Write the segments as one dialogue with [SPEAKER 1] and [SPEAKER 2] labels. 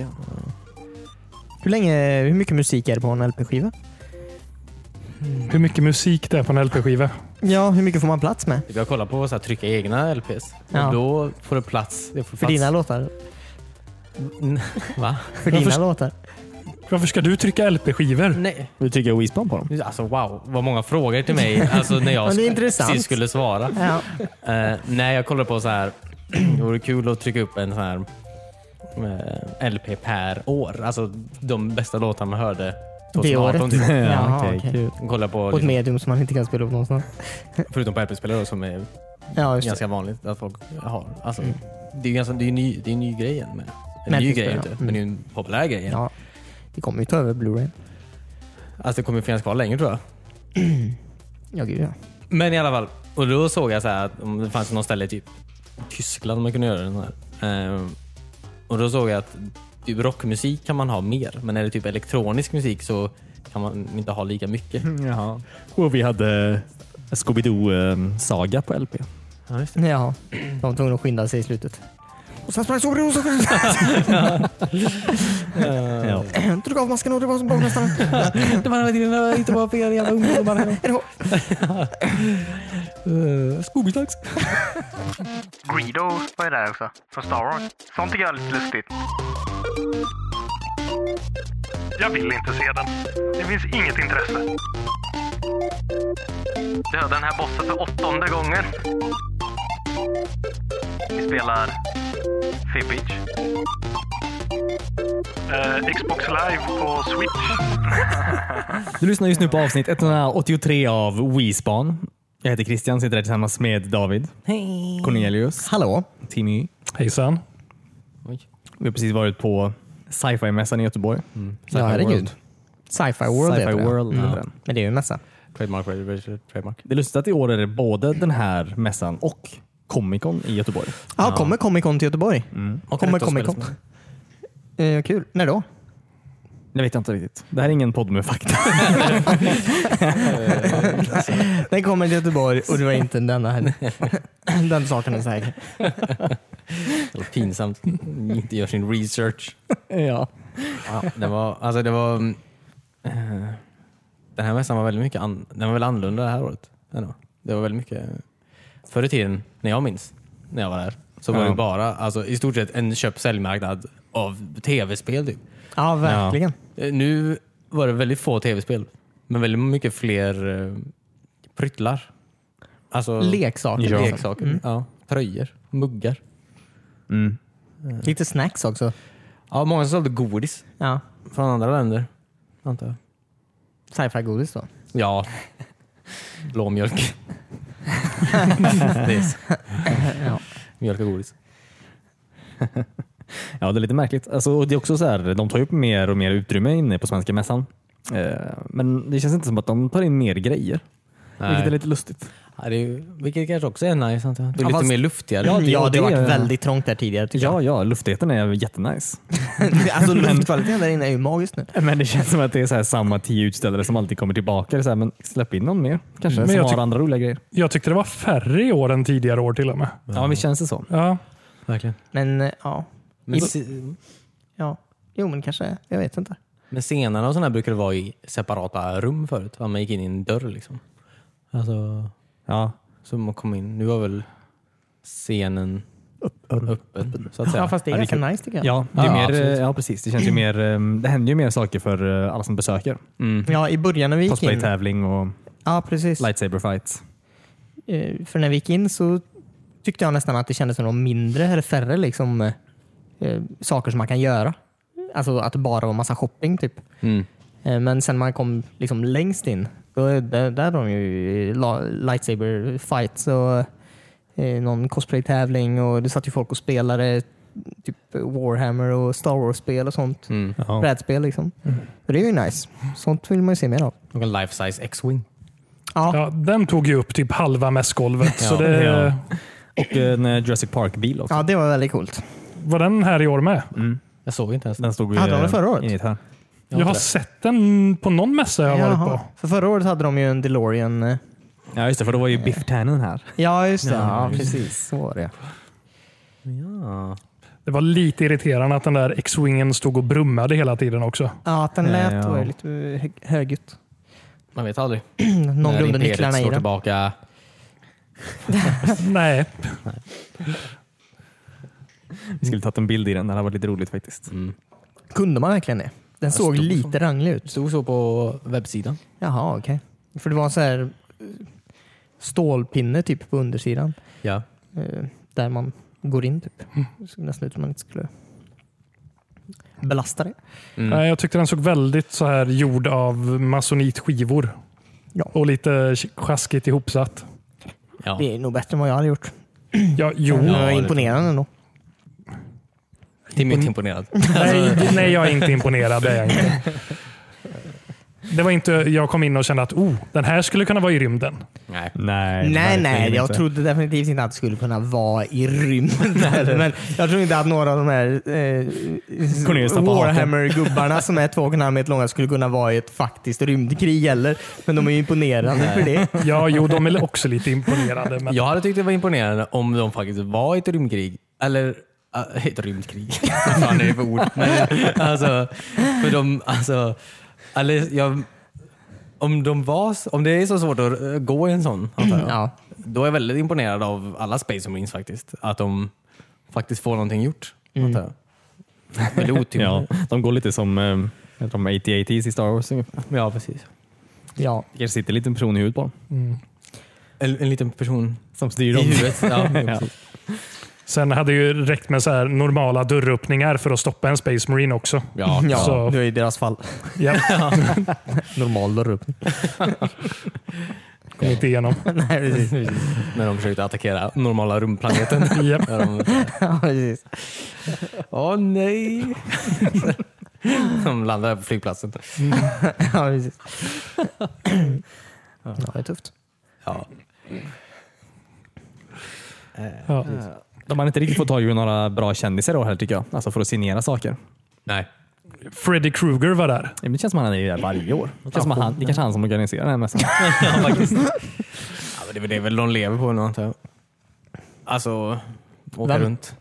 [SPEAKER 1] Ja.
[SPEAKER 2] Hur, länge, hur mycket musik är det på en LP-skiva?
[SPEAKER 3] Hur mycket musik det är på en LP-skiva.
[SPEAKER 2] Ja, hur mycket får man plats med?
[SPEAKER 1] Vi har kollat på att trycka egna LPs.
[SPEAKER 2] Ja.
[SPEAKER 1] Och då får du plats. Det får
[SPEAKER 2] För
[SPEAKER 1] plats.
[SPEAKER 2] dina låtar?
[SPEAKER 1] Va?
[SPEAKER 2] För
[SPEAKER 3] Jag
[SPEAKER 2] dina
[SPEAKER 3] först-
[SPEAKER 2] låtar?
[SPEAKER 3] Varför ska du trycka LP-skivor?
[SPEAKER 1] Nej.
[SPEAKER 4] Vi trycker Wispan på dem.
[SPEAKER 1] Alltså wow, vad många frågor till mig alltså, när jag
[SPEAKER 2] Men det är
[SPEAKER 1] sk-
[SPEAKER 2] intressant.
[SPEAKER 1] precis skulle svara.
[SPEAKER 2] Ja.
[SPEAKER 1] Eh, nej, jag kollar på så här. Det vore kul att trycka upp en sån här eh, LP per år. Alltså de bästa låtarna man hörde
[SPEAKER 2] Det
[SPEAKER 1] 2018.
[SPEAKER 2] året?
[SPEAKER 1] Typ.
[SPEAKER 2] Jaha,
[SPEAKER 4] okej,
[SPEAKER 2] okej.
[SPEAKER 4] kul.
[SPEAKER 1] Kolla på,
[SPEAKER 2] På ett
[SPEAKER 1] liksom,
[SPEAKER 2] medium som man inte kan spela upp någonstans.
[SPEAKER 1] förutom på LP-spelare då, som är
[SPEAKER 2] Ja, just det. Mm.
[SPEAKER 1] ganska vanligt att folk har. Alltså, Det är ju ganska, det är en ny, det är en ny grej än med. En
[SPEAKER 2] Men
[SPEAKER 1] ny
[SPEAKER 2] det
[SPEAKER 1] grej
[SPEAKER 2] spelar-
[SPEAKER 1] inte, men det är ju en populär grej.
[SPEAKER 2] Ja. Det kommer ju ta över Blu-ray.
[SPEAKER 1] Alltså det kommer finnas kvar länge tror jag.
[SPEAKER 2] Ja, gud ja.
[SPEAKER 1] Men i alla fall. Och då såg jag så här att om det fanns något ställe i typ Tyskland man kunde göra den här. Ehm, och då såg jag att typ rockmusik kan man ha mer, men är det typ elektronisk musik så kan man inte ha lika mycket.
[SPEAKER 4] Jaha. Och vi hade Scooby-Doo-saga på LP.
[SPEAKER 1] Ja, just
[SPEAKER 2] Jaha. De var tvungna att skynda sig i slutet. Och sen sprang Sobrio och så
[SPEAKER 4] Ja.
[SPEAKER 2] drog av masken och det var som borgmästaren.
[SPEAKER 1] det var dina, inte bara för er jävla ungdomar.
[SPEAKER 2] Hej då.
[SPEAKER 1] Scooby-dags.
[SPEAKER 5] Greedo var ju där också, från Star Wars. Sånt tycker jag är lite lustigt. Jag vill inte se den. Det finns inget intresse. Döda den här bossen för åttonde gången. Vi spelar... Fibbage. Eh, Xbox Live på Switch.
[SPEAKER 4] Du lyssnar just nu på avsnitt 183 av Wispan. Jag heter Christian, sitter här tillsammans med David, Cornelius,
[SPEAKER 2] Hallå.
[SPEAKER 4] Timmy.
[SPEAKER 3] Hejsan.
[SPEAKER 4] Vi har precis varit på sci-fi-mässan i Göteborg.
[SPEAKER 2] Ja, herregud. Sci-Fi World
[SPEAKER 4] Sci-fi
[SPEAKER 2] heter det. Mm.
[SPEAKER 4] World heter den.
[SPEAKER 2] Men det är ju en mässa.
[SPEAKER 1] Trademark, trademark, trademark.
[SPEAKER 4] Det är lustigt att i år är det både den här mässan och Comic Con i Göteborg.
[SPEAKER 2] Ja, Mm. kommer Comic Con till Göteborg?
[SPEAKER 1] Och
[SPEAKER 2] Kommer
[SPEAKER 1] rätt att
[SPEAKER 2] Comic
[SPEAKER 1] spela
[SPEAKER 2] Con? Eh, kul. När då?
[SPEAKER 4] Det vet jag inte riktigt. Det här är ingen podd med fakta.
[SPEAKER 2] Den kommer till Göteborg och det var inte denna heller. Den saken är säker.
[SPEAKER 1] Det var pinsamt. inte gör sin research.
[SPEAKER 4] ja.
[SPEAKER 1] Ja, det var, alltså det var... mm, eh, Den här mässan var väldigt mycket an, den var väl annorlunda det här året. Ändå. Det var väldigt mycket... Förr i tiden, när jag minns, när jag var där, så var
[SPEAKER 4] Ja.
[SPEAKER 1] det bara alltså, i stort sett en köp säljmarknad av tv-spel. Typ.
[SPEAKER 2] Ja, verkligen.
[SPEAKER 1] Eh, Nu var det väldigt få tv-spel, men väldigt mycket fler eh, pryttlar. Alltså,
[SPEAKER 2] Leksaker.
[SPEAKER 1] ja.
[SPEAKER 2] liksom.
[SPEAKER 1] leksaker.
[SPEAKER 4] Mm.
[SPEAKER 1] Ja, tröjor, muggar.
[SPEAKER 2] Lite snacks också.
[SPEAKER 1] Ja, många som sålde godis
[SPEAKER 2] Ja.
[SPEAKER 1] från andra länder, antar jag.
[SPEAKER 2] Sci-fi godis då.
[SPEAKER 1] Ja. Blåmjölk. det är så.
[SPEAKER 2] Ja.
[SPEAKER 1] Mjölk och godis.
[SPEAKER 4] ja, det är lite märkligt. Alltså, och det är också så här, de tar ju upp mer och mer utrymme inne på svenska mässan. Eh, Men det känns inte som att de tar in mer grejer. Vilket är lite lustigt.
[SPEAKER 1] Ja, det är, ju- vilket kanske också är nice. antar jag. Det är
[SPEAKER 2] Ja,
[SPEAKER 1] lite
[SPEAKER 2] fast-
[SPEAKER 1] mer luftigare.
[SPEAKER 4] Ja,
[SPEAKER 2] Ja,
[SPEAKER 4] det-
[SPEAKER 2] det,
[SPEAKER 4] det-
[SPEAKER 2] har varit väldigt trångt där tidigare tycker
[SPEAKER 4] Ja, ja, luftigheten är jättenice.
[SPEAKER 2] jag. alltså luftkvaliteten där inne är ju magisk nu.
[SPEAKER 4] Men det känns som att det är så här samma tio utställare som alltid kommer tillbaka. Det är så här, men släpp in någon mer kanske,
[SPEAKER 3] Men
[SPEAKER 4] som
[SPEAKER 3] jag
[SPEAKER 4] har
[SPEAKER 3] tyck-
[SPEAKER 4] andra roliga grejer.
[SPEAKER 3] Jag tyckte det var färre i år än tidigare år till och med.
[SPEAKER 4] Ja, visst känns det så.
[SPEAKER 3] Ja.
[SPEAKER 1] Verkligen.
[SPEAKER 2] Men eh, ja.
[SPEAKER 1] Men, se-
[SPEAKER 2] ja. Jo men kanske, jag vet inte.
[SPEAKER 1] men scenerna och sådana brukar det vara i separata rum förut. Ja, Man gick in i en dörr liksom. Alltså,
[SPEAKER 4] Ja.
[SPEAKER 1] så man kom in. Nu var väl scenen öppen. Så att säga.
[SPEAKER 2] Ja fast det är
[SPEAKER 4] Ja, det är
[SPEAKER 2] ganska nice tycker jag.
[SPEAKER 4] Ja, det är
[SPEAKER 1] Ja,
[SPEAKER 4] mer, eh,
[SPEAKER 2] eh,
[SPEAKER 1] absolut.
[SPEAKER 4] ja, precis. Det, känns ju mer, ehm, det händer ju mer saker för eh, alla som besöker.
[SPEAKER 2] Ja, i början när vi gick in.
[SPEAKER 4] Cosplay-tävling och
[SPEAKER 2] Ja precis.
[SPEAKER 4] lightsaber fights.
[SPEAKER 2] Eh, För när vi gick in så tyckte jag nästan att det kändes som de mindre eller färre liksom, eh, eh, saker som man kan göra. Alltså att det bara var massa shopping typ.
[SPEAKER 1] Mm.
[SPEAKER 2] Eh, Men sen man kom liksom längst in, då, är- där, där har de ju la- lightsaber fights och eh, någon cosplay-tävling och det satt ju folk och spelade typ Warhammer och Star Wars-spel och sånt.
[SPEAKER 1] Mm.
[SPEAKER 2] Brädspel liksom. Och det är ju nice. Sånt vill man ju se mer av.
[SPEAKER 1] Någon life size X-Wing.
[SPEAKER 2] Ja,
[SPEAKER 3] ja, den tog ju upp typ halva mässgolvet.
[SPEAKER 1] Ja.
[SPEAKER 3] så det,
[SPEAKER 4] Ja. Och en eh, Jurassic Park-bil också.
[SPEAKER 2] ja det var väldigt coolt.
[SPEAKER 3] Var den här i år med?
[SPEAKER 1] Jag såg inte ens den.
[SPEAKER 4] Den stod ju
[SPEAKER 2] Hade de det
[SPEAKER 4] eh,
[SPEAKER 2] förra året?
[SPEAKER 4] inne i ett här.
[SPEAKER 1] Jag
[SPEAKER 3] Jag,
[SPEAKER 1] har
[SPEAKER 3] har
[SPEAKER 1] inte det.
[SPEAKER 3] sett den på någon mässa jag har varit
[SPEAKER 2] Jaha.
[SPEAKER 3] på.
[SPEAKER 2] För förra året hade de ju en DeLorean. eh.
[SPEAKER 4] Ja, just det. För då var ju Biff Tannen här.
[SPEAKER 2] Ja, just det.
[SPEAKER 1] Ja,
[SPEAKER 2] Ja, precis. Så var det.
[SPEAKER 1] Ja.
[SPEAKER 3] Det var lite irriterande att den där X-Wingen stod och brummade hela tiden också.
[SPEAKER 2] Ja, att den lät
[SPEAKER 4] Ja.
[SPEAKER 2] var ju lite hög, högljutt.
[SPEAKER 1] Man vet aldrig.
[SPEAKER 2] Någon
[SPEAKER 1] När
[SPEAKER 2] glömde
[SPEAKER 1] imperiet
[SPEAKER 2] nycklarna i
[SPEAKER 1] slår
[SPEAKER 2] den.
[SPEAKER 1] tillbaka.
[SPEAKER 3] Nej,
[SPEAKER 4] Vi skulle tagit en bild i den. Det hade varit lite roligt faktiskt.
[SPEAKER 2] Kunde man verkligen det? Den såg
[SPEAKER 1] stod
[SPEAKER 2] lite ranglig
[SPEAKER 1] Det
[SPEAKER 2] ut.
[SPEAKER 1] stod så på webbsidan.
[SPEAKER 2] Jaha, okej. För det var en så här eh, stålpinne typ på undersidan.
[SPEAKER 1] Ja.
[SPEAKER 2] eh, Där man går in typ.
[SPEAKER 1] Mm.
[SPEAKER 2] Det såg nästan ut som man inte skulle belasta det.
[SPEAKER 1] Mm.
[SPEAKER 3] nej, jag tyckte den såg väldigt så här gjord av masonitskivor.
[SPEAKER 2] Ja.
[SPEAKER 3] Och lite sjaskigt ihopsatt.
[SPEAKER 1] Ja.
[SPEAKER 2] Det är nog bättre än vad jag hade gjort.
[SPEAKER 3] Ja, jo.
[SPEAKER 2] Men det
[SPEAKER 1] det
[SPEAKER 2] var
[SPEAKER 1] tror jag.
[SPEAKER 2] imponerande ändå.
[SPEAKER 1] Tim är inte imponerad.
[SPEAKER 3] Nej, nej, jag är inte imponerad. Det är jag inte. Det var inte jag kom in och kände att oh, den här skulle kunna vara i rymden.
[SPEAKER 1] Nej.
[SPEAKER 4] Nej,
[SPEAKER 2] Nej,
[SPEAKER 4] verkligen
[SPEAKER 2] nej. Jag
[SPEAKER 4] inte.
[SPEAKER 2] trodde definitivt inte att det skulle kunna vara i rymden. heller, Men jag tror inte att några av de här eh,
[SPEAKER 4] Cornelius tappar hakan.
[SPEAKER 2] Warhammer-gubbarna som är två och en halv meter långa skulle kunna vara i ett faktiskt rymdkrig heller. Men de är ju imponerande för det.
[SPEAKER 3] Ja, jo, de är också lite imponerade. Men
[SPEAKER 1] Jag hade tyckt det var imponerande om de faktiskt var i ett rymdkrig. Eller äh, ett rymdkrig. Vad fan är det för ord? Men, alltså, för de, alltså, eller, jag, om, de var, om det är så svårt att eh, gå i en sån, antar jag,
[SPEAKER 2] Ja.
[SPEAKER 1] då är jag väldigt imponerad av alla Space Marines faktiskt. Att de faktiskt får någonting gjort.
[SPEAKER 2] Mm.
[SPEAKER 1] Antar jag. Väldigt otydligt.
[SPEAKER 4] Ja, de går lite som um, de AT-ATs i Star Wars. ungefär.
[SPEAKER 1] ja, precis.
[SPEAKER 2] ja.
[SPEAKER 4] Det kanske sitter en liten person i huvudet på dem.
[SPEAKER 1] En, en liten person
[SPEAKER 4] Som styr
[SPEAKER 1] i
[SPEAKER 4] dem.
[SPEAKER 1] huvudet. Ja,
[SPEAKER 4] Ja.
[SPEAKER 1] precis.
[SPEAKER 3] sen hade ju räckt med så här normala dörröppningar för att stoppa en Space Marine också.
[SPEAKER 1] ja.
[SPEAKER 2] Ja,
[SPEAKER 3] Så-
[SPEAKER 2] det är i deras fall.
[SPEAKER 3] Ja,
[SPEAKER 2] Normal dörröppning.
[SPEAKER 3] kom inte igenom.
[SPEAKER 2] Nej, precis.
[SPEAKER 1] När de försökte attackera normala rymdplaneten.
[SPEAKER 3] Ja.
[SPEAKER 1] När de-
[SPEAKER 2] Ja, precis.
[SPEAKER 1] Åh nej! De landade på flygplatsen.
[SPEAKER 2] Ja, precis. Ja, det är tufft.
[SPEAKER 1] Ja.
[SPEAKER 3] Ja.
[SPEAKER 4] De hade inte riktigt fått tag i några bra kändisar då heller tycker jag. Alltså för att signera saker.
[SPEAKER 1] Nej.
[SPEAKER 3] Freddy Krueger var där.
[SPEAKER 4] Men Det känns som att han är där varje år. Det, känns som att han, det kanske är han som organiserar den här mässan.
[SPEAKER 1] Ja, faktiskt. Ja, men det, är väl- det är väl de lever på nu antar jag. Alltså, åka
[SPEAKER 2] Vem?
[SPEAKER 1] runt.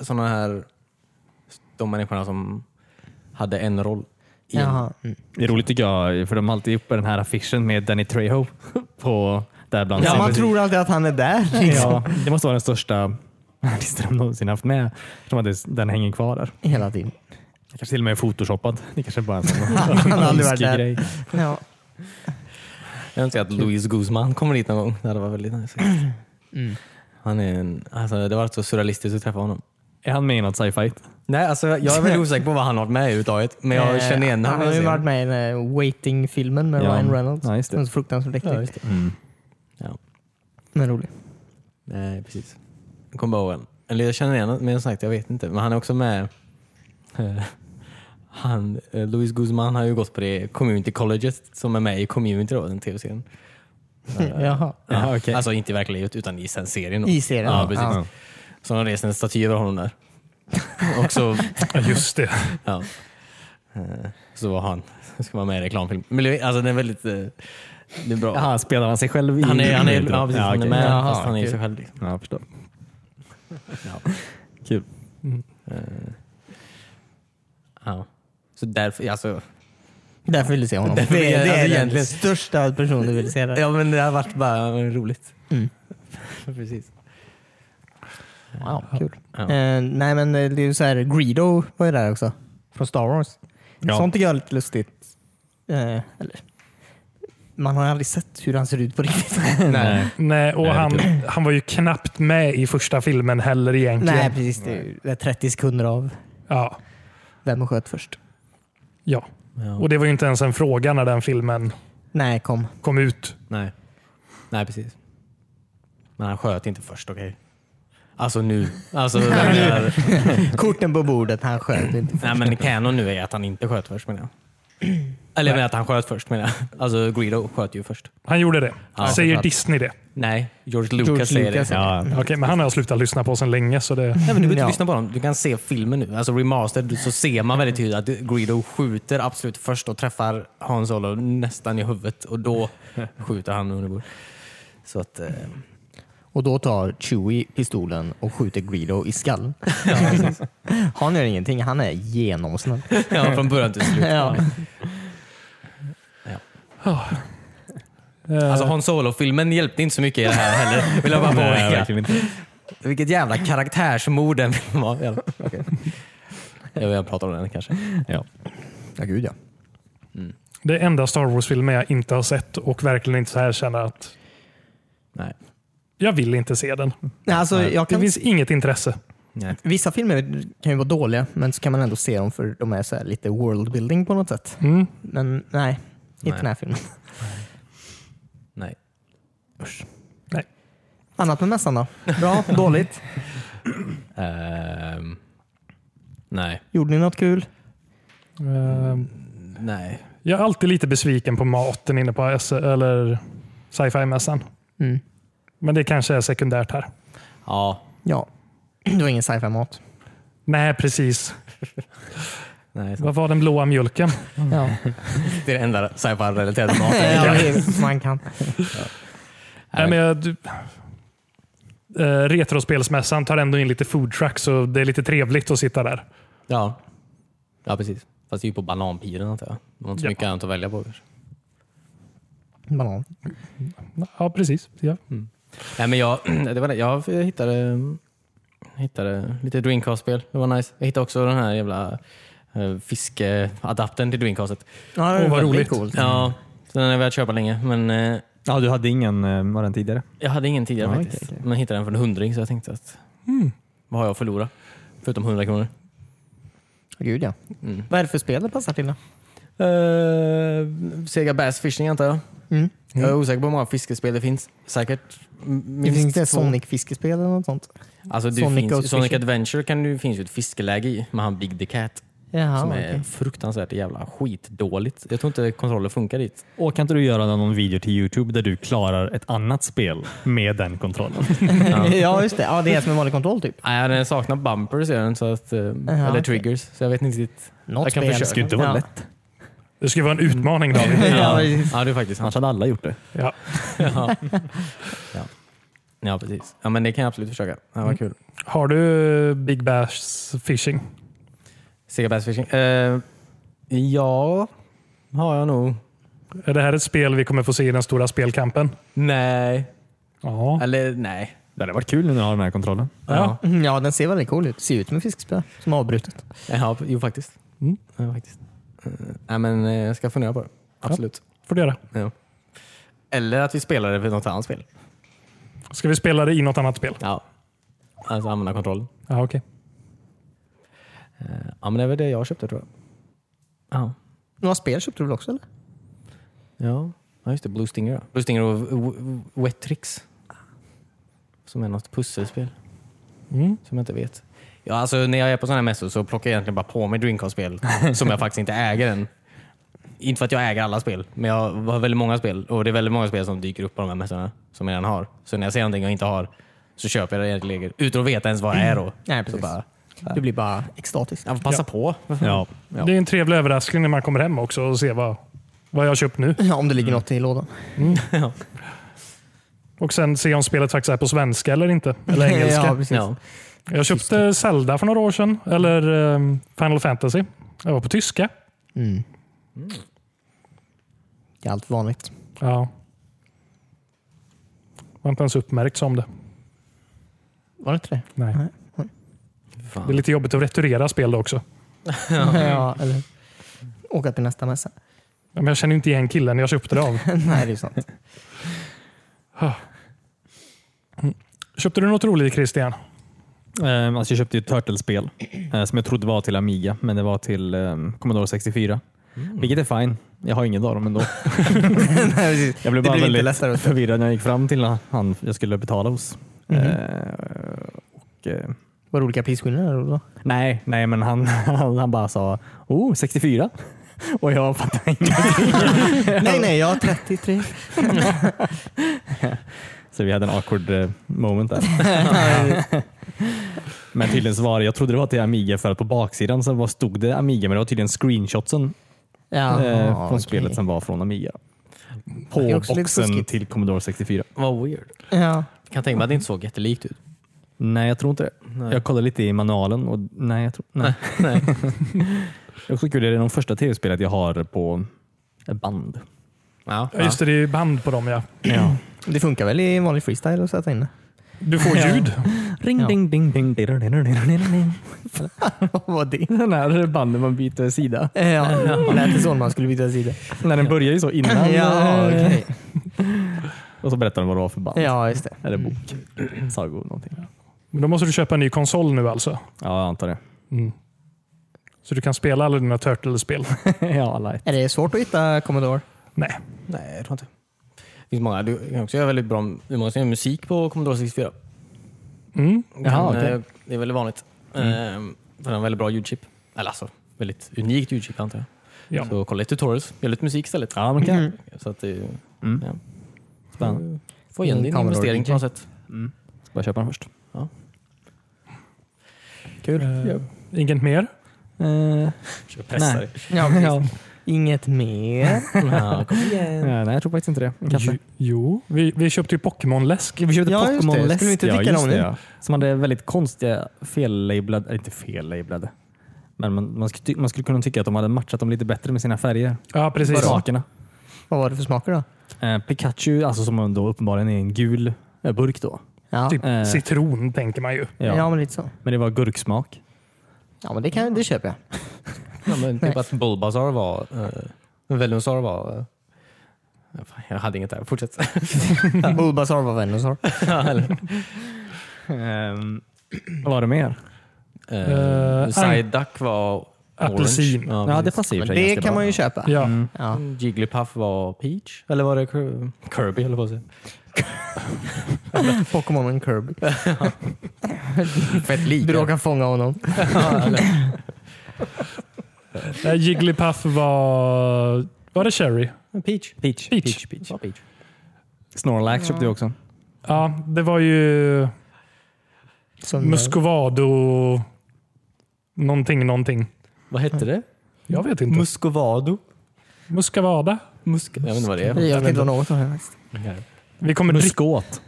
[SPEAKER 1] Sådana här... De människorna som hade en roll. I en.
[SPEAKER 2] Jaha. Mm.
[SPEAKER 4] Det är roligt tycker jag, för de har alltid uppe den här affischen med Danny Trejo på där bland
[SPEAKER 2] Ja, man tror alltid att han är där. Liksom.
[SPEAKER 4] Ja, det måste vara den största artisten de någonsin haft med. De hade, den hänger kvar där.
[SPEAKER 2] Hela tiden.
[SPEAKER 4] Kanske till och med är photoshoppad. Det kanske bara är en
[SPEAKER 2] Han har aldrig varit
[SPEAKER 4] ömskig
[SPEAKER 2] där.
[SPEAKER 4] grej.
[SPEAKER 2] Ja.
[SPEAKER 1] Jag önskar att Louis Guzman kommer dit någon gång. Det hade varit väldigt nice. Mm. Han är en, alltså, det har varit så surrealistiskt att träffa honom.
[SPEAKER 4] Är han med i något sci-fi?
[SPEAKER 1] Nej, alltså, jag är väldigt osäker på vad han har varit med i överhuvudtaget. Men jag
[SPEAKER 2] Eh,
[SPEAKER 1] känner igen
[SPEAKER 2] Han har ju varit
[SPEAKER 1] honom.
[SPEAKER 2] med i den här Waiting-filmen med
[SPEAKER 4] Ja.
[SPEAKER 2] Ryan Reynolds.
[SPEAKER 4] Ja, just det.
[SPEAKER 2] Den är så fruktansvärt
[SPEAKER 1] Ja,
[SPEAKER 2] äcklig.
[SPEAKER 1] just det.
[SPEAKER 4] Mm.
[SPEAKER 1] Ja.
[SPEAKER 2] Men rolig.
[SPEAKER 1] Nej, precis. Jag kommer bara ihåg en. Eller jag känner igen honom, men som sagt, jag vet inte. Men han är också med... eh, Han, eh, Louis Guzman har ju gått på det community colleget som är med i community då, den tv-serien.
[SPEAKER 2] Jaha.
[SPEAKER 4] Ja, okej.
[SPEAKER 1] Alltså inte i verkliga livet utan i sen serien. då.
[SPEAKER 2] I serien,
[SPEAKER 1] Ja,
[SPEAKER 2] ja.
[SPEAKER 1] precis.
[SPEAKER 2] Ja.
[SPEAKER 1] Så de reser en staty över honom där. Och så,
[SPEAKER 3] Ja, just det.
[SPEAKER 1] ja. Eh, så var han, ska vara med i reklamfilm. Men det- alltså den är väldigt... eh, Det är bra.
[SPEAKER 4] Jaha, spelar han sig själv i
[SPEAKER 1] Han är, han är,
[SPEAKER 4] Terminator?
[SPEAKER 1] ja, precis, han är
[SPEAKER 4] okej.
[SPEAKER 1] med
[SPEAKER 2] Jaha,
[SPEAKER 1] fast han är ju
[SPEAKER 2] okej.
[SPEAKER 1] sig själv. liksom.
[SPEAKER 4] Ja, jag förstår.
[SPEAKER 1] Ja.
[SPEAKER 4] Kul.
[SPEAKER 1] Eh, Ja. Så därför, alltså,
[SPEAKER 2] Därför vill du se honom.
[SPEAKER 1] Därför vill
[SPEAKER 2] det,
[SPEAKER 1] jag-
[SPEAKER 2] är- det
[SPEAKER 1] alltså,
[SPEAKER 2] är den
[SPEAKER 1] egentligen-
[SPEAKER 2] största personen du vill se där.
[SPEAKER 1] ja men det har varit bara roligt.
[SPEAKER 2] Mm.
[SPEAKER 1] Precis.
[SPEAKER 2] Wow, kul.
[SPEAKER 1] Ja.
[SPEAKER 2] Eh, nej men eh, det är ju så här, Greedo var ju där också. Från Star Wars.
[SPEAKER 4] Ja.
[SPEAKER 2] Sånt tycker jag är lite lustigt. Eh, eller, man har aldrig sett hur han ser ut på riktigt.
[SPEAKER 4] Nej.
[SPEAKER 3] Nej, och
[SPEAKER 4] Nej, det är
[SPEAKER 3] han, han var ju knappt med i första filmen heller egentligen.
[SPEAKER 2] nej precis, det är, ju- det är 30 sekunder av
[SPEAKER 3] Ja,
[SPEAKER 2] vem sköt först.
[SPEAKER 3] ja.
[SPEAKER 1] Ja.
[SPEAKER 3] Och det var ju inte ens en fråga när den filmen
[SPEAKER 2] Nej, kom.
[SPEAKER 3] kom ut.
[SPEAKER 1] Nej. Nej, precis. Men han sköt inte först, okej? Alltså nu. Alltså, jag menar,
[SPEAKER 2] Korten på bordet, han sköt inte.
[SPEAKER 1] nej men canon nu är att han inte sköt först menar jag. Eller jag menar att han sköt först menar jag. Alltså Greedo sköt ju först.
[SPEAKER 3] Han gjorde det.
[SPEAKER 1] Ja,
[SPEAKER 3] Säger
[SPEAKER 1] såklart.
[SPEAKER 3] Disney det?
[SPEAKER 1] Nej, George Lucas
[SPEAKER 2] George
[SPEAKER 1] säger
[SPEAKER 2] Lucas,
[SPEAKER 1] det.
[SPEAKER 2] ja.
[SPEAKER 4] Ja,
[SPEAKER 3] Okej, men han har jag slutat lyssna på sedan länge. Så det...
[SPEAKER 1] Nej, men du behöver inte
[SPEAKER 2] Ja.
[SPEAKER 1] lyssna på dem. Du kan se filmen nu. Alltså remastered så ser man väldigt tydligt att Greedo skjuter absolut först och träffar Han Solo nästan i huvudet och då skjuter han under bord. Så att, eh,
[SPEAKER 2] Och då tar Chewie pistolen och skjuter Greedo i skallen. han gör ingenting, han är genomsnäll.
[SPEAKER 1] ja, från början till slut.
[SPEAKER 2] ja.
[SPEAKER 3] Eh,
[SPEAKER 1] Alltså Han Solo-filmen hjälpte inte så mycket i det här heller, vill jag bara
[SPEAKER 4] Nej,
[SPEAKER 1] påpeka.
[SPEAKER 4] verkligen inte.
[SPEAKER 1] Vilket jävla karaktärsmord den filmen var. Jävlar. Okej. Jag vill prata om den kanske.
[SPEAKER 4] Ja.
[SPEAKER 2] ja, gud ja.
[SPEAKER 3] Det enda Star Wars-filmen jag inte har sett och verkligen inte så här känner att
[SPEAKER 1] Nej.
[SPEAKER 3] jag vill inte se den.
[SPEAKER 2] Nej, alltså, jag
[SPEAKER 3] Det
[SPEAKER 2] kan
[SPEAKER 3] finns inget intresse.
[SPEAKER 1] Nej.
[SPEAKER 2] Vissa filmer kan ju vara dåliga, men så kan man ändå se dem för de är så här lite worldbuilding på något sätt.
[SPEAKER 3] Mm.
[SPEAKER 2] Men nej, inte
[SPEAKER 1] Nej.
[SPEAKER 2] den här filmen.
[SPEAKER 1] Nej.
[SPEAKER 2] Annat med mässan då? Bra? dåligt?
[SPEAKER 1] Ehm, nej.
[SPEAKER 2] Gjorde ni något kul?
[SPEAKER 3] Eh,
[SPEAKER 1] Nej.
[SPEAKER 3] Jag är alltid lite besviken på maten inne på S- eller sci-fi-mässan.
[SPEAKER 2] Mm.
[SPEAKER 3] Men det kanske är sekundärt här.
[SPEAKER 1] Ja.
[SPEAKER 2] Ja, det var ingen sci-fi-mat.
[SPEAKER 3] Nej, precis.
[SPEAKER 1] Nej.
[SPEAKER 3] Vad var den blåa mjölken?
[SPEAKER 2] Ja.
[SPEAKER 1] Det är det enda sci-fi-relaterade maten.
[SPEAKER 2] ja, det- man kan.
[SPEAKER 3] Nej, men jag, du, eh, retrospelsmässan tar ändå in lite food trucks och det är lite trevligt att sitta där.
[SPEAKER 1] Ja. ja, precis. Fast det är ju på bananpiren antar jag. Det var inte så
[SPEAKER 3] Ja.
[SPEAKER 1] mycket annat att välja på kanske.
[SPEAKER 2] Banan.
[SPEAKER 3] Ja, precis. Ja.
[SPEAKER 1] Nej, men jag, det var det. jag hittade, hittade lite Dreamcast-spel. Det var nice. Jag hittade också den här jävla eh, fiskeadaptern till Dreamcastet.
[SPEAKER 2] Ja,
[SPEAKER 3] Åh, vad
[SPEAKER 2] väldigt
[SPEAKER 3] roligt.
[SPEAKER 2] Coolt.
[SPEAKER 1] Ja, så den har jag velat köpa länge. Men eh,
[SPEAKER 4] ja, du hade ingen eh, var den tidigare?
[SPEAKER 1] jag hade ingen tidigare
[SPEAKER 4] Ja,
[SPEAKER 1] faktiskt.
[SPEAKER 4] okej,
[SPEAKER 1] Men jag hittade den för en hundring så jag tänkte att Mm. vad har jag att förlora? Förutom 100 kronor.
[SPEAKER 2] Gud ja.
[SPEAKER 1] Mm.
[SPEAKER 2] Vad är det för spel det passar till då?
[SPEAKER 1] Eh, Sega Bass Fishing antar jag.
[SPEAKER 2] Mm.
[SPEAKER 1] Jag är osäker på hur många fiskespel det finns. Säkert m-
[SPEAKER 2] Det
[SPEAKER 1] minst
[SPEAKER 2] finns inte
[SPEAKER 1] två.
[SPEAKER 2] Sonic-fiskespel eller något sånt?
[SPEAKER 1] Alltså, det
[SPEAKER 2] Sonic
[SPEAKER 1] Sonic,
[SPEAKER 2] Ghost
[SPEAKER 1] finns, Sonic
[SPEAKER 2] Fishing.
[SPEAKER 1] Adventure kan du, finns ju ett fiskeläge i med han Big the Cat
[SPEAKER 2] Jaha,
[SPEAKER 1] som är
[SPEAKER 2] Ah, okej.
[SPEAKER 1] fruktansvärt jävla skitdåligt. Jag tror inte kontrollen funkar dit.
[SPEAKER 4] Och kan inte du göra någon video till Youtube där du klarar ett annat spel med den kontrollen?
[SPEAKER 2] ja, just det. Ja, det är som en vanlig kontroll typ.
[SPEAKER 1] Nej, den saknar bumpers gör den, så att, eh, eller
[SPEAKER 2] okej.
[SPEAKER 1] triggers. Så jag vet inte riktigt.
[SPEAKER 2] Något
[SPEAKER 1] Jag kan
[SPEAKER 2] spel.
[SPEAKER 1] försöka. Det ska ju inte
[SPEAKER 4] vara
[SPEAKER 2] ja.
[SPEAKER 4] lätt.
[SPEAKER 3] Det ska ju vara en utmaning David.
[SPEAKER 2] Ja,
[SPEAKER 1] ja det är faktiskt sant.
[SPEAKER 4] Annars hade alla gjort det.
[SPEAKER 3] Ja.
[SPEAKER 1] ja. Ja. ja, precis. Ja, men det kan jag absolut försöka. Ja,
[SPEAKER 2] Mm.
[SPEAKER 1] vad kul.
[SPEAKER 3] Har du eh, Big Bash Fishing?
[SPEAKER 1] Sega Bass Fishing. Eh, ja, har jag nog.
[SPEAKER 3] Är det här ett spel vi kommer få se i den stora spelkampen?
[SPEAKER 1] Nej.
[SPEAKER 3] Ja.
[SPEAKER 1] Eller nej.
[SPEAKER 4] Det hade varit kul nu när du har den här kontrollen.
[SPEAKER 3] Ja.
[SPEAKER 2] Mm, Ja, den ser väldigt cool ut. Ser ut som en fiskespö som är avbrutet.
[SPEAKER 1] Ja, ja, jo faktiskt.
[SPEAKER 3] Mm.
[SPEAKER 1] Ja, faktiskt. Eh, nej, men eh, jag ska fundera på det. Absolut.
[SPEAKER 3] Får du göra.
[SPEAKER 1] Ja. Eller att vi spelar det för något annat spel.
[SPEAKER 3] Ska vi spela det i något annat spel?
[SPEAKER 1] Ja. Alltså använda kontrollen.
[SPEAKER 3] Ja, okej.
[SPEAKER 1] Eh, Ja, men det är väl det jag köpte tror jag. Ja.
[SPEAKER 2] Några spel köpte du väl också? Eller?
[SPEAKER 1] Ja, ja just det. Blue Stinger. ja. Blue Stinger och W- W- Wet Tricks. Som är något pusselspel
[SPEAKER 3] Mm.
[SPEAKER 1] som jag inte vet. Ja, alltså, när jag är på sådana här mässor så plockar jag egentligen bara på mig Dreamcast-spel som jag faktiskt inte äger än. Inte för att jag äger alla spel, men jag har väldigt många spel och det är väldigt många spel som dyker upp på de här mässorna som jag redan har. Så när jag ser någonting jag inte har så köper jag det egentligen eget, utan att veta ens vad det är då.
[SPEAKER 2] Nej,
[SPEAKER 1] Så
[SPEAKER 2] precis.
[SPEAKER 1] bara,
[SPEAKER 2] Du blir bara extatisk.
[SPEAKER 1] jag får passa på.
[SPEAKER 4] Ja.
[SPEAKER 3] Det är en trevlig överraskning när man kommer hem också och ser vad, vad jag har köpt nu.
[SPEAKER 2] Ja, om det ligger något i lådan.
[SPEAKER 3] Och sen se om spelet faktiskt är på svenska eller inte. Eller engelska.
[SPEAKER 2] ja, precis.
[SPEAKER 1] Ja.
[SPEAKER 3] Jag köpte Zelda för några år sedan, eller ehm, Final Fantasy. Jag var på tyska.
[SPEAKER 2] Mm. Det är allt vanligt.
[SPEAKER 3] Ja. Var inte ens uppmärkt som det.
[SPEAKER 2] Var det inte det?
[SPEAKER 3] Nej. Det är
[SPEAKER 1] Fan.
[SPEAKER 3] lite jobbigt att returera spel då också.
[SPEAKER 2] Ja. Mm. eller åka till nästa mässa.
[SPEAKER 3] Men jag känner ju inte igen killen jag köpte det av.
[SPEAKER 2] Nej, det är sant.
[SPEAKER 3] Köpte du något roligt Christian?
[SPEAKER 4] Ehm, Alltså jag köpte ju ett Turtle-spel eh, som jag trodde var till Amiga, men det var till ehm, Commodore 64. Vilket är fine. Jag har ingen av dem ändå.
[SPEAKER 2] Nej, precis.
[SPEAKER 4] Jag blev
[SPEAKER 2] Det blir
[SPEAKER 4] bara
[SPEAKER 2] inte
[SPEAKER 4] väldigt
[SPEAKER 2] lättare att-
[SPEAKER 4] förvirrad när jag gick fram till han jag skulle betala hos. Eh, och, eh,
[SPEAKER 2] Var det olika prisskillnader då?
[SPEAKER 4] nej, nej, men han, han, han bara sa oh, 64. Och jag fattade ingenting.
[SPEAKER 2] nej, nej, jag har 33.
[SPEAKER 4] Så vi hade en awkward eh, moment där. men tydligen så var det, jag trodde det var till Amiga för att på baksidan så var, stod det Amiga men det var tydligen screenshotsen
[SPEAKER 2] Ja,
[SPEAKER 4] eh, från spelet som var från Amiga.
[SPEAKER 2] Det är
[SPEAKER 4] på
[SPEAKER 2] också lite
[SPEAKER 4] boxen
[SPEAKER 2] fuskigt.
[SPEAKER 4] till Commodore 64.
[SPEAKER 1] Vad weird.
[SPEAKER 2] Ja.
[SPEAKER 1] Jag kan tänka mig att det inte såg jättelikt ut.
[SPEAKER 4] Nej, jag tror inte det.
[SPEAKER 1] Nej.
[SPEAKER 4] Jag kollade lite i manualen och nej, jag tror nej.
[SPEAKER 1] Nej. Nej.
[SPEAKER 4] Det är också kul, det är de första tv-spelet jag har på band.
[SPEAKER 1] Ja,
[SPEAKER 3] Ja, just det, det är ju band på dem ja.
[SPEAKER 4] Ja.
[SPEAKER 2] Det funkar väl i vanlig freestyle att sätta in det?
[SPEAKER 3] Du får ljud.
[SPEAKER 4] Ring
[SPEAKER 2] Ja.
[SPEAKER 4] ding ding ding ding ding ding ding ding.
[SPEAKER 2] Vad var det?
[SPEAKER 4] Den här banden man byter sida.
[SPEAKER 2] Ja, det lät det så när man skulle byta sida.
[SPEAKER 4] Nej, den börjar ju så innan.
[SPEAKER 2] Ja,
[SPEAKER 4] eh,
[SPEAKER 2] okej.
[SPEAKER 4] Och så berättar de vad det var för band.
[SPEAKER 2] Ja, just det.
[SPEAKER 4] Eller bok. Sagor någonting.
[SPEAKER 3] Men då måste du köpa en ny konsol nu alltså.
[SPEAKER 4] Ja, jag antar det.
[SPEAKER 3] Så du kan spela alla dina Turtles-spel.
[SPEAKER 4] ja, light.
[SPEAKER 2] Är det svårt att hitta Commodore?
[SPEAKER 3] Nej.
[SPEAKER 1] Nej, jag tror inte. Det finns många. Du kan också göra väldigt bra du måste göra musik på Commodore 64.
[SPEAKER 3] Mm.
[SPEAKER 1] Du
[SPEAKER 4] Jaha,
[SPEAKER 1] kan,
[SPEAKER 4] okej.
[SPEAKER 1] eh, Det är väldigt vanligt. Ehm, För den har en väldigt bra ljudchip. Eller alltså, väldigt unikt ljudchip antar jag.
[SPEAKER 3] Ja.
[SPEAKER 1] Så kolla lite tutorials, gör lite musik istället.
[SPEAKER 4] Ja, man kan.
[SPEAKER 1] Så att det,
[SPEAKER 4] Mm.
[SPEAKER 1] Ja.
[SPEAKER 4] Spännande.
[SPEAKER 1] Få igen din
[SPEAKER 2] Commodore
[SPEAKER 1] investering
[SPEAKER 2] DJ.
[SPEAKER 1] på något sätt.
[SPEAKER 4] Bara köpa den först.
[SPEAKER 3] Eh, Inget mer?
[SPEAKER 4] Eh, nej.
[SPEAKER 2] Ja,
[SPEAKER 4] ja.
[SPEAKER 2] Inget mer.
[SPEAKER 1] Ja, kom
[SPEAKER 4] Eh,
[SPEAKER 1] igen.
[SPEAKER 4] nej, jag tror faktiskt inte det. Kanske.
[SPEAKER 3] Jo- Jo, vi, vi köpte ju Pokémon-läsk.
[SPEAKER 4] Eh, Vi köpte
[SPEAKER 2] Ja, just det.
[SPEAKER 4] Pokémon Läsk.
[SPEAKER 2] Skulle vi inte
[SPEAKER 4] ja,
[SPEAKER 2] dricka
[SPEAKER 4] just
[SPEAKER 2] dem
[SPEAKER 4] det,
[SPEAKER 2] nu?
[SPEAKER 4] ja. Som hade väldigt konstiga fel-labelade, inte fel-labelade, men man, man, skulle, ty- man skulle kunna tycka att de hade matchat dem lite bättre med sina färger.
[SPEAKER 3] Ja, precis.
[SPEAKER 4] Smakerna.
[SPEAKER 2] Vad var det för smaker då?
[SPEAKER 4] Eh, Pikachu, alltså som då uppenbarligen är en gul eh, burk då.
[SPEAKER 2] Ja,
[SPEAKER 3] Typ
[SPEAKER 4] Eh.
[SPEAKER 3] citron tänker man ju.
[SPEAKER 2] ja.
[SPEAKER 4] Ja.
[SPEAKER 2] men lite så.
[SPEAKER 4] Men det var gurksmak.
[SPEAKER 2] Ja, men det, kan, det köper jag.
[SPEAKER 1] Ja, men typ att Bulbasaur var... Uh, Venusaur var... eh, fan, jag hade inget där. Fortsätt.
[SPEAKER 2] Bulbasaur var Venusaur.
[SPEAKER 1] Ja, eller,
[SPEAKER 4] Ehm, vad var det mer?
[SPEAKER 1] eh,
[SPEAKER 3] Eh,
[SPEAKER 1] Psyduck var...
[SPEAKER 3] Apelsin.
[SPEAKER 1] orange.
[SPEAKER 4] Ja, det passar i och
[SPEAKER 2] Men
[SPEAKER 4] för sig
[SPEAKER 2] det
[SPEAKER 4] ganska
[SPEAKER 2] kan
[SPEAKER 4] bra.
[SPEAKER 2] man ju köpa.
[SPEAKER 3] Ja.
[SPEAKER 4] Mm.
[SPEAKER 2] Ja.
[SPEAKER 1] Jigglypuff var Peach? Eller var det Cur- Kirby höll jag på att säga.
[SPEAKER 2] Pokémon och Kirby.
[SPEAKER 1] Fett lika.
[SPEAKER 2] Du råkar fånga honom.
[SPEAKER 3] Eh, Jigglypuff var... Var det Cherry?
[SPEAKER 1] Peach.
[SPEAKER 3] Peach.
[SPEAKER 4] Peach.
[SPEAKER 1] Peach, Peach. Ja, Peach.
[SPEAKER 4] Snorlax köpte jag också.
[SPEAKER 3] Ja, det var ju
[SPEAKER 2] Som,
[SPEAKER 3] Muscovado... Någonting, någonting.
[SPEAKER 1] Vad hette det?
[SPEAKER 3] Jag vet inte.
[SPEAKER 1] Muscovado?
[SPEAKER 3] Muscovada?
[SPEAKER 1] Musk jag vet inte vad det är.
[SPEAKER 2] jag vet inte vad något av det här.
[SPEAKER 3] Vi kommer dricka
[SPEAKER 4] Muskot.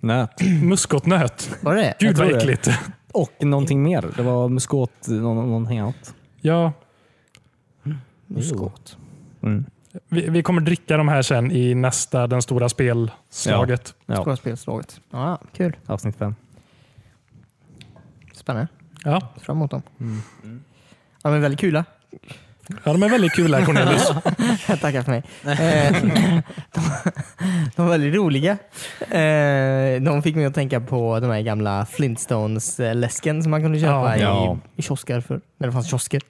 [SPEAKER 4] Nöt.
[SPEAKER 3] muskotnöt.
[SPEAKER 2] Var det det?
[SPEAKER 3] Gud vad
[SPEAKER 4] tror det.
[SPEAKER 3] äckligt.
[SPEAKER 4] Och någonting mer. Det var muskot, nå- någonting annat.
[SPEAKER 3] Ja,
[SPEAKER 2] Muskot.
[SPEAKER 4] Mm.
[SPEAKER 3] vi, vi kommer dricka de här sen i nästa Den stora spelslaget.
[SPEAKER 4] Ja,
[SPEAKER 2] Stora spelslaget. Ja, kul.
[SPEAKER 4] avsnitt fem.
[SPEAKER 2] Spännande.
[SPEAKER 3] Ja.
[SPEAKER 2] Fram emot dem.
[SPEAKER 4] Mm.
[SPEAKER 2] Ja, men väldigt kula.
[SPEAKER 3] Ja. de är väldigt kul här Cornelius.
[SPEAKER 2] Tackar för mig. Eh, de, de var väldigt roliga. Eh, De fick mig att tänka på de här gamla Flintstones-läsken som man kunde köpa
[SPEAKER 3] Ja.
[SPEAKER 4] Ja. Mm.
[SPEAKER 2] i, i kiosker för, när det fanns kiosker.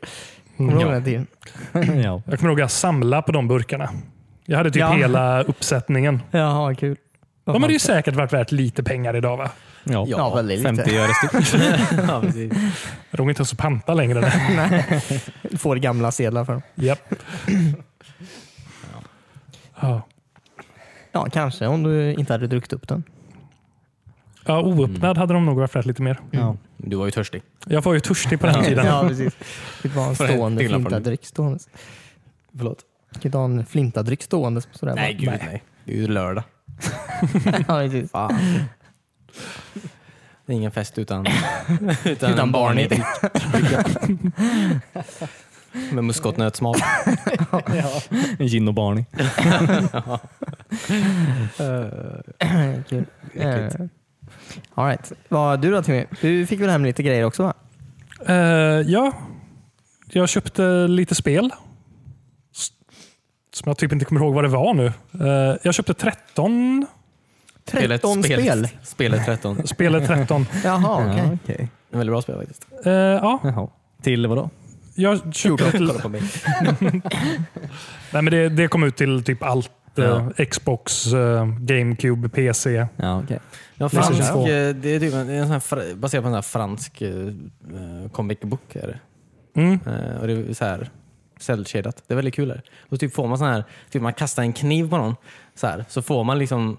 [SPEAKER 2] Kommer du ihåg
[SPEAKER 3] Ja.
[SPEAKER 2] den tiden?
[SPEAKER 4] ja.
[SPEAKER 3] Jag kommer ihåg att jag samlade på de burkarna. Jag hade typ
[SPEAKER 2] Ja.
[SPEAKER 3] hela uppsättningen.
[SPEAKER 2] Jaha, kul.
[SPEAKER 3] De hade ju säkert varit värt lite pengar idag va?
[SPEAKER 4] Ja.
[SPEAKER 2] Ja, väldigt lite.
[SPEAKER 4] 50 öre styck.
[SPEAKER 1] Ja, precis.
[SPEAKER 3] Jag tror inte ens att panta längre. där.
[SPEAKER 2] Får gamla sedlar för dem.
[SPEAKER 3] Japp. Ja.
[SPEAKER 2] Ja, kanske om du inte hade druckit upp den.
[SPEAKER 3] Ja, oöppnad hade de nog varit värt lite mer.
[SPEAKER 4] Ja.
[SPEAKER 1] Du var ju törstig.
[SPEAKER 3] Jag var ju törstig på den här tiden.
[SPEAKER 2] Ja, precis. Det var en
[SPEAKER 1] För en
[SPEAKER 2] stående
[SPEAKER 1] till på den.
[SPEAKER 2] flintadryck stående.
[SPEAKER 1] Förlåt?
[SPEAKER 2] Du kan inte ha en flintadryck stående. Sådär.
[SPEAKER 1] Nej, gud nej. Det är ju lördag.
[SPEAKER 2] ja, precis.
[SPEAKER 1] Fan. Det är ingen fest utan... utan,
[SPEAKER 2] Utan Barney.
[SPEAKER 1] Med muskotnötssmak.
[SPEAKER 4] Gin och Barney.
[SPEAKER 2] Kul. Eh, All right. Vad du då Timmy? Du fick väl hem lite grejer också va?
[SPEAKER 3] Eh, ja, jag köpte lite spel. S- Som jag typ inte kommer ihåg vad det var nu. Eh, jag köpte 13.
[SPEAKER 1] Spelet-
[SPEAKER 2] 13 spel.
[SPEAKER 1] Spelet, spelet 13.
[SPEAKER 3] Spelet 13.
[SPEAKER 2] Jaha, okej.
[SPEAKER 4] Ja, okej.
[SPEAKER 1] En väldigt bra spel faktiskt.
[SPEAKER 3] Eh, ja,
[SPEAKER 4] Jaha. Till vadå?
[SPEAKER 3] jag köpte till,
[SPEAKER 1] Kolla på mig.
[SPEAKER 3] nej, men det, det kom ut till typ allt. eh, Xbox, eh, GameCube, PC.
[SPEAKER 4] Ja, okej.
[SPEAKER 1] Ja,
[SPEAKER 3] Precis.
[SPEAKER 1] fransk, eh, det är typ en, det är en sån här, fr- baserat på en sån här fransk eh, comic book. Är det.
[SPEAKER 3] Mm.
[SPEAKER 1] Eh, och det är så här cellshadat. Det är väldigt kul. Där. Och typ får man sån här, typ man kastar en kniv på någon så, här, så får man liksom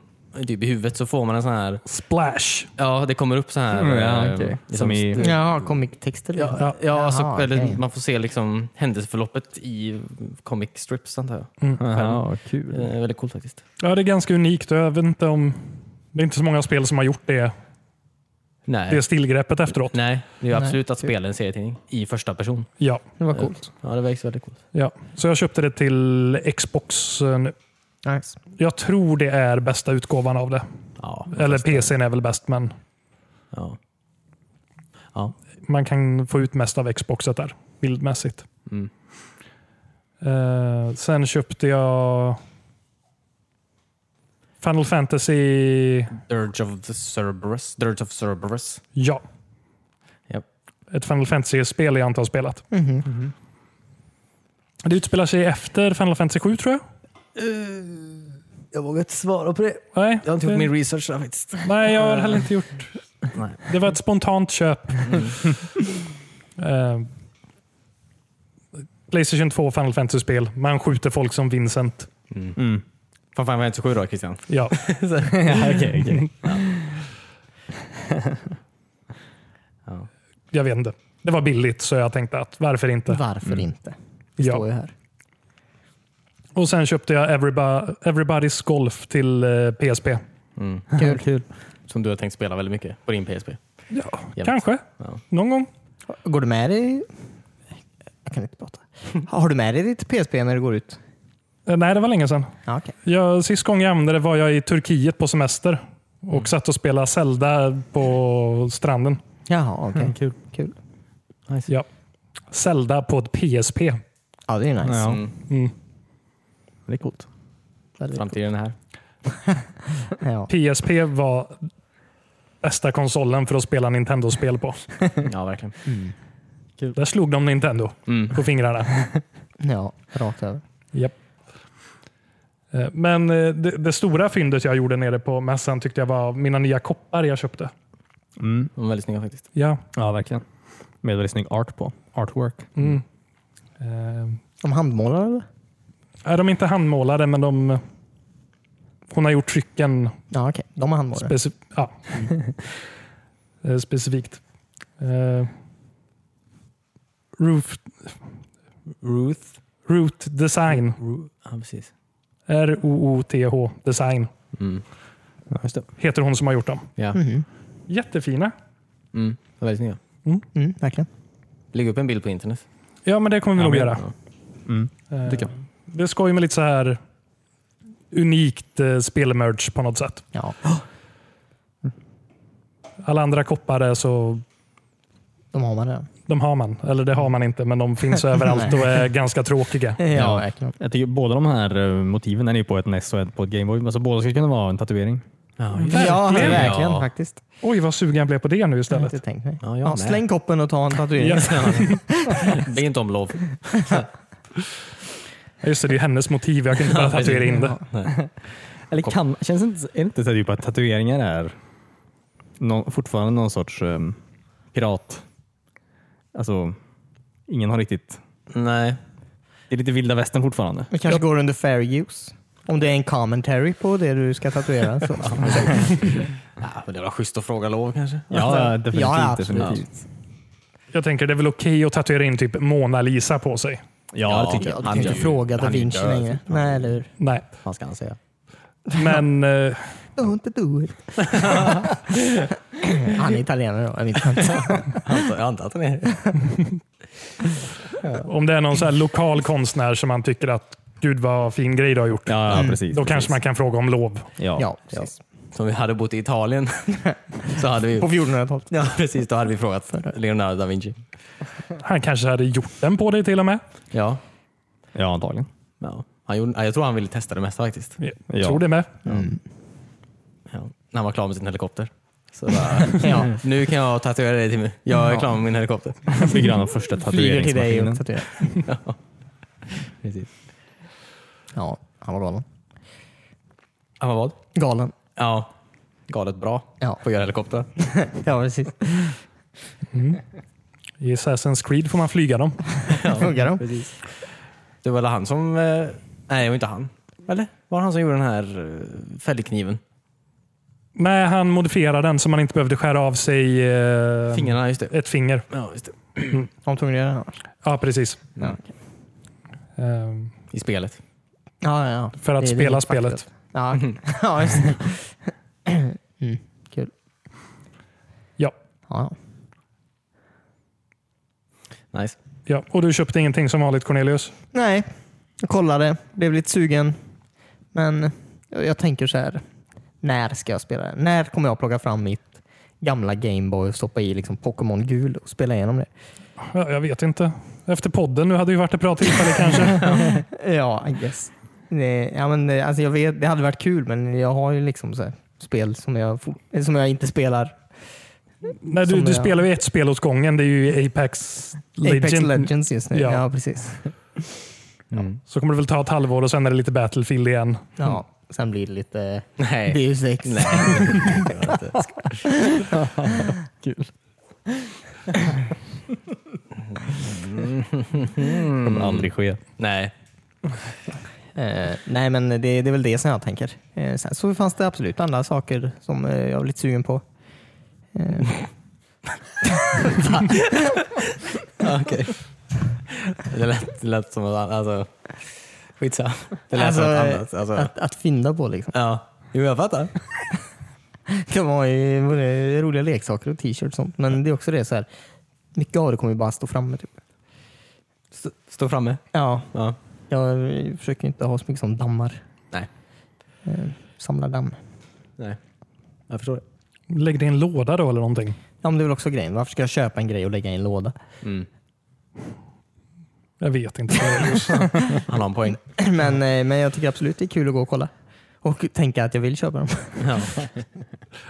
[SPEAKER 1] typ i huvudet så får man en sån här...
[SPEAKER 3] Splash.
[SPEAKER 1] Ja, det kommer upp så här...
[SPEAKER 4] Mm, ja,
[SPEAKER 1] eh,
[SPEAKER 4] okej.
[SPEAKER 1] liksom-
[SPEAKER 4] Som i-
[SPEAKER 2] Ja, comic-texter.
[SPEAKER 3] Ja,
[SPEAKER 2] liksom.
[SPEAKER 3] ja.
[SPEAKER 1] Ja,
[SPEAKER 2] Jaha,
[SPEAKER 1] alltså, eller
[SPEAKER 2] okej.
[SPEAKER 1] man får se liksom händelseförloppet i comic strips antar jag.
[SPEAKER 4] Jaha, kul.
[SPEAKER 1] Eh, väldigt coolt faktiskt.
[SPEAKER 3] ja, det är ganska unikt. Jag vet inte om... Det är inte så många spel som har gjort det,
[SPEAKER 1] Nej,
[SPEAKER 3] det stilgreppet efteråt.
[SPEAKER 1] Nej det är ju
[SPEAKER 2] Nej.
[SPEAKER 1] absolut
[SPEAKER 4] typ.
[SPEAKER 1] att spela en serietidning i första person.
[SPEAKER 3] Ja,
[SPEAKER 2] Det var coolt.
[SPEAKER 1] Ja, det vägs väldigt coolt.
[SPEAKER 3] ja. Så jag köpte det till Xbox eh, nu.
[SPEAKER 2] Nice.
[SPEAKER 3] Jag tror det är bästa utgåvan av det.
[SPEAKER 1] Ja,
[SPEAKER 3] Eller
[SPEAKER 1] fast-
[SPEAKER 3] PCn är väl bäst, men
[SPEAKER 1] Ja.
[SPEAKER 3] man kan få ut mest av Xboxet där, bildmässigt.
[SPEAKER 1] Mm.
[SPEAKER 3] Eh, sen köpte jag Final Fantasy,
[SPEAKER 1] Dirge of the Cerberus. Dirge of Cerberus.
[SPEAKER 3] ja.
[SPEAKER 1] Japp.
[SPEAKER 3] Ett Final Fantasy-spel jag inte har spelat.
[SPEAKER 2] Mhm.
[SPEAKER 3] Det utspelar sig efter Final Fantasy 7 tror jag.
[SPEAKER 1] Eh, jag vågar inte svara på det.
[SPEAKER 3] Nej,
[SPEAKER 1] Jag har inte
[SPEAKER 3] det-
[SPEAKER 1] gjort min research där faktiskt.
[SPEAKER 3] Nej, jag har heller inte gjort.
[SPEAKER 1] Nej. Mm.
[SPEAKER 3] Det var ett spontant köp. Eh, Playstation 2 Final Fantasy-spel. Man skjuter folk som Vincent.
[SPEAKER 4] Mm.
[SPEAKER 1] Fan, fan, var jag inte så sju då Christian?
[SPEAKER 3] Ja.
[SPEAKER 4] Ja, okej, okej.
[SPEAKER 3] jag vet inte. Det var billigt så jag tänkte att varför inte?
[SPEAKER 2] Varför inte? Vi står
[SPEAKER 3] Ja.
[SPEAKER 2] ju här.
[SPEAKER 3] Och sen köpte jag Everyba- Everybody's Golf till eh, PSP.
[SPEAKER 2] Kul. Kul.
[SPEAKER 1] Som du har tänkt spela väldigt mycket på din PSP.
[SPEAKER 3] Ja,
[SPEAKER 1] Jämt.
[SPEAKER 3] kanske.
[SPEAKER 1] Ja.
[SPEAKER 3] Någon gång.
[SPEAKER 2] Går du med dig? Jag kan inte prata. Har du med dig ditt PSP när du går ut?
[SPEAKER 3] Eh, nej, det var länge sedan.
[SPEAKER 2] Ja, okej.
[SPEAKER 3] Jag, sist gången jag använde det var jag i Turkiet på semester och
[SPEAKER 1] Mm.
[SPEAKER 3] satt och spelade Zelda på stranden.
[SPEAKER 2] Jaha, okej. Kul. Kul.
[SPEAKER 3] Ja. Zelda på ett PSP.
[SPEAKER 2] Ja, det är nice.
[SPEAKER 4] Ja.
[SPEAKER 1] Mm.
[SPEAKER 3] Mm.
[SPEAKER 4] Det är coolt.
[SPEAKER 2] Väldigt
[SPEAKER 1] Framtiden är här.
[SPEAKER 2] coolt. Ja.
[SPEAKER 3] PSP var bästa konsolen för att spela Nintendo-spel på.
[SPEAKER 1] Ja, verkligen.
[SPEAKER 3] Där slog de Nintendo
[SPEAKER 1] Mm.
[SPEAKER 3] på fingrarna.
[SPEAKER 2] ja, rakt över.
[SPEAKER 3] Japp. Eh, Men eh, det, det stora fyndet jag gjorde nere på mässan tyckte jag var mina nya koppar jag köpte.
[SPEAKER 4] Mm.
[SPEAKER 1] De är väldigt snygga faktiskt.
[SPEAKER 3] Ja.
[SPEAKER 4] Ja, verkligen. Med väldigt snygg art på. Artwork.
[SPEAKER 3] Mm. Eh,
[SPEAKER 2] De handmålar eller?
[SPEAKER 3] Är de inte handmålade, men de... Hon har gjort trycken
[SPEAKER 2] Ja, okej. De har handmålare.
[SPEAKER 3] speci- ja. Eh, specifikt. Eh, Roof,
[SPEAKER 1] Ruth.
[SPEAKER 3] root design.
[SPEAKER 1] Ru- ja, precis.
[SPEAKER 3] R-O-O-T-H design
[SPEAKER 1] Mm.
[SPEAKER 4] Ja, just det.
[SPEAKER 3] heter hon som har gjort dem.
[SPEAKER 1] Ja.
[SPEAKER 2] Mhm.
[SPEAKER 3] Jättefina.
[SPEAKER 1] Mm. De är väldigt snygga.
[SPEAKER 2] Mm, verkligen.
[SPEAKER 1] Lägg upp en bild på internet.
[SPEAKER 3] Ja, men det kommer vi nog
[SPEAKER 4] men-
[SPEAKER 3] göra.
[SPEAKER 4] Mm.
[SPEAKER 3] Eh,
[SPEAKER 4] tycker jag.
[SPEAKER 3] Det ska ju med lite så här unikt eh, spelmerge på något sätt.
[SPEAKER 2] Ja.
[SPEAKER 3] Alla andra koppar är så,
[SPEAKER 2] De har man redan.
[SPEAKER 3] de har man. Eller det har man inte, men de finns överallt och är ganska tråkiga.
[SPEAKER 2] Ja,
[SPEAKER 4] Ja.
[SPEAKER 2] verkligen.
[SPEAKER 4] Jag tycker båda de här eh, motiven är ju på ett NES och ett på ett Gameboy. Alltså, båda skulle kunna vara en tatuering.
[SPEAKER 1] Ja,
[SPEAKER 2] Ja,
[SPEAKER 3] Verkligen.
[SPEAKER 2] verkligen
[SPEAKER 1] Ja.
[SPEAKER 2] faktiskt.
[SPEAKER 3] Oj, vad sugen jag blev på det nu
[SPEAKER 2] Det har jag
[SPEAKER 3] istället.
[SPEAKER 2] inte tänkt mig.
[SPEAKER 1] Ja, jag
[SPEAKER 2] Ja,
[SPEAKER 1] med.
[SPEAKER 2] släng koppen och ta en tatuering.
[SPEAKER 3] Ja.
[SPEAKER 1] Be inte om lov.
[SPEAKER 3] Ja, Just det, det är ju hennes motiv. Jag kan inte bara tatuera in det.
[SPEAKER 4] Eller kan, känns det inte, är det inte så här typ att tatueringar är någon, fortfarande någon sorts um, pirat? Alltså, ingen har riktigt...
[SPEAKER 1] Nej.
[SPEAKER 4] Det är lite vilda västern fortfarande.
[SPEAKER 2] Det kanske går under fair use. Om det är en commentary på det du ska tatuera. Så.
[SPEAKER 1] Ja, men det var schysst att fråga lov kanske.
[SPEAKER 4] Ja, definitivt.
[SPEAKER 2] ja, absolut.
[SPEAKER 4] definitivt.
[SPEAKER 3] Jag tänker det är väl okej att tatuera in typ Mona Lisa på sig?
[SPEAKER 4] ja det tycker
[SPEAKER 2] Ja,
[SPEAKER 4] jag.
[SPEAKER 2] du
[SPEAKER 1] Han
[SPEAKER 2] kan inte
[SPEAKER 1] gör ju-
[SPEAKER 2] fråga Da
[SPEAKER 1] han är ju
[SPEAKER 2] Vinci
[SPEAKER 1] död.
[SPEAKER 2] längre. Nej, eller hur?
[SPEAKER 3] Nej,
[SPEAKER 1] Vad ska han säga?
[SPEAKER 3] men eh,
[SPEAKER 2] Don't do it. Han är italienare då. Jag vet inte.
[SPEAKER 1] Jag antar- jag antar att han är...
[SPEAKER 3] om det är någon så här lokal konstnär som man tycker att gud vad fin grej du har gjort.
[SPEAKER 4] Ja, ja, precis.
[SPEAKER 3] Då
[SPEAKER 4] precis.
[SPEAKER 3] kanske man kan fråga om lov.
[SPEAKER 4] Mm. Ja.
[SPEAKER 2] Ja, precis.
[SPEAKER 1] Som vi hade bott i Italien så hade vi...
[SPEAKER 2] På 1400-talet.
[SPEAKER 1] Ja, precis. Då hade vi frågat Leonardo da Vinci.
[SPEAKER 3] Han kanske hade gjort den på dig till och med.
[SPEAKER 1] Ja.
[SPEAKER 4] ja, antagligen.
[SPEAKER 1] ja. Han gjorde, ja, jag tror han ville testa det mesta faktiskt.
[SPEAKER 3] Jag
[SPEAKER 4] Ja.
[SPEAKER 3] tror det med.
[SPEAKER 1] Ja. När han var klar med sin helikopter. Så bara,
[SPEAKER 2] Ja.
[SPEAKER 1] nu kan jag tatuera dig till mig. Jag är
[SPEAKER 2] Ja.
[SPEAKER 1] klar med min helikopter.
[SPEAKER 4] Jag blir grann av första
[SPEAKER 2] Flyger till dig
[SPEAKER 4] tatueringsmaskinen.
[SPEAKER 2] och tatuerar.
[SPEAKER 1] Precis.
[SPEAKER 2] Ja, han var galen.
[SPEAKER 1] Han var vad?
[SPEAKER 2] Galen.
[SPEAKER 1] Ja. Galet bra
[SPEAKER 2] Ja,
[SPEAKER 1] på att göra helikoptrar.
[SPEAKER 2] ja precis.
[SPEAKER 3] I Assassin's Creed får man flyga dem.
[SPEAKER 2] Funkar de?
[SPEAKER 1] Precis. Det var väl han som... eh, Nej, det var inte han. Eller? Var det han som gjorde den här eh, fällkniven?
[SPEAKER 3] Nej, han modifierade den så man inte behövde skära av sig eh,
[SPEAKER 1] Fingrarna, just det.
[SPEAKER 3] ett finger.
[SPEAKER 1] Ja, just det.
[SPEAKER 2] Om tungredan annars.
[SPEAKER 3] Ja, precis.
[SPEAKER 1] Ja,
[SPEAKER 3] Ehm,
[SPEAKER 1] I spelet.
[SPEAKER 2] Ja, ja, ja.
[SPEAKER 3] För att
[SPEAKER 2] Det- det är
[SPEAKER 3] spela
[SPEAKER 2] helt
[SPEAKER 3] spelet.
[SPEAKER 2] fucked up. Ja, ja just det. Mm, kul.
[SPEAKER 3] Ja.
[SPEAKER 2] ja.
[SPEAKER 1] Nice.
[SPEAKER 3] Ja. Och du köpte ingenting som vanligt Cornelius?
[SPEAKER 2] Nej, jag kollade. Blev lite sugen. Men jag jag tänker så här. När ska jag spela det? När kommer jag plocka fram mitt gamla Gameboy och stoppa i liksom Pokémon gul och spela igenom det?
[SPEAKER 3] Ja, jag vet inte. Efter podden nu hade ju varit ett bra tillfälle kanske.
[SPEAKER 2] Ja, I guess. Det, ja, men, eh, alltså jag vet, det hade varit kul, men jag har ju liksom så här, spel som jag, fo- eh, som jag inte spelar.
[SPEAKER 3] Nej, du,
[SPEAKER 2] Som
[SPEAKER 3] du
[SPEAKER 2] jag-
[SPEAKER 3] spelar ju ett spel åt gången. Det är ju Apex Legend.
[SPEAKER 2] Apex Legends just nu.
[SPEAKER 3] Ja.
[SPEAKER 2] Ja, precis.
[SPEAKER 4] Mm.
[SPEAKER 3] Så kommer det väl ta ett halvår och sen är det lite Battlefield igen.
[SPEAKER 2] Ja, sen blir det lite eh,
[SPEAKER 1] Nej.
[SPEAKER 2] Deus Ex.
[SPEAKER 1] Nej. det gör jag inte.
[SPEAKER 4] Det kommer aldrig ske.
[SPEAKER 1] Nej.
[SPEAKER 2] Eh, nej, men det, det är väl det som jag tänker. Eh, sen så fanns det absolut andra saker som eh, jag var lite sugen på. Eh,
[SPEAKER 1] Ja, Okej. Det, lät, det lät som något annat. Alltså, skitsamma. Det lät som något
[SPEAKER 2] eh,
[SPEAKER 1] annat. Alltså,
[SPEAKER 2] att, att fynda på liksom.
[SPEAKER 1] ja. Jo, jag fattar.
[SPEAKER 2] Det var ju både roliga leksaker och t-shirts och sånt. Men det är också det så här. Mycket av det kommer ju bara stå framme. Typ.
[SPEAKER 1] Stå, stå framme.
[SPEAKER 2] Ja,
[SPEAKER 1] Ja.
[SPEAKER 2] jag försöker inte ha så mycket som dammar.
[SPEAKER 1] Nej.
[SPEAKER 2] Eh, samla damm.
[SPEAKER 1] Nej. Jag förstår det.
[SPEAKER 3] Lägg det i en låda då eller någonting.
[SPEAKER 2] Ja, men det är väl också grejen. Varför ska jag köpa en grej och lägga i en låda?
[SPEAKER 1] Mm.
[SPEAKER 3] Jag vet inte. Cornelius.
[SPEAKER 1] Han har en poäng.
[SPEAKER 2] men,
[SPEAKER 1] Mm.
[SPEAKER 2] eh, men jag tycker absolut det är kul att gå och kolla. Och tänka att jag vill köpa dem.
[SPEAKER 1] Ja.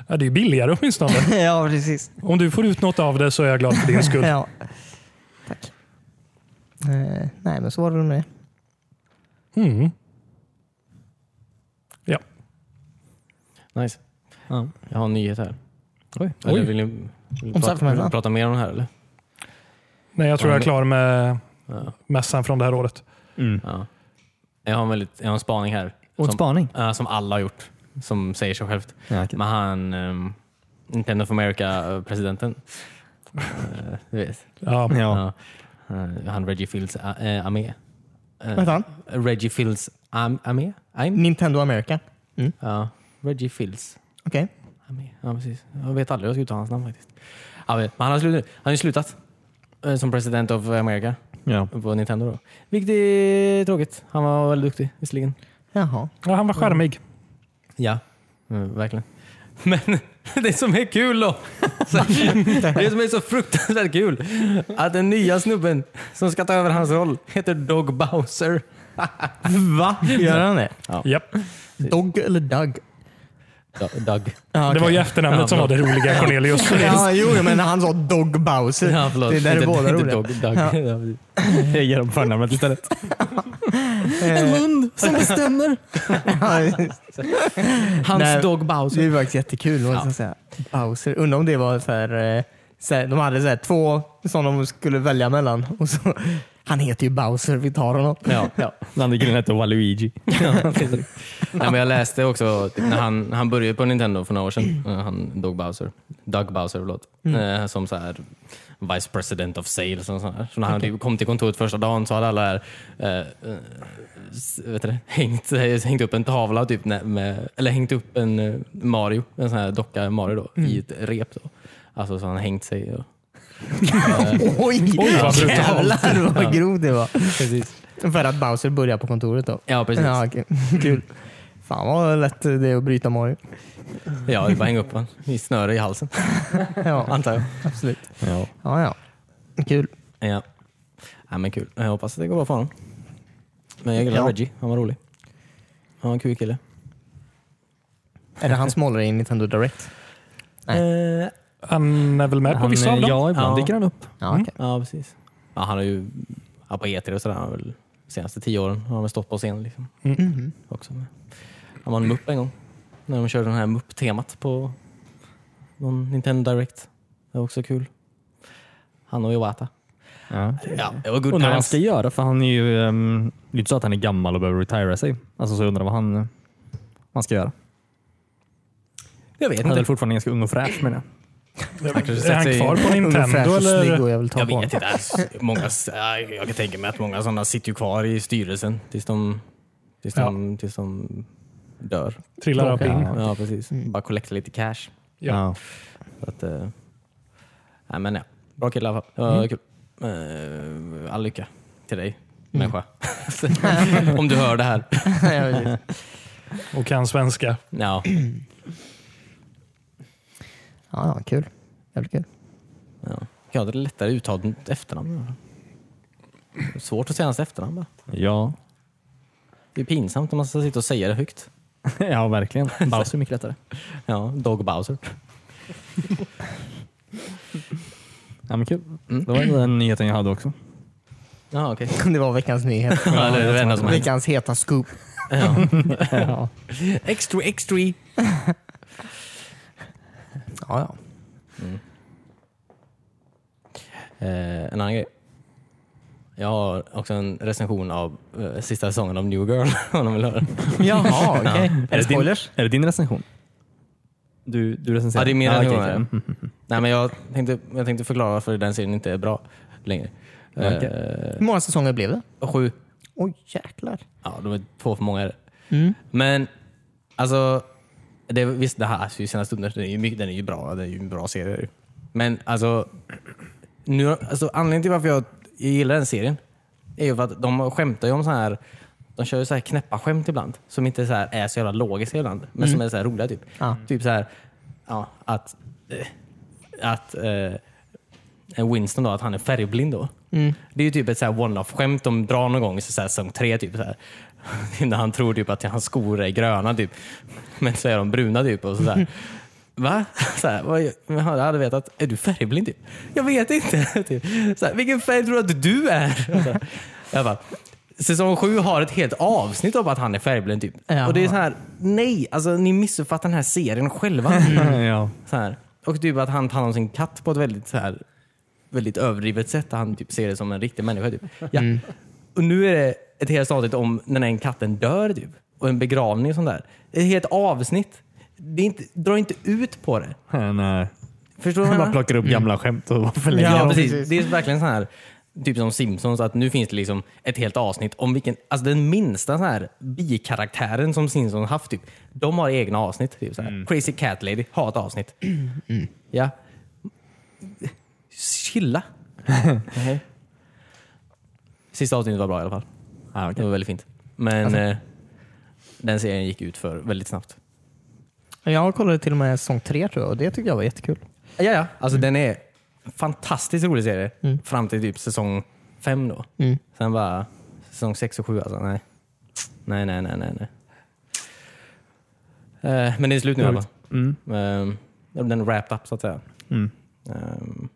[SPEAKER 3] ja, det är ju billigare åtminstone.
[SPEAKER 2] ja, precis.
[SPEAKER 3] Om du får ut något av det så är jag glad för din skull.
[SPEAKER 2] Ja. Tack. Eh, nej, men så var det med det.
[SPEAKER 3] Mm. Ja.
[SPEAKER 1] Nice. Ja. Jag har en nyhet här.
[SPEAKER 4] Oj.
[SPEAKER 1] Eller
[SPEAKER 3] Oj.
[SPEAKER 1] vill ni, vill ni
[SPEAKER 2] Om
[SPEAKER 1] prata, vill
[SPEAKER 2] Sacramento?
[SPEAKER 1] ni prata mer om det här eller?
[SPEAKER 3] Nej, jag tror jag är klar med
[SPEAKER 1] Ja.
[SPEAKER 3] mässan från det här året.
[SPEAKER 4] Mm.
[SPEAKER 1] Ja. Jag, har en väldigt, jag har en spaning här.
[SPEAKER 4] Och en
[SPEAKER 1] som,
[SPEAKER 4] spaning.
[SPEAKER 1] eh, som alla har gjort. Som säger sig självt.
[SPEAKER 4] Ja, okej.
[SPEAKER 1] Men han, um, Nintendo of America-presidenten. Eh, du vet.
[SPEAKER 3] Ja.
[SPEAKER 4] Ja.
[SPEAKER 1] Ja. Eh, han Reggie Fields uh, armé. Eh,
[SPEAKER 2] Vad han?
[SPEAKER 1] Reggie Fields am, armé? I'm?
[SPEAKER 2] Nintendo America.
[SPEAKER 1] Ja. Reggie Fields
[SPEAKER 2] Okej.
[SPEAKER 1] armé. Ja, precis. Jag vet aldrig hur jag ska uttala hans namn faktiskt. Ja, men han har slutat, han har ju slutat eh, som president of America
[SPEAKER 4] ja.
[SPEAKER 1] på Nintendo. Då. Vilket är tråkigt. Han var väldigt duktig visserligen.
[SPEAKER 2] Jaha.
[SPEAKER 3] ja, han var skärmig.
[SPEAKER 1] Ja, mm, verkligen. Men det som är kul då, så här, det som är så fruktansvärt kul, att den nya snubben som ska ta över hans roll heter Dog Bowser.
[SPEAKER 2] Va?
[SPEAKER 1] Mm.
[SPEAKER 2] Gör han det?
[SPEAKER 3] Japp.
[SPEAKER 2] Dog eller Doug?
[SPEAKER 1] Dog.
[SPEAKER 2] Ja,
[SPEAKER 3] Det
[SPEAKER 2] okej.
[SPEAKER 3] var ju efternamnet som var det roliga Cornelius.
[SPEAKER 2] Ja, jo, men han sa Dog Bowser.
[SPEAKER 1] Ja, förlåt.
[SPEAKER 2] Det där är
[SPEAKER 1] Inte-
[SPEAKER 2] båda
[SPEAKER 1] inte
[SPEAKER 2] roliga.
[SPEAKER 1] Dog, Doug.
[SPEAKER 2] Ja.
[SPEAKER 1] Ja, precis.
[SPEAKER 4] Jag ger dem förnamnet istället.
[SPEAKER 2] Eh,
[SPEAKER 4] Lund som bestämmer.
[SPEAKER 2] ja,
[SPEAKER 1] Hans
[SPEAKER 2] Nej.
[SPEAKER 1] Dog
[SPEAKER 2] det
[SPEAKER 1] Bowser.
[SPEAKER 2] är faktiskt jättekul. måste jag säga. Bowser. Undrar om det var så här, eh, så här, de hade så här, två som de skulle välja mellan. Och så, han heter ju Bowser, vi tar honom.
[SPEAKER 1] Ja, ja.
[SPEAKER 4] Den andra killen hette Waluigi.
[SPEAKER 1] Nej, men jag läste också, typ, när han, han började på Nintendo för några år sedan, eh, han Dog Bowser, Doug Bowser förlåt, eh, som så här Vice President of Sales och sånt här. Så när han typ kom till kontoret första dagen så hade alla här, eh, eh, s- vet du det, hängt, eh, hängt upp en tavla, typ, nä- med, eller hängt upp en eh, Mario, en sån här docka Mario då, i ett rep. Då. Alltså så han hängt sig. Och,
[SPEAKER 2] Oj,
[SPEAKER 3] Oj, vad brutalt.
[SPEAKER 2] jävlar
[SPEAKER 1] Ja.
[SPEAKER 2] vad grov det var.
[SPEAKER 1] precis.
[SPEAKER 2] För att Bowser börjar på kontoret då?
[SPEAKER 1] Ja, precis.
[SPEAKER 2] Ja, okej. Kul. Fan vad lätt det är att bryta Mario.
[SPEAKER 1] Ja, det är bara hänga upp honom i snöre i halsen,
[SPEAKER 2] Ja,
[SPEAKER 1] antar jag.
[SPEAKER 2] absolut.
[SPEAKER 4] Ja.
[SPEAKER 2] Ja, ja. Kul.
[SPEAKER 1] Ja. ja, men kul. Jag hoppas att det går bra för honom. Men jag gillar
[SPEAKER 2] Ja.
[SPEAKER 1] Reggie. Han var rolig. Han var en kul kille.
[SPEAKER 2] Är det han som håller i Nintendo Direct?
[SPEAKER 1] Eh,
[SPEAKER 3] Han är väl med på
[SPEAKER 4] Han,
[SPEAKER 3] vissa av
[SPEAKER 4] eh,
[SPEAKER 3] dem?
[SPEAKER 4] ja, ibland
[SPEAKER 1] Ja.
[SPEAKER 4] dyker han upp.
[SPEAKER 2] Ja, okej.
[SPEAKER 1] ja, precis. Ja, han har ju ja, på E3 och sådär. Han har väl, de senaste tio åren har han väl stått på scen. Liksom. Också. Men Han var en mupp en gång. När de körde det här mupp-temat på någon Nintendo Direct. Det var också kul. Han och Iwata.
[SPEAKER 4] Ja.
[SPEAKER 1] Ja, det var good
[SPEAKER 4] Undrar vad han
[SPEAKER 1] times.
[SPEAKER 4] ska göra, för han är ju... ehm, det är inte så att han är gammal och behöver retira sig. Alltså, så jag undrar vad han, eh, han ska göra.
[SPEAKER 1] Det Jag vet
[SPEAKER 4] Han är väl
[SPEAKER 1] inte.
[SPEAKER 4] fortfarande ganska ung och fräsch menar jag.
[SPEAKER 1] kanske
[SPEAKER 3] Är
[SPEAKER 1] sätter
[SPEAKER 3] han
[SPEAKER 1] sig-
[SPEAKER 3] kvar på Nintendo?
[SPEAKER 2] snygg
[SPEAKER 3] Eller?
[SPEAKER 2] och jag vill ta
[SPEAKER 1] Jag
[SPEAKER 2] på
[SPEAKER 1] vet inte. alls. Många, äh, jag kan tänka mig att många sådana sitter ju kvar i styrelsen tills de, tills de, tills de dör.
[SPEAKER 3] Trillar upp in?
[SPEAKER 1] Ja, precis. Bara collecta lite cash.
[SPEAKER 3] Ja.
[SPEAKER 1] Så att, eh, nej, men ja. Bra kille i alla fall. Det var kul. Eh, all lycka till dig, människa. Om du hör det här.
[SPEAKER 2] honom.
[SPEAKER 3] Och kan svenska?
[SPEAKER 1] Ja,
[SPEAKER 2] ja, ja, kul. Jävligt kul.
[SPEAKER 1] ja. Jag hade lättare uttal efternamn. Svårt att säga hans efternamn bara.
[SPEAKER 4] Ja.
[SPEAKER 1] Det är pinsamt om man ska sitta och säga det högt.
[SPEAKER 4] ja, verkligen. Bowser är mycket lättare.
[SPEAKER 1] Ja, Dog Bowser.
[SPEAKER 4] Ja, men kul. Mm. Det var den nyheten jag hade också.
[SPEAKER 1] Ja, okej.
[SPEAKER 2] Det var veckans nyhet.
[SPEAKER 1] Ja, det är det enda som har hänt.
[SPEAKER 2] veckans heta scoop.
[SPEAKER 4] Ja.
[SPEAKER 1] Extra, extra.
[SPEAKER 2] Ja, ja.
[SPEAKER 1] Eh, en annan grej. Jag har också en recension av eh, sista säsongen av New Girl om de vill höra.
[SPEAKER 2] Jaha, okej. Är det
[SPEAKER 4] din,
[SPEAKER 2] spoilers?
[SPEAKER 4] är det din recension? Du, du recenserar?
[SPEAKER 1] Ja, det är min
[SPEAKER 4] okej,
[SPEAKER 1] recension,
[SPEAKER 4] okej. Mm,
[SPEAKER 1] Nej, men jag tänkte, jag tänkte förklara varför den serien inte är bra längre. Eh,
[SPEAKER 2] Hur många säsonger blev det?
[SPEAKER 1] Sju.
[SPEAKER 2] Oj, jäklar.
[SPEAKER 1] Ja, det var två för många. är det. Men alltså, det, visst, det här alltså, i sena stunder, den är ju, mycket, den är ju bra. Det är ju en bra serie. det är ju. Men alltså, nu, alltså, anledningen till varför jag, jag gillar den serien är ju för att de skämtar ju om så här de kör ju så här knäppa skämt ibland som inte så här är så jävla logiska ibland, men som är så här roliga. Typ,
[SPEAKER 2] Ja.
[SPEAKER 1] typ så här, ja, att, eh, att eh, Winston då, att han är färgblind då. Det är ju typ ett så här one-off-skämt de drar någon gång i så här säsong tre. Typ, så här. När han tror typ att hans skor är gröna, typ. men så är de bruna. Typ, och så där. Va? Så här, vad, jag hade vetat, är du färgblind? Typ? Jag vet inte. Typ. Så här, vilken färg tror du att du är? Och Så här. Jag bara, säsong sju har ett helt avsnitt om att han är färgblind. Typ.
[SPEAKER 2] Jaha.
[SPEAKER 1] Och det är så här, nej, alltså, ni missuppfattar den här serien själva.
[SPEAKER 4] mm. ja.
[SPEAKER 1] Så här. Och typ att han tar hand om sin katt på ett väldigt, så här, väldigt överdrivet sätt. Han typ ser det som en riktig människa. Typ. Ja. Och nu är det ett helt avsnitt om när den katten dör typ. och en begravning och sånt där. Ett helt avsnitt. Det är inte, dra inte ut på det.
[SPEAKER 4] Nej. Mm.
[SPEAKER 1] Förstår du vad jag
[SPEAKER 4] Bara
[SPEAKER 1] menar?
[SPEAKER 4] plockar upp gamla skämt och förlänger
[SPEAKER 1] Ja,
[SPEAKER 4] dem.
[SPEAKER 1] precis. Det är verkligen så här, typ som Simpsons, att nu finns det liksom ett helt avsnitt om vilken, alltså den minsta så här bikaraktären som Simpsons haft. Typ. De har egna avsnitt. Typ, så här. Crazy Cat Lady har ett avsnitt.
[SPEAKER 4] Mm.
[SPEAKER 1] Ja. Chilla. Nej. Sista avsnittet var bra i alla fall.
[SPEAKER 4] Ah,
[SPEAKER 1] Det
[SPEAKER 4] okej. Alltså.
[SPEAKER 1] var väldigt fint. Men eh, den serien gick ut för väldigt snabbt.
[SPEAKER 2] Jag kollade till och med säsong tre tror jag och det tyckte jag var jättekul.
[SPEAKER 1] Ja, ja. Alltså den är en fantastiskt rolig serie fram till typ säsong fem då. Sen bara säsong sex och sju alltså, nej. Nej, nej, nej, nej. nej. Eh, men det är slut nu i alla fall.
[SPEAKER 4] Mm.
[SPEAKER 1] Ehm, den är wrapped up så att säga.
[SPEAKER 4] Mm.
[SPEAKER 1] Ehm,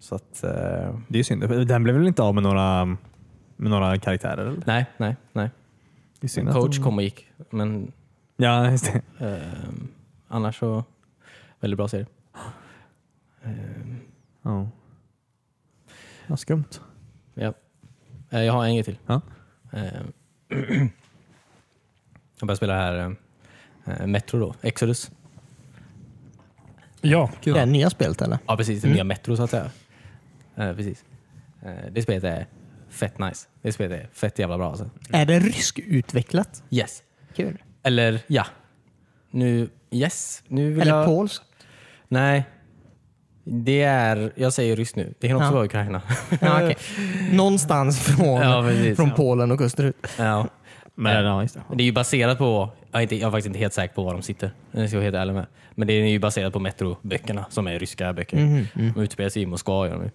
[SPEAKER 1] så att, eh,
[SPEAKER 4] Det är synd. Den blev väl inte av med några, med några karaktärer? Eller?
[SPEAKER 1] nej, nej, nej.
[SPEAKER 4] Det är synd att
[SPEAKER 1] Coach
[SPEAKER 4] de-
[SPEAKER 1] kom och gick, men
[SPEAKER 4] Ja, just det.
[SPEAKER 1] ehm, annars så väldigt bra serie.
[SPEAKER 4] Ja. Vad skumt.
[SPEAKER 1] Ja. Eh, Jag har en grej till.
[SPEAKER 4] Ja.
[SPEAKER 1] Eh, Jag börjar spela det här eh, Metro då, Exodus.
[SPEAKER 3] Ja.
[SPEAKER 2] Det här nya spelet eller?
[SPEAKER 1] Ja precis, det nya Metro så att säga. Eh, Precis. Eh, Det spelet är fett nice. Det spelet är fett jävla bra alltså.
[SPEAKER 2] Är det ryskutvecklat?
[SPEAKER 1] Yes.
[SPEAKER 2] Kul.
[SPEAKER 1] Eller ja. Nu, yes. Nu vill
[SPEAKER 2] Eller
[SPEAKER 1] jag...
[SPEAKER 2] polskt?
[SPEAKER 1] Nej. Det är, jag säger ryss nu. Det kan också
[SPEAKER 2] Ja.
[SPEAKER 1] vara Ukraina.
[SPEAKER 2] Ja, okej. Någonstans från,
[SPEAKER 1] Ja, precis.
[SPEAKER 2] från
[SPEAKER 1] Ja.
[SPEAKER 2] Polen och österut.
[SPEAKER 1] ja.
[SPEAKER 4] Men, ja, just det.
[SPEAKER 1] Det är ju baserat på, jag är, inte, jag är faktiskt inte helt säker på var de sitter, det ska jag vara helt ärlig med. Men det är ju baserat på Metro-böckerna som är ryska böcker.
[SPEAKER 2] Mhm,
[SPEAKER 1] De utspelar sig i Moskva, gör de ju.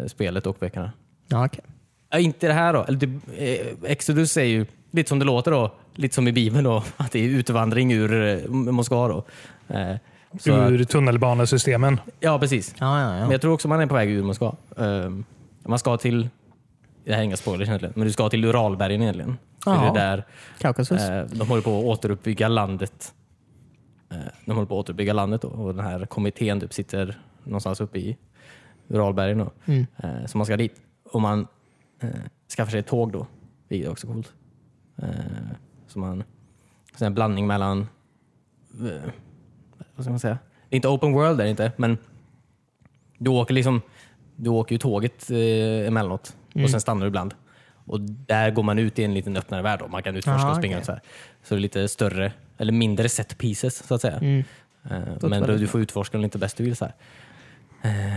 [SPEAKER 1] Eh, spelet och böckerna.
[SPEAKER 2] Ja, okej.
[SPEAKER 1] Ja, inte det här då. Eller, det, eh, Exodus är ju lite som det låter då, lite som i Bibeln då, att det är utvandring ur eh, Moskva då. Eh, så att-
[SPEAKER 3] Ur tunnelbanesystemen.
[SPEAKER 1] ja, precis.
[SPEAKER 2] ja, ja, ja.
[SPEAKER 1] Men jag tror också man är på väg ur Moskva. Ehm, man ska till, det här är inga spoilers egentligen, men du ska till Uralbergen egentligen. För Det
[SPEAKER 2] Jaha.
[SPEAKER 1] är där
[SPEAKER 2] Kaukasus?
[SPEAKER 1] Eh, de håller på att återuppbygga landet. Eh, de håller på att återuppbygga landet då, och den här kommittén typ sitter någonstans uppe i Uralbergen. Då. Eh, så man ska dit. Och man eh, skaffar sig ett tåg då, vilket är också coolt. Eh, så man, så en blandning mellan eh, vad ska man säga? Det är inte open world där inte, men du åker liksom du åker ju tåget eh, emellanåt och sen stannar du ibland. Och där går man ut i en liten öppnare värld. Då. Man kan utforska
[SPEAKER 2] Aha,
[SPEAKER 1] och
[SPEAKER 2] okej.
[SPEAKER 1] springa runt så här. Så det är lite större, eller mindre set pieces så att säga.
[SPEAKER 2] Mm.
[SPEAKER 1] Eh,
[SPEAKER 2] Låter
[SPEAKER 1] Men du,
[SPEAKER 2] väldigt
[SPEAKER 1] du får utforska den lite bäst du vill. Så här.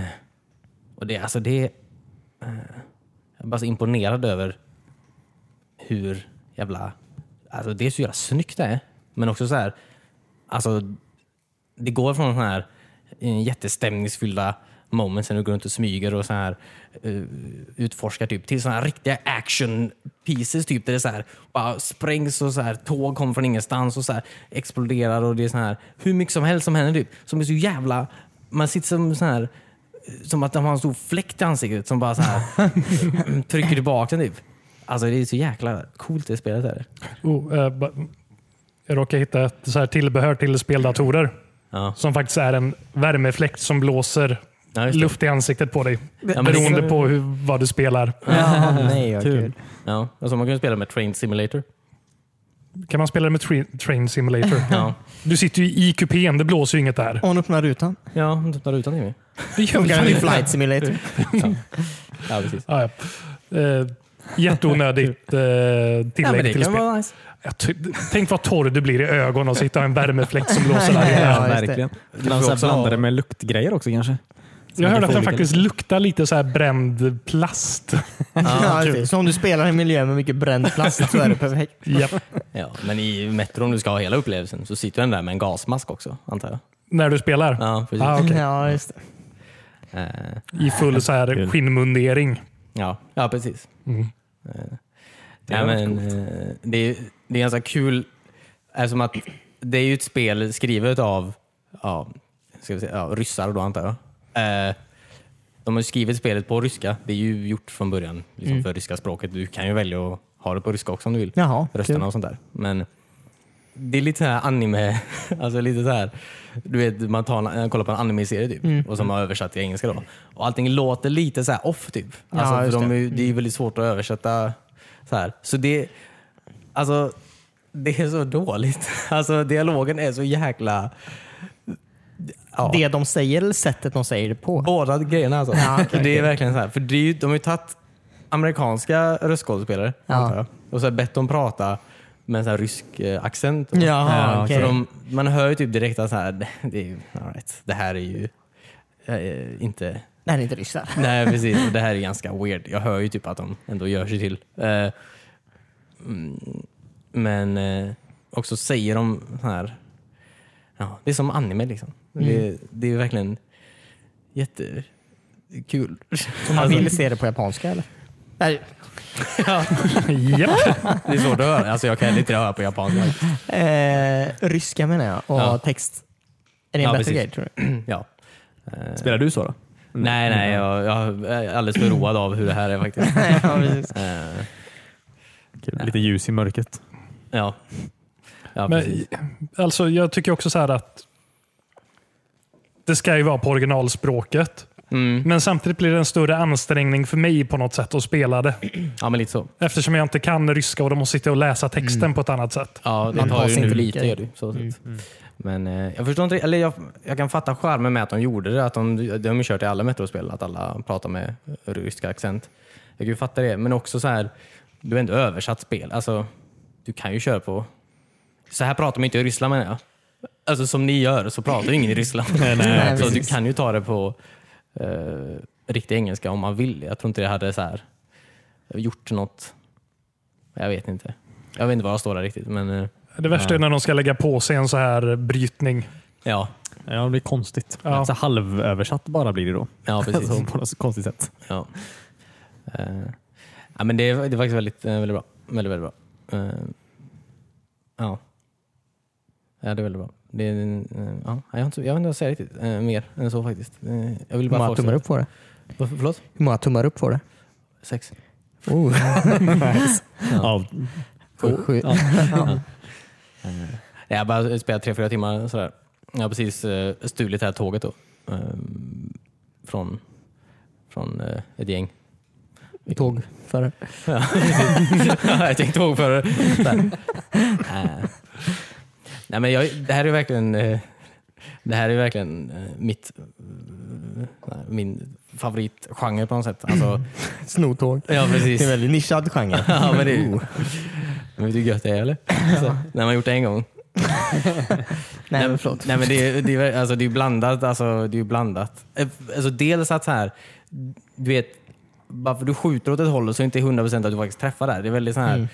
[SPEAKER 1] Eh, Och det, alltså det, eh, jag är bara så imponerad över hur jävla... Alltså det är så jävla snyggt det är. Men också så här, alltså det går från sån här eh, jättestämningsfyllda moments när du går runt och smyger och så här eh, utforskar typ till såna här riktiga action pieces typ där det så här bara sprängs och så här tåg kommer från ingenstans och så här exploderar och det är så här hur mycket som helst som händer typ som är så jävla man sitter som så här eh, som att de har en stor fläkt i ansiktet som bara så här trycker tillbaka den typ. Alltså det är så jäkla coolt det spelet är.
[SPEAKER 3] Oh, eh, ba- jag råkade hitta ett så här tillbehör till speldatorer
[SPEAKER 1] Ja.
[SPEAKER 3] som faktiskt är en värmefläkt som blåser
[SPEAKER 1] Ja, just det.
[SPEAKER 3] luft i ansiktet på dig.
[SPEAKER 1] Ja, men det-
[SPEAKER 3] beroende på hur, vad du spelar.
[SPEAKER 2] Ja, nej, vad kul.
[SPEAKER 1] Ja, alltså man kan ju spela med Train Simulator.
[SPEAKER 3] Kan man spela det med tra- Train Simulator?
[SPEAKER 1] Ja,
[SPEAKER 3] Du sitter ju i kupén, det blåser ju inget där.
[SPEAKER 2] Och hon öppnar rutan.
[SPEAKER 1] ja du öppnar rutan Jimmy.
[SPEAKER 3] Det gör
[SPEAKER 2] Funkar
[SPEAKER 3] fan
[SPEAKER 2] den i
[SPEAKER 3] inte.
[SPEAKER 2] flight simulator?
[SPEAKER 1] Ja, precis.
[SPEAKER 3] Ah, ja. Eh, jätteonödigt eh, tillägg till spel.
[SPEAKER 1] nice.
[SPEAKER 3] Jag ty- Tänk vad torr du blir i ögonen och sitta i en värmefläkt som blåser
[SPEAKER 2] Ja,
[SPEAKER 3] där inne.
[SPEAKER 2] just det.
[SPEAKER 4] verkligen.
[SPEAKER 1] får
[SPEAKER 4] De så här
[SPEAKER 1] också
[SPEAKER 4] blandade
[SPEAKER 1] ha-
[SPEAKER 4] med luktgrejer också kanske.
[SPEAKER 3] Jag hörde att den
[SPEAKER 4] Olika-
[SPEAKER 3] faktiskt luktar lite så här bränd plast.
[SPEAKER 2] Ja,
[SPEAKER 1] kul.
[SPEAKER 2] precis. så om du spelar i en miljö med mycket bränd plast så är det perfekt.
[SPEAKER 3] Japp.
[SPEAKER 1] Ja, men i Metro, om du ska ha hela upplevelsen, så sitter den där med en gasmask också, antar jag.
[SPEAKER 3] När du spelar.
[SPEAKER 1] Ja, precis.
[SPEAKER 3] Ah, okej.
[SPEAKER 2] Ja, just det.
[SPEAKER 1] Eh,
[SPEAKER 3] I full så här
[SPEAKER 4] Kul.
[SPEAKER 3] skinnmundering.
[SPEAKER 1] ja, ja, precis.
[SPEAKER 3] Mm.
[SPEAKER 1] Det är, ja, men, eh, det är, det är ganska kul, eftersom att det är ju ett spel skrivet av ja, ska vi säga, ja, ryssar då antar jag. Eh, de har ju skrivit spelet på ryska. Det är ju gjort från början liksom, för ryska språket. Du kan ju välja att ha det på ryska också om du vill.
[SPEAKER 2] Jaha,
[SPEAKER 1] rösterna
[SPEAKER 2] kul.
[SPEAKER 1] och sånt där. Men det är lite så här anime, alltså lite så här, du vet man tar, en- eh, kollar på en anime-serie typ
[SPEAKER 2] Mm.
[SPEAKER 1] och som har översatt till engelska då. Och allting låter lite så här off typ. Alltså,
[SPEAKER 2] Ja,
[SPEAKER 1] för
[SPEAKER 2] just
[SPEAKER 1] de
[SPEAKER 2] det. Mm.
[SPEAKER 1] är, ju- det är ju väldigt svårt att översätta så här. Så det, alltså det är så dåligt. Alltså dialogen är så jäkla... Ja.
[SPEAKER 2] Det de säger eller sättet de säger det på.
[SPEAKER 1] Båda grejerna alltså.
[SPEAKER 2] Ja, okej,
[SPEAKER 1] det är
[SPEAKER 2] okej.
[SPEAKER 1] verkligen så här. För det är ju, de har ju tagit amerikanska röstskådespelare
[SPEAKER 2] Ja.
[SPEAKER 1] antar jag, och så här bett dem prata med en sån här rysk eh, accent. Eh,
[SPEAKER 2] Jaha, okej.
[SPEAKER 1] så de, man hör ju typ direkt att så här, det, är, ju- all right, det här är ju eh, inte...
[SPEAKER 2] Nej, det är inte ryssar.
[SPEAKER 1] Nej precis, och det här är ganska weird. Jag hör ju typ att de ändå gör sig till. Eh, mm, men eh, också säger de så här, ja, det är som anime liksom. Det, det är verkligen jättekul.
[SPEAKER 2] Man
[SPEAKER 1] Alltså,
[SPEAKER 2] vill se det på japanska eller? Nej,
[SPEAKER 3] Japp.
[SPEAKER 1] det är svårt att höra, alltså, jag kan inte höra på japanska.
[SPEAKER 2] eh, ryska menar jag och
[SPEAKER 1] Ja.
[SPEAKER 2] text. Är det en
[SPEAKER 1] Ja,
[SPEAKER 2] bättre
[SPEAKER 1] precis.
[SPEAKER 2] grej tror du?
[SPEAKER 1] Mm, Ja. Eh,
[SPEAKER 4] Spelar du så då?
[SPEAKER 1] Nej, nej, jag, jag är alldeles för road av hur det här är faktiskt.
[SPEAKER 2] ja, precis.
[SPEAKER 1] Eh,
[SPEAKER 4] Kul. Lite ljus i mörkret.
[SPEAKER 1] ja. Ja, precis.
[SPEAKER 3] Men, alltså, jag tycker också så här att det ska ju vara på originalspråket.
[SPEAKER 1] Mm.
[SPEAKER 3] Men samtidigt blir det en större ansträngning för mig på något sätt att spela det.
[SPEAKER 1] ja, men lite så.
[SPEAKER 3] Eftersom jag inte kan ryska och då måste sitta och läsa texten
[SPEAKER 1] Mm.
[SPEAKER 3] på ett annat sätt.
[SPEAKER 1] Ja, det
[SPEAKER 2] Man
[SPEAKER 1] tar
[SPEAKER 2] tar
[SPEAKER 1] ju
[SPEAKER 2] sig
[SPEAKER 1] nu
[SPEAKER 2] inte
[SPEAKER 1] lite Mm,
[SPEAKER 2] lika.
[SPEAKER 1] gör det, ju, så sett. Men eh, jag förstår inte, eller jag, jag kan fatta charmen med att de gjorde det. Att de, de har ju kört i alla Metro-spel, att alla pratar med rysk accent. Jag kan ju fatta det, men också så här, du har ändå översatt spel. Alltså, du kan ju köra på... Så här pratar man inte i Ryssland menar jag. Alltså som ni gör så pratar ju ingen i Ryssland.
[SPEAKER 2] Nej,
[SPEAKER 1] så du
[SPEAKER 2] precis.
[SPEAKER 1] kan ju ta det på eh, riktig engelska om man vill. Jag tror inte det hade så här, gjort något. Jag vet inte. Jag vet inte var jag står där riktigt, men eh,
[SPEAKER 3] Det värsta är när de ska lägga på sig en så här brytning.
[SPEAKER 1] ja.
[SPEAKER 4] Ja, det blir konstigt.
[SPEAKER 3] Ja.
[SPEAKER 4] Så halvöversatt bara blir det då.
[SPEAKER 1] Ja, precis.
[SPEAKER 4] Alltså, på något så konstigt sätt.
[SPEAKER 1] Ja. Eh, ja, men det, är- det är faktiskt väldigt, eh, väldigt bra. Väldigt, väldigt bra. Eh, ja. ja, det är väldigt bra. Det är, eh, ja, jag, har inte, jag vet inte vad jag säger riktigt eh, mer än så faktiskt. Eh, jag vill
[SPEAKER 2] Hur
[SPEAKER 1] bara
[SPEAKER 2] många
[SPEAKER 1] folk-
[SPEAKER 2] tummar upp får det?
[SPEAKER 1] Vad- Förlåt?
[SPEAKER 2] Hur många tummar upp får det?
[SPEAKER 1] Sex?
[SPEAKER 2] Oh.
[SPEAKER 4] Ja.
[SPEAKER 2] Sju. Sju.
[SPEAKER 1] Nej, jag bara spelat tre, fyra timmar sådär. Jag har precis eh, stulit det här tåget då. Eh, från från eh, ett gäng.
[SPEAKER 2] Tåg före.
[SPEAKER 1] Ja, precis. Ja, jag tänkte ihåg för det. Nej men jag, det här är verkligen eh, Det här är verkligen eh, mitt, eh, min favoritgenre på något sätt. Alltså,
[SPEAKER 2] Snotåg.
[SPEAKER 1] ja, precis.
[SPEAKER 2] Det är en väldigt nischad genre.
[SPEAKER 1] ja, men det Oh. Men vet du hur gött det är eller? Så, när man gjort det en gång.
[SPEAKER 2] Nej, men förlåt.
[SPEAKER 1] Nej, men det, är- det, är- alltså, det är ju blandat. Alltså, det är ju blandat. Eh, Alltså, dels att så här, du vet, bara för du skjuter åt ett håll så är det inte 100% att du faktiskt träffar där. Det är väldigt så
[SPEAKER 2] Mm.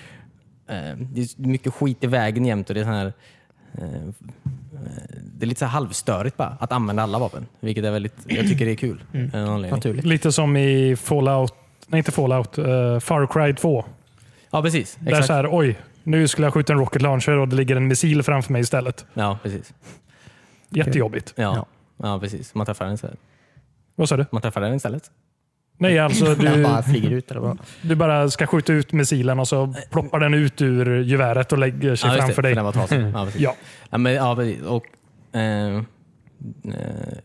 [SPEAKER 1] här, eh, det är mycket skit i vägen jämt och det är så här, eh, eh, det är lite så här halvstörigt bara att använda alla vapen. Vilket är väldigt, jag tycker det är kul.
[SPEAKER 3] Mm.
[SPEAKER 1] av någon anledning.
[SPEAKER 2] Naturligt.
[SPEAKER 3] Lite som i Fallout, nej inte Fallout, eh, Far Cry 2.
[SPEAKER 1] Ja precis.
[SPEAKER 3] Där
[SPEAKER 1] Exakt.
[SPEAKER 3] så här, oj, nu skulle jag skjuta en rocket launcher och det ligger en missil framför mig istället.
[SPEAKER 1] Ja, precis.
[SPEAKER 3] Jättejobbigt.
[SPEAKER 1] Ja.
[SPEAKER 2] Ja.
[SPEAKER 1] Ja. precis. Man träffar den istället.
[SPEAKER 3] Vad sa du?
[SPEAKER 1] Man träffar den istället.
[SPEAKER 3] Nej, alltså
[SPEAKER 2] Den
[SPEAKER 3] du,
[SPEAKER 2] bara flyger ut. Eller vad?
[SPEAKER 3] du bara ska skjuta ut missilen och så ploppar den ut ur geväret och lägger sig
[SPEAKER 1] ja, just
[SPEAKER 3] framför
[SPEAKER 1] det, för
[SPEAKER 3] dig.
[SPEAKER 1] Den var trasig. Ja, precis.
[SPEAKER 3] Ja.
[SPEAKER 1] Ja, men, ja, precis. Och, eh, eh,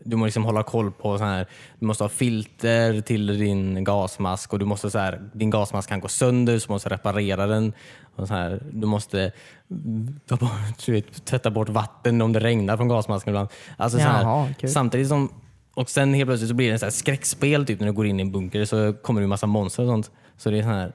[SPEAKER 1] du måste liksom hålla koll på så här, du måste ha filter till din gasmask och du måste så här, din gasmask kan gå sönder så du måste reparera den. Och så här, du måste mm, ta bort, du vet, tvätta bort vatten om det regnar från gasmasken ibland. Alltså, så
[SPEAKER 2] Jaha,
[SPEAKER 1] här,
[SPEAKER 2] kul.
[SPEAKER 1] samtidigt som och sen helt plötsligt så blir det en så här skräckspel typ när du går in i en bunker så kommer det en massa monster och sånt. Så det är så här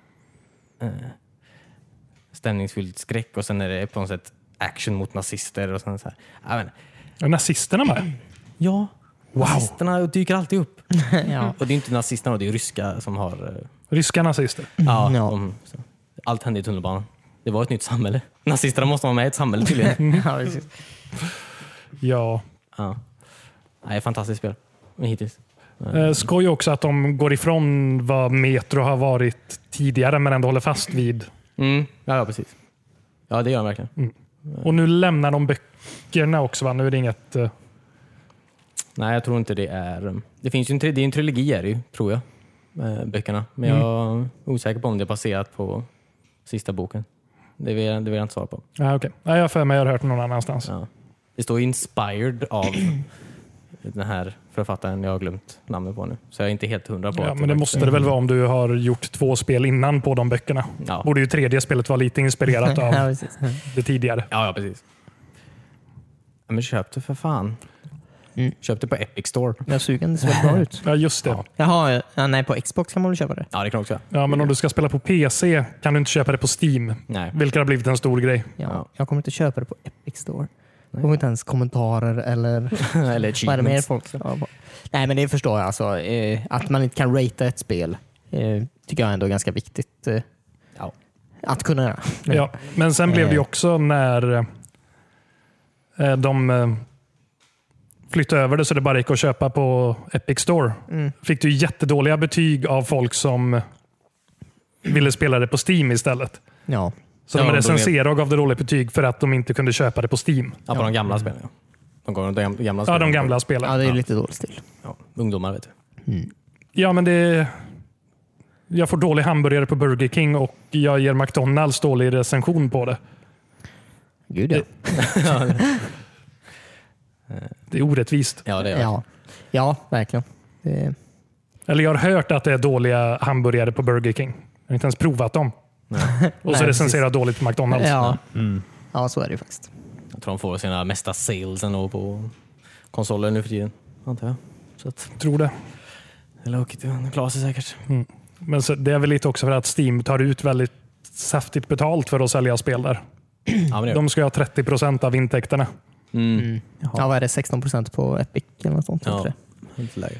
[SPEAKER 1] stämningsfylld skräck och sen är det på något sätt action mot nazister och sen så här. Jag vet inte.
[SPEAKER 3] Är nazisterna med?
[SPEAKER 1] Ja,
[SPEAKER 3] Wow.
[SPEAKER 1] nazisterna dyker alltid upp.
[SPEAKER 2] Ja.
[SPEAKER 1] Och det är inte nazisterna, det är ryska som har... eh,
[SPEAKER 3] Ryska nazister.
[SPEAKER 1] Ja,
[SPEAKER 2] Ja.
[SPEAKER 1] de, så. Allt hände i tunnelbanan. Det var ett nytt samhälle. Nazisterna måste vara med i ett samhälle tydligen.
[SPEAKER 2] Ja, precis.
[SPEAKER 3] Ja.
[SPEAKER 1] Ja. Ja, Det är ett fantastiskt spel. Hittills.
[SPEAKER 3] Eh, skoj också att de går ifrån vad Metro har varit tidigare men ändå håller fast vid.
[SPEAKER 1] Mm. Ja, ja, precis. Ja, det gör de verkligen.
[SPEAKER 3] Och nu lämnar de böckerna också va? Nu är det inget... eh,
[SPEAKER 1] Nej, jag tror inte det är... um, Det finns ju en, tri- det är en trilogi, är det ju, tror jag, eh, böckerna. Men jag är osäker på om det är baserat på sista boken. Det vill, jag- det vill jag inte svara på.
[SPEAKER 3] Nej, okej. Nej, jag har för mig jag har hört någon annanstans.
[SPEAKER 1] Ja. Det står inspired av den här författaren jag har glömt namnet på nu. Så jag är inte helt hundra
[SPEAKER 3] Ja,
[SPEAKER 1] på att
[SPEAKER 3] men det
[SPEAKER 1] faktiskt
[SPEAKER 3] måste det väl vara om du har gjort två spel innan på de böckerna.
[SPEAKER 1] Ja.
[SPEAKER 3] Borde ju tredje spelet vara lite inspirerat
[SPEAKER 2] Ja,
[SPEAKER 3] av
[SPEAKER 2] precis.
[SPEAKER 3] det tidigare.
[SPEAKER 1] Ja, ja precis. Ja, men köp det för fan.
[SPEAKER 2] Mm.
[SPEAKER 1] Köp det på Epic Store.
[SPEAKER 2] Jag suger den ser väldigt bra ut.
[SPEAKER 3] Ja, just det.
[SPEAKER 2] Jaha, ja, nej på Xbox kan man väl köpa det?
[SPEAKER 1] Ja, det kan jag också göra.
[SPEAKER 3] Ja, men om du ska spela på PC kan du inte köpa det på Steam.
[SPEAKER 1] Nej.
[SPEAKER 3] Vilket har blivit en stor grej.
[SPEAKER 2] Ja.
[SPEAKER 1] Ja.
[SPEAKER 2] Jag kommer inte köpa det på Epic Store. Jag kommer inte ens kommentarer eller
[SPEAKER 1] Eller
[SPEAKER 2] vad är det mer
[SPEAKER 1] achievements.
[SPEAKER 2] folk ja, bara- Nej men det förstår jag. Alltså, eh, att man inte kan ratea ett spel eh, tycker jag ändå är ganska viktigt eh,
[SPEAKER 1] Ja.
[SPEAKER 2] att kunna göra.
[SPEAKER 3] Ja, men sen blev det ju också när eh, de eh, flyttade över det så det bara gick att köpa på Epic Store. Fick du jättedåliga betyg av folk som ville spela det på Steam istället.
[SPEAKER 2] Ja.
[SPEAKER 3] Så de
[SPEAKER 1] Ja, de är-
[SPEAKER 3] recenserade och gav det dåligt betyg för att de inte kunde köpa det på Steam.
[SPEAKER 1] Ja, på de gamla spelen. Ja. De, går- de gamla
[SPEAKER 3] Ja,
[SPEAKER 1] spelen.
[SPEAKER 3] de gamla
[SPEAKER 2] ja,
[SPEAKER 3] spelen.
[SPEAKER 2] det är ju lite dålig stil.
[SPEAKER 1] Ja, ungdomar vet du.
[SPEAKER 3] Ja, men det... Jag får dålig hamburgare på Burger King och jag ger McDonalds dålig recension på det.
[SPEAKER 2] Gud ja.
[SPEAKER 3] Det är orättvist.
[SPEAKER 1] Ja, det gör jag.
[SPEAKER 2] Ja, ja verkligen. Eh,
[SPEAKER 3] Eller jag har hört att det är dåliga hamburgare på Burger King. Jag har inte ens provat dem. Och så
[SPEAKER 2] Nej,
[SPEAKER 3] recenserar jag dåligt på McDonalds.
[SPEAKER 2] ja. ja, så är det ju faktiskt.
[SPEAKER 1] Jag tror de får sina mesta sales ändå på konsoler nu för tiden. Antar jag. Så att,
[SPEAKER 3] Tror det.
[SPEAKER 1] eller okej, de klarar sig säkert.
[SPEAKER 3] Men så, det är väl lite också för att Steam tar ut väldigt saftigt betalt för att sälja spel där.
[SPEAKER 1] Ja, men det gör de.
[SPEAKER 3] De ska ha 30 procent av intäkterna.
[SPEAKER 2] Ja, vad är det? 16 procent på Epic eller något sånt?
[SPEAKER 1] Ja.
[SPEAKER 2] Ja.
[SPEAKER 1] Lite lägre.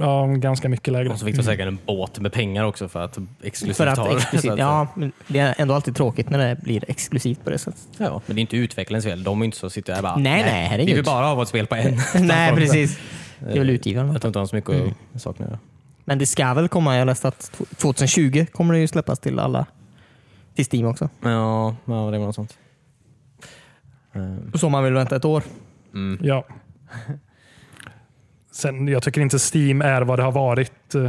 [SPEAKER 3] Ja, ganska mycket lägre.
[SPEAKER 1] Och så fick de säkert en båt med pengar också för att exklusivt
[SPEAKER 2] För
[SPEAKER 1] ha
[SPEAKER 2] att
[SPEAKER 1] det,
[SPEAKER 2] exklusivt,
[SPEAKER 1] så att-
[SPEAKER 2] ja, men det är ändå alltid tråkigt när det blir exklusivt på det sättet.
[SPEAKER 1] ja. Men det är inte utvecklarens fel. De är inte så sitter där bara...
[SPEAKER 2] Nej, nej, herregud."
[SPEAKER 1] Vi vill bara ha vårt spel på en.
[SPEAKER 2] Nej, precis. Det är väl utgivaren.
[SPEAKER 1] Jag tror inte de har så mycket att sakna att göra.
[SPEAKER 2] Men det ska väl komma, jag läste att tw- 2020 kommer det ju släppas till alla till Steam också.
[SPEAKER 1] Men Ja, ja, det var något sånt. Ehm,
[SPEAKER 2] Så om man vill vänta ett år.
[SPEAKER 3] Ja. Sen, jag tycker inte Steam är vad det har varit. eh,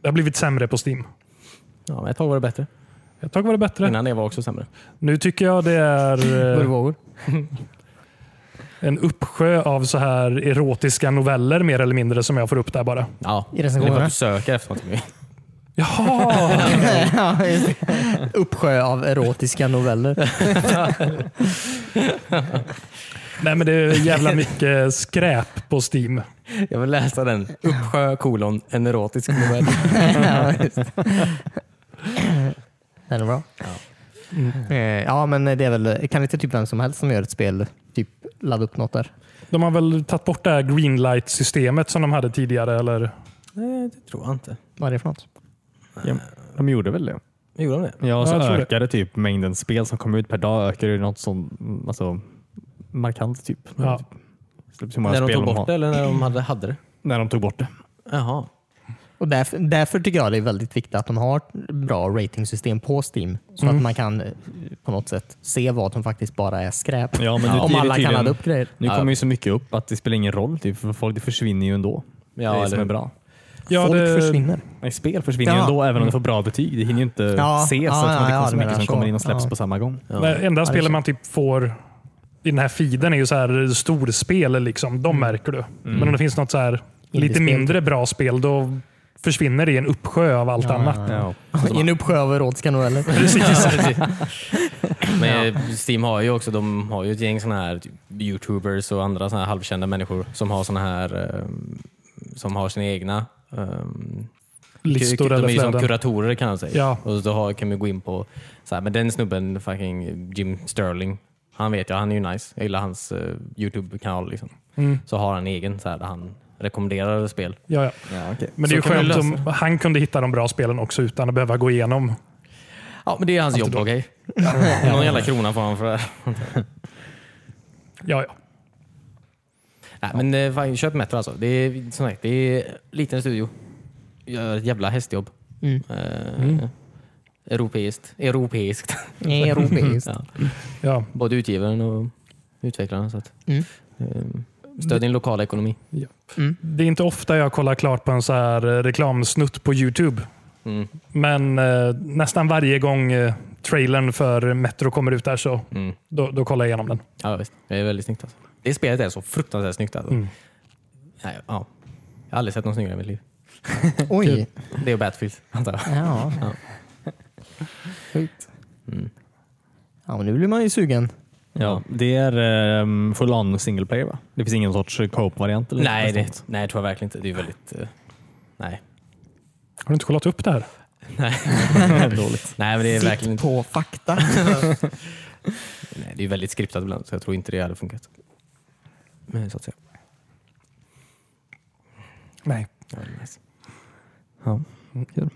[SPEAKER 3] Det har blivit sämre på Steam.
[SPEAKER 1] Ja, men ett tag var det bättre.
[SPEAKER 3] Ett tag var det bättre.
[SPEAKER 1] Innan det var också sämre.
[SPEAKER 3] Nu tycker jag det är eh,
[SPEAKER 2] Vågor.
[SPEAKER 3] en uppsjö av så här erotiska noveller mer eller mindre som jag får upp där bara.
[SPEAKER 1] Ja,
[SPEAKER 2] I
[SPEAKER 1] det är för
[SPEAKER 2] recensionerna.
[SPEAKER 1] att du söker efter någonting.
[SPEAKER 3] Jaha!
[SPEAKER 2] Ja, just det. Uppsjö av erotiska noveller.
[SPEAKER 3] Nej, men det är jävla mycket skräp på Steam.
[SPEAKER 1] Jag vill läsa den. Uppsjö kolon en erotisk novell.
[SPEAKER 2] ja, visst. Den är bra. Ja. ja, men det är väl, kan inte typ vem som helst som gör ett spel typ ladda upp något där?
[SPEAKER 3] De har väl tagit bort det här greenlight-systemet som de hade tidigare? Eller?
[SPEAKER 1] Nej, det tror jag inte.
[SPEAKER 2] Vad är det för något?
[SPEAKER 4] Ja, de gjorde väl det?
[SPEAKER 1] Gjorde de det?
[SPEAKER 4] Ja, så
[SPEAKER 3] jag tror det.
[SPEAKER 4] ökade typ mängden spel som kom ut per dag ökade ju något sånt alltså, markant. typ.
[SPEAKER 3] Ja.
[SPEAKER 4] Typ hur många
[SPEAKER 1] När de
[SPEAKER 4] spel
[SPEAKER 1] tog
[SPEAKER 4] har-
[SPEAKER 1] bort det eller när de hade, hade det?
[SPEAKER 4] När de tog bort det.
[SPEAKER 1] Jaha.
[SPEAKER 2] Och därför, därför tycker jag det är väldigt viktigt att de har ett bra ratingsystem på Steam. Så
[SPEAKER 4] Mm.
[SPEAKER 2] att man kan eh, på något sätt se vad som faktiskt bara är skräp.
[SPEAKER 4] Ja, men nu-
[SPEAKER 2] Om
[SPEAKER 4] det är
[SPEAKER 2] alla
[SPEAKER 4] tydligen-
[SPEAKER 2] kan ladda upp grejer.
[SPEAKER 4] Nu
[SPEAKER 1] Ja.
[SPEAKER 4] kommer ju så mycket upp att det spelar ingen roll. Typ, för folk, det försvinner ju ändå.
[SPEAKER 1] Ja,
[SPEAKER 4] det är det
[SPEAKER 1] eller
[SPEAKER 4] som
[SPEAKER 1] hur?
[SPEAKER 4] är bra.
[SPEAKER 3] Ja,
[SPEAKER 2] Folk
[SPEAKER 3] det-
[SPEAKER 2] försvinner.
[SPEAKER 4] Nej, spel försvinner ju
[SPEAKER 2] Ja.
[SPEAKER 4] ändå även om det får bra betyg. Det hinner ju inte
[SPEAKER 2] Ja,
[SPEAKER 4] ses
[SPEAKER 2] ja,
[SPEAKER 4] eftersom
[SPEAKER 2] ja,
[SPEAKER 4] det
[SPEAKER 2] ja,
[SPEAKER 4] kommer
[SPEAKER 2] det
[SPEAKER 4] så mycket
[SPEAKER 2] menar
[SPEAKER 4] som
[SPEAKER 2] jag.
[SPEAKER 4] kommer in och släpps
[SPEAKER 2] Ja.
[SPEAKER 4] på samma gång.
[SPEAKER 1] Ja.
[SPEAKER 3] Det enda
[SPEAKER 2] det är
[SPEAKER 3] spelet man typ får i den här feeden är ju så här storspel. Liksom. De märker
[SPEAKER 1] Mm.
[SPEAKER 3] du. Men om det finns något så här lite
[SPEAKER 2] Indiespel.
[SPEAKER 3] mindre bra spel, då försvinner det i en uppsjö av allt annat.
[SPEAKER 4] Ah, Ja.
[SPEAKER 2] I en Alltså, uppsjö av erotiska noveller.
[SPEAKER 1] Men eh, Steam har ju också de har ju ett gäng såna här typ, youtubers och andra såna här halvkända människor som har såna här ehm, som har sina egna ehm,
[SPEAKER 3] Listor
[SPEAKER 1] de är
[SPEAKER 3] eller
[SPEAKER 1] ju som
[SPEAKER 3] flöden.
[SPEAKER 1] kuratorer kan man säga.
[SPEAKER 3] Ja.
[SPEAKER 1] Och då har, kan vi gå in på så här, men den snubben, fucking Jim Sterling, han vet jag, han är ju nice. Jag gillar hans eh, Youtube-kanal. Liksom.
[SPEAKER 3] Mm.
[SPEAKER 1] Så har han egen så här, där han rekommenderar spel.
[SPEAKER 3] Ja, ja.
[SPEAKER 4] Ja, okej.
[SPEAKER 3] Men det är ju
[SPEAKER 1] Så kan vi
[SPEAKER 3] skönt om
[SPEAKER 1] lösa
[SPEAKER 3] han kunde hitta de bra spelen också utan att behöva gå igenom.
[SPEAKER 1] Ja, men det är hans jobb, okej? Någon jävla krona får han för det.
[SPEAKER 3] Ja, ja.
[SPEAKER 1] Nej, men eh, fan, köp Metro alltså. Det är, som sagt, det är liten studio. Gör ett jävla hästjobb.
[SPEAKER 2] Mm.
[SPEAKER 1] Eh, Europeiskt. Europeiskt.
[SPEAKER 2] Europeiskt.
[SPEAKER 1] ja.
[SPEAKER 3] ja.
[SPEAKER 1] Både utgivaren och utvecklaren. Så att,
[SPEAKER 2] Mm.
[SPEAKER 1] eh, stöd din lokala ekonomi.
[SPEAKER 3] Det är inte ofta jag kollar klart på en så här eh, reklamsnutt på Youtube.
[SPEAKER 1] Mm.
[SPEAKER 3] Men eh, nästan varje gång eh, trailern för Metro kommer ut där så
[SPEAKER 1] Mm.
[SPEAKER 3] då, då kollar jag igenom den.
[SPEAKER 1] Ja, visst. Det är väldigt snyggt. Alltså. Det spelet är så fruktansvärt snyggt. Alltså.
[SPEAKER 3] Mm.
[SPEAKER 1] Nej, ja. Jag har aldrig sett något snyggare i mitt liv.
[SPEAKER 2] Oj.
[SPEAKER 1] Det är Battlefield, antar jag.
[SPEAKER 2] Typ. Ja.
[SPEAKER 1] Ja.
[SPEAKER 2] Sjukt.
[SPEAKER 1] Mm.
[SPEAKER 2] Ja, men nu blir man ju sugen.
[SPEAKER 4] Ja, det är um, full on single player va? Det finns ingen sorts eh, co-op-variant? eller
[SPEAKER 1] Nej,
[SPEAKER 4] något
[SPEAKER 1] det,
[SPEAKER 4] sånt?
[SPEAKER 1] nej, tror jag verkligen inte. Det är väldigt... eh, nej.
[SPEAKER 3] Har du inte kollat upp det här?
[SPEAKER 1] Nej.
[SPEAKER 4] Dåligt.
[SPEAKER 1] nej, men det är
[SPEAKER 2] Sitt
[SPEAKER 1] verkligen inte...
[SPEAKER 2] på fakta.
[SPEAKER 1] Nej, det är väldigt skriptat ibland, så jag tror inte det hade funkat. Men så att säga.
[SPEAKER 3] Nej.
[SPEAKER 1] Ja, det är nice.
[SPEAKER 4] Ja. Kul.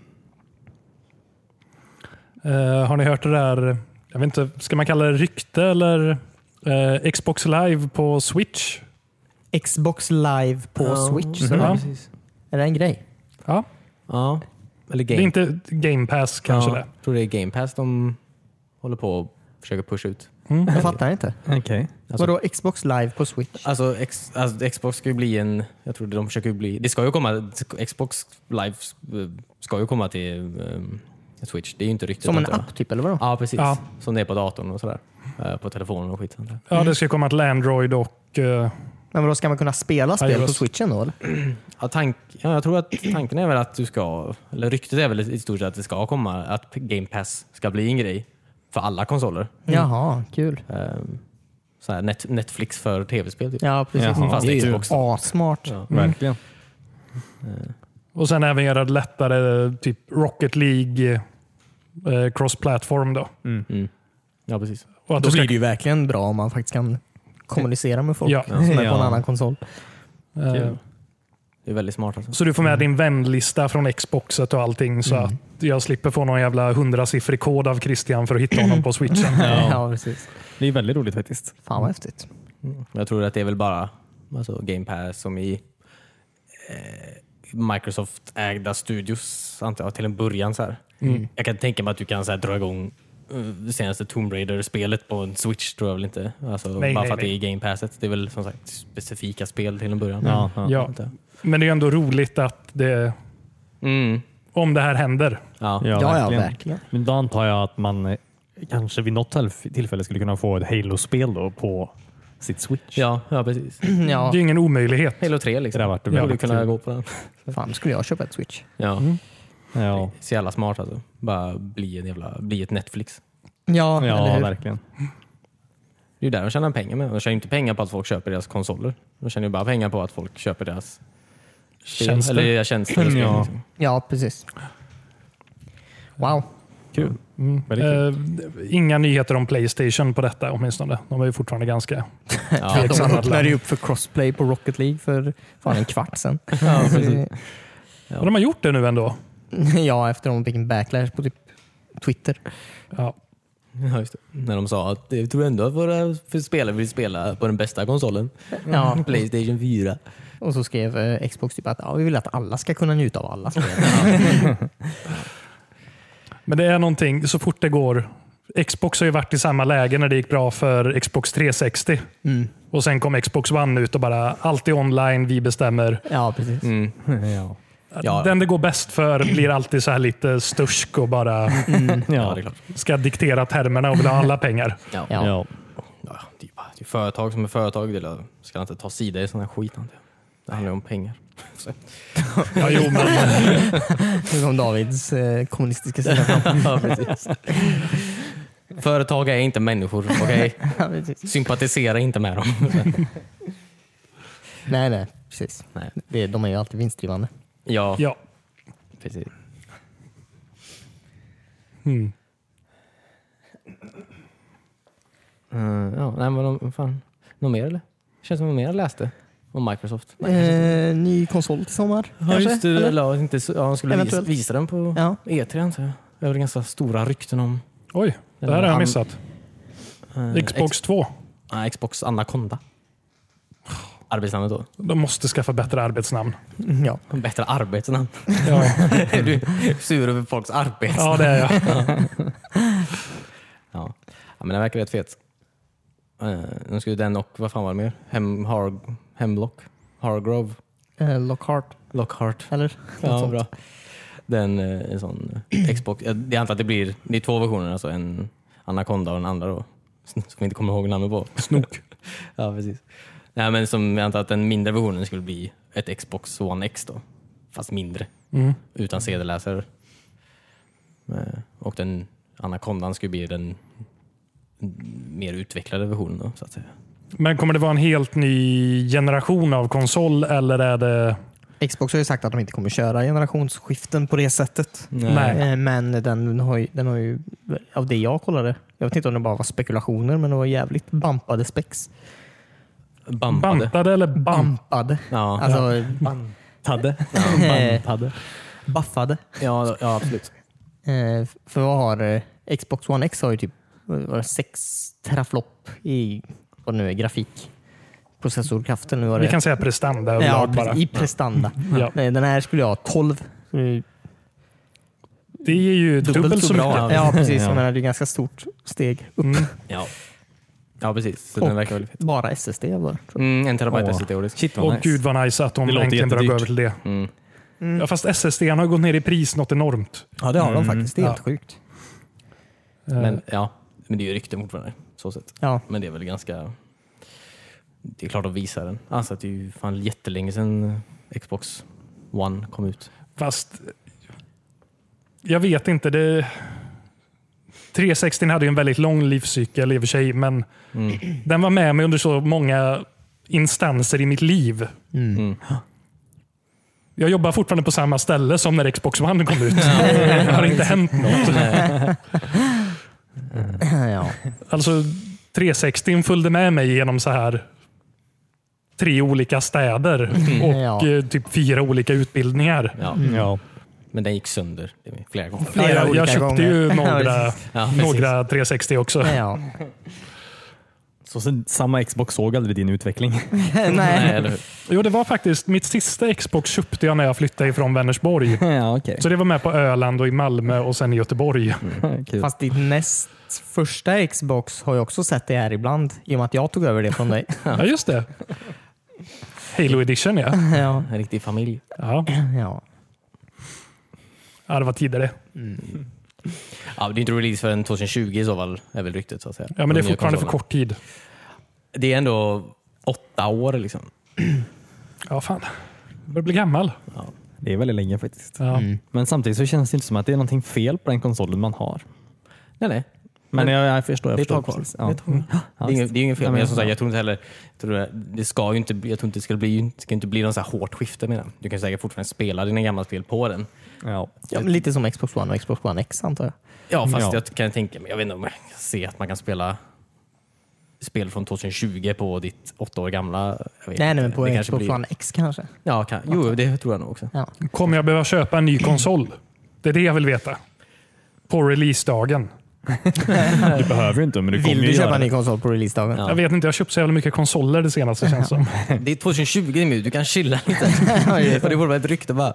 [SPEAKER 3] Eh, har ni hört det där, eh, jag vet inte, ska man kalla det rykte eller eh, Xbox live på Switch?
[SPEAKER 2] Xbox live på Switch. Så
[SPEAKER 3] Mhm.
[SPEAKER 2] är det-
[SPEAKER 1] precis.
[SPEAKER 2] Är det en grej?
[SPEAKER 3] Ja,
[SPEAKER 1] Ja. Eller
[SPEAKER 3] det
[SPEAKER 1] Game
[SPEAKER 3] är inte Game Pass kanske
[SPEAKER 1] ja,
[SPEAKER 3] det.
[SPEAKER 1] Jag tror det är Game Pass de håller på och försöker pusha ut.
[SPEAKER 3] Mm.
[SPEAKER 2] Jag fattar inte.
[SPEAKER 4] Okej.
[SPEAKER 1] Alltså-
[SPEAKER 2] Vadå Xbox live på Switch?
[SPEAKER 1] Alltså, ex, alltså Xbox ska ju bli en... Jag tror de försöker ju bli... Det ska ju komma... Xbox Live eh, ska ju komma till ehm, Switch. Det är ju inte riktigt...
[SPEAKER 2] Som en
[SPEAKER 1] antar jag.
[SPEAKER 2] app typ, eller vadå?
[SPEAKER 1] Ja, precis.
[SPEAKER 3] Ja.
[SPEAKER 1] Som det är på datorn och sådär. Eh, På telefonen och skit. sånt där.
[SPEAKER 3] Ja, det ska komma till Android och eh,
[SPEAKER 2] Men vadå, ska man kunna spela spel på
[SPEAKER 3] iOS.
[SPEAKER 2] switchen då? Eller?
[SPEAKER 1] Ja, tank, ja, jag tror att tanken är väl att du ska... Eller ryktet är väl i stort sett att det ska komma, att Game Pass ska bli en grej för alla konsoler.
[SPEAKER 2] Jaha, kul.
[SPEAKER 1] Ehm, så här net, Netflix för tv-spel typ.
[SPEAKER 2] Ja, precis.
[SPEAKER 4] Jaha,
[SPEAKER 1] Fast
[SPEAKER 4] det är ju-
[SPEAKER 1] Xbox.
[SPEAKER 2] Assmart.
[SPEAKER 1] Ja.
[SPEAKER 4] Mm. Verkligen.
[SPEAKER 3] och sen även göra det lättare, eh, typ Rocket League eh, cross-platform då.
[SPEAKER 1] Mm. ja, precis.
[SPEAKER 3] Och att
[SPEAKER 2] Då
[SPEAKER 3] du ska,
[SPEAKER 2] blir det ju verkligen bra om man faktiskt kan kommunicera med folk
[SPEAKER 3] Ja.
[SPEAKER 2] som är på en
[SPEAKER 4] Ja.
[SPEAKER 2] annan konsol.
[SPEAKER 3] eh,
[SPEAKER 1] Det är väldigt smart alltså.
[SPEAKER 3] så du får
[SPEAKER 2] Mm.
[SPEAKER 3] med din vänlista från Xboxet och allting så att jag slipper få någon jävla hundrasiffrig kod av Christian för att hitta honom på switchen.
[SPEAKER 2] Ja. precis.
[SPEAKER 4] Det är väldigt roligt faktiskt.
[SPEAKER 2] Fan vad häftigt.
[SPEAKER 1] Mm. Jag tror att det är väl bara alltså, Game Pass som i eh, Microsoft-ägda studios, antar jag, till en början. Så här.
[SPEAKER 4] Mm.
[SPEAKER 1] Jag kan tänka mig att du kan så här, dra igång eh, det senaste Tomb Raider-spelet på en Switch, tror jag väl inte. Alltså,
[SPEAKER 3] Nej,
[SPEAKER 1] bara
[SPEAKER 3] nej,
[SPEAKER 1] för att
[SPEAKER 3] nej.
[SPEAKER 1] det är Game Passet. Det är väl som sagt specifika spel till en början.
[SPEAKER 4] Ja, Mm. ja.
[SPEAKER 3] Ja.
[SPEAKER 1] Antar jag.
[SPEAKER 3] Men det är ju ändå roligt att det,
[SPEAKER 1] Mm.
[SPEAKER 3] om det här händer,
[SPEAKER 1] Ja.
[SPEAKER 4] Ja,
[SPEAKER 2] Ja, ja,
[SPEAKER 4] verkligen.
[SPEAKER 2] verkligen.
[SPEAKER 4] Men då antar jag att man eh, kanske vid något tillf- tillfälle skulle kunna få ett Halo-spel då på sitt Switch.
[SPEAKER 1] Ja, ja, precis.
[SPEAKER 2] Ja,
[SPEAKER 3] det är ju ingen omöjlighet.
[SPEAKER 1] Halo 3 liksom.
[SPEAKER 4] Det där vart det
[SPEAKER 1] Jag borde
[SPEAKER 4] väldigt
[SPEAKER 1] kunna
[SPEAKER 4] kul. Mm.
[SPEAKER 1] gå på den.
[SPEAKER 2] fan skulle jag köpa ett switch?
[SPEAKER 1] Ja.
[SPEAKER 4] Ja,
[SPEAKER 1] Så jävla smart alltså. Bara bli, en jävla, bli ett Netflix.
[SPEAKER 2] Ja, eller
[SPEAKER 4] ja
[SPEAKER 2] hur?
[SPEAKER 4] verkligen.
[SPEAKER 1] Det är ju där de tjänar pengar med. De tjänar ju inte pengar på att folk köper deras konsoler. De tjänar ju bara pengar på att folk köper deras spel.
[SPEAKER 3] Tjänster.
[SPEAKER 1] Eller deras tjänster. och spel,
[SPEAKER 4] Ja.
[SPEAKER 1] liksom.
[SPEAKER 2] Ja, precis. Wow.
[SPEAKER 4] Kul.
[SPEAKER 3] Mm.
[SPEAKER 4] Väldigt
[SPEAKER 3] Eh, inga nyheter om Playstation på detta åtminstone. De är ju fortfarande ganska...
[SPEAKER 1] Ja.
[SPEAKER 2] de
[SPEAKER 3] exakt.
[SPEAKER 2] öppnade ju upp för crossplay på Rocket League för fan en kvart sedan.
[SPEAKER 1] Ja, precis.
[SPEAKER 3] Men de har gjort det nu ändå.
[SPEAKER 2] ja, efter de fick en backlash på typ Twitter.
[SPEAKER 3] Ja.
[SPEAKER 1] Ja, just det. När de sa att jag tror ändå att våra för spelare vill spela på den bästa konsolen.
[SPEAKER 2] Ja.
[SPEAKER 1] Playstation 4.
[SPEAKER 2] Och så skrev eh, Xbox typ att ja, vi vill att alla ska kunna njuta av alla spel.
[SPEAKER 3] Men det är någonting, så fort det går. Xbox har ju varit i samma läge när det gick bra för Xbox 360.
[SPEAKER 1] Mm.
[SPEAKER 3] Och sen kom Xbox One ut och bara, allt är online, vi bestämmer.
[SPEAKER 2] Ja, precis.
[SPEAKER 4] Ja.
[SPEAKER 1] Ja.
[SPEAKER 3] Den det går bäst för blir alltid så här lite stursk och bara
[SPEAKER 1] Ja, det är klart.
[SPEAKER 3] ska diktera termerna och vill ha alla pengar.
[SPEAKER 1] Ja. Ja.
[SPEAKER 2] Ja.
[SPEAKER 4] Ja.
[SPEAKER 1] det är ju bara det är företag som är företag. Det är lö- ska inte ta sida i sån här skit. antar jag. Det handlar ju om pengar. Så.
[SPEAKER 3] Ja, jo, men
[SPEAKER 2] Nu kom Davids eh, kommunistiska sida fram.
[SPEAKER 1] Ja, precis. Företag är inte människor, okej?
[SPEAKER 2] Ja, precis.
[SPEAKER 1] Sympatisera inte med dem.
[SPEAKER 2] nej, nej, precis.
[SPEAKER 1] Nej.
[SPEAKER 2] Det, de är ju alltid vinstdrivande.
[SPEAKER 1] Ja,
[SPEAKER 3] ja.
[SPEAKER 1] precis.
[SPEAKER 3] Mm.
[SPEAKER 1] Mm, ja, nej, men de, fan. Något mer eller? Känns som något mer jag läste om Microsoft.
[SPEAKER 2] Eh, ny konsol till sommar?
[SPEAKER 1] Ja, just det.
[SPEAKER 2] eller?
[SPEAKER 1] Eller, ja, inte, så- ja, de skulle visa,
[SPEAKER 2] Eventuellt.
[SPEAKER 1] visa den på
[SPEAKER 2] Ja.
[SPEAKER 1] E3 antar jag. Det var väl ganska stora rykten om
[SPEAKER 3] Oj, det här har jag missat.
[SPEAKER 1] eh,
[SPEAKER 3] Xbox 2.
[SPEAKER 1] Ex, nej, Xbox Anaconda. Arbetsnamnet då.
[SPEAKER 3] De måste skaffa bättre arbetsnamn.
[SPEAKER 2] Ja.
[SPEAKER 1] Bättre arbetsnamn.
[SPEAKER 3] Ja,
[SPEAKER 1] Är du sur över folks arbetsnamn?
[SPEAKER 3] ja det är jag.
[SPEAKER 1] Ja. ja, men den verkar rätt fet. Eh, Nu skulle den och, vad fan var det mer? Hem, har, hemlock? Hargrove?
[SPEAKER 2] Eh, Lockhart,
[SPEAKER 1] Lockhart?
[SPEAKER 2] eller? Något
[SPEAKER 1] Ja,
[SPEAKER 2] sånt.
[SPEAKER 1] bra. Den, eh, en sån eh, Xbox. eh, Jag antar att det blir, det är två versioner alltså. En Anaconda och den andra då. Som vi inte kommer ihåg namnet på. Snok. ja, precis. Nej, men som jag antar att den mindre versionen skulle bli ett Xbox One X då. Fast mindre.
[SPEAKER 3] Mm.
[SPEAKER 1] Utan CD-läsare. Eh, Och den Anacondan skulle bli den mer utvecklade versionen då, så att säga.
[SPEAKER 3] Men kommer det vara en helt ny generation av konsol eller är det...
[SPEAKER 2] Xbox har ju sagt att de inte kommer köra generationsskiften på det sättet.
[SPEAKER 3] Nej.
[SPEAKER 2] Eh, Men den har, ju, den har ju, av det jag kollade, jag vet inte om det bara var spekulationer, men det var jävligt bampade spex.
[SPEAKER 1] Bampade.
[SPEAKER 3] Bantade eller bam?
[SPEAKER 2] Bampade.
[SPEAKER 1] Mm. Ja.
[SPEAKER 2] Alltså,
[SPEAKER 4] Tadde.
[SPEAKER 2] eh,
[SPEAKER 4] Tadde.
[SPEAKER 2] baffade.
[SPEAKER 1] Ja, ja, absolut.
[SPEAKER 2] Eh, För vad har eh, Xbox One X har ju typ vad var det, sex teraflop i vad det nu är, grafik. Processorkraften. Nu var det,
[SPEAKER 3] Vi kan säga prestanda
[SPEAKER 2] ja, Mm.
[SPEAKER 3] överlag
[SPEAKER 2] precis,
[SPEAKER 3] bara.
[SPEAKER 2] I prestanda.
[SPEAKER 3] Ja.
[SPEAKER 2] Nej, Den här skulle jag ha 12. Mm.
[SPEAKER 3] Det är ju dubbelt, så mycket.
[SPEAKER 1] bra.
[SPEAKER 2] Ja, precis.
[SPEAKER 4] Ja.
[SPEAKER 2] Jag menar, det är ett ganska stort steg upp.
[SPEAKER 3] Mm.
[SPEAKER 1] Ja, ja precis. Så
[SPEAKER 2] Och-
[SPEAKER 1] den verkar väldigt fet.
[SPEAKER 2] Bara SSD var
[SPEAKER 1] Mm, en terabyte
[SPEAKER 4] Åh.
[SPEAKER 1] SSD och disk.
[SPEAKER 4] Shit vad
[SPEAKER 3] Och
[SPEAKER 4] nice.
[SPEAKER 3] gud vad nice att de
[SPEAKER 4] Det låter
[SPEAKER 3] äntligen börjar gå över
[SPEAKER 4] jättedyrt.
[SPEAKER 3] till det.
[SPEAKER 1] Mm.
[SPEAKER 2] Mm.
[SPEAKER 3] Ja, fast SSD har gått ner i pris något enormt.
[SPEAKER 2] Ja, det har
[SPEAKER 1] Mm.
[SPEAKER 2] de faktiskt. Det är
[SPEAKER 3] Ja.
[SPEAKER 2] helt sjukt.
[SPEAKER 3] Eh,
[SPEAKER 1] Men ja, men det är ju rykten fortfarande. Så sett.
[SPEAKER 2] Ja,
[SPEAKER 1] Men det är väl ganska... Det är klart de visar den. Alltså att det är ju fan jättelänge sedan Xbox One kom ut.
[SPEAKER 3] Fast jag vet inte. Det... 360 hade ju en väldigt lång livscykel i och för sig, men den var med mig under så många instanser i mitt liv.
[SPEAKER 1] Mm.
[SPEAKER 3] Jag jobbar fortfarande på samma ställe som när Xbox One kom ut. Det har inte hänt något.
[SPEAKER 2] ja.
[SPEAKER 3] Alltså 360 följde med mig genom så här tre olika städer och
[SPEAKER 2] Mm. Ja.
[SPEAKER 3] eh, typ fyra olika utbildningar.
[SPEAKER 1] Ja.
[SPEAKER 4] Ja.
[SPEAKER 1] Men den gick sönder det var flera gånger.
[SPEAKER 2] Flera
[SPEAKER 3] Ja, jag,
[SPEAKER 2] olika
[SPEAKER 3] jag köpte
[SPEAKER 2] gånger.
[SPEAKER 3] ju
[SPEAKER 2] Ja,
[SPEAKER 3] några,
[SPEAKER 2] precis.
[SPEAKER 1] Ja, precis.
[SPEAKER 3] några 360 också.
[SPEAKER 2] ja.
[SPEAKER 4] Så sen, samma Xbox såg aldrig din utveckling.
[SPEAKER 1] Nej,
[SPEAKER 2] Nej.
[SPEAKER 1] eller hur?
[SPEAKER 3] Jo, det var faktiskt mitt sista Xbox köpte jag när jag flyttade ifrån Vänersborg.
[SPEAKER 4] ja, okej.
[SPEAKER 3] Så det var med på Öland och i Malmö och sen i Göteborg.
[SPEAKER 4] Kul.
[SPEAKER 2] Fast ditt näst första Xbox har jag också sett det här ibland i och med att jag tog över det från dig.
[SPEAKER 3] Ja, just det. Halo Edition, ja.
[SPEAKER 2] ja.
[SPEAKER 1] En riktig familj.
[SPEAKER 3] Ja,
[SPEAKER 2] ja.
[SPEAKER 3] ja det var tidigare.
[SPEAKER 1] Ja, det är inte release förrän 2020 i så fall, är väl ryktet. Så att säga.
[SPEAKER 3] Ja, men det är
[SPEAKER 1] De nya
[SPEAKER 3] fortfarande för
[SPEAKER 1] konsolerna.
[SPEAKER 3] kort tid.
[SPEAKER 1] Det är ändå åtta år liksom.
[SPEAKER 3] Ja, fan. Jag börjar bli gammal.
[SPEAKER 4] Det är väldigt länge faktiskt.
[SPEAKER 2] Mm.
[SPEAKER 3] Ja.
[SPEAKER 4] Men samtidigt så känns det inte som att det är någonting fel på den konsolen man har.
[SPEAKER 1] Nej, nej.
[SPEAKER 4] Men jag, jag förstår. Jag
[SPEAKER 2] Det är ett
[SPEAKER 4] förstår
[SPEAKER 2] tag kvar.
[SPEAKER 4] Ja.
[SPEAKER 2] Det är ett tag.
[SPEAKER 1] Det är inget, det är inget fel,
[SPEAKER 4] Ja,
[SPEAKER 1] men
[SPEAKER 4] men-
[SPEAKER 1] jag, som sagt, jag tror inte heller... jag Tror det, det ska ju inte, bli- jag tror inte det ska bli, det ska inte bli någon så här hårt skifte med den. Du kan säkert fortfarande spela dina gamla spel på den.
[SPEAKER 4] Ja.
[SPEAKER 2] Ja, men lite som Xbox One och Xbox One X antar jag.
[SPEAKER 1] Ja, fast
[SPEAKER 4] Ja.
[SPEAKER 1] jag kan tänka mig, jag vet inte om jag kan se att man kan spela spel från 2020 på ditt åtta år gamla. Jag vet
[SPEAKER 2] Nej,
[SPEAKER 1] inte.
[SPEAKER 2] nej men på
[SPEAKER 1] Det kanske
[SPEAKER 2] Xbox
[SPEAKER 1] blir-
[SPEAKER 2] One X kanske.
[SPEAKER 1] Ja, kan, jo, det tror jag nog också.
[SPEAKER 2] Ja.
[SPEAKER 3] Kommer jag behöva köpa en ny konsol? Det är det jag vill veta. På releasedagen.
[SPEAKER 4] Du behöver ju inte, men du kommer
[SPEAKER 2] Vill
[SPEAKER 4] ju
[SPEAKER 2] du köpa
[SPEAKER 4] göra
[SPEAKER 2] en ny
[SPEAKER 4] det.
[SPEAKER 2] konsol på releasedagen?
[SPEAKER 1] Ja.
[SPEAKER 3] Jag vet inte, jag har köpt så jävla mycket konsoler det senaste känns som.
[SPEAKER 1] Det är 2020 nu, du kan chilla lite. Och det borde vara ett rykte bara.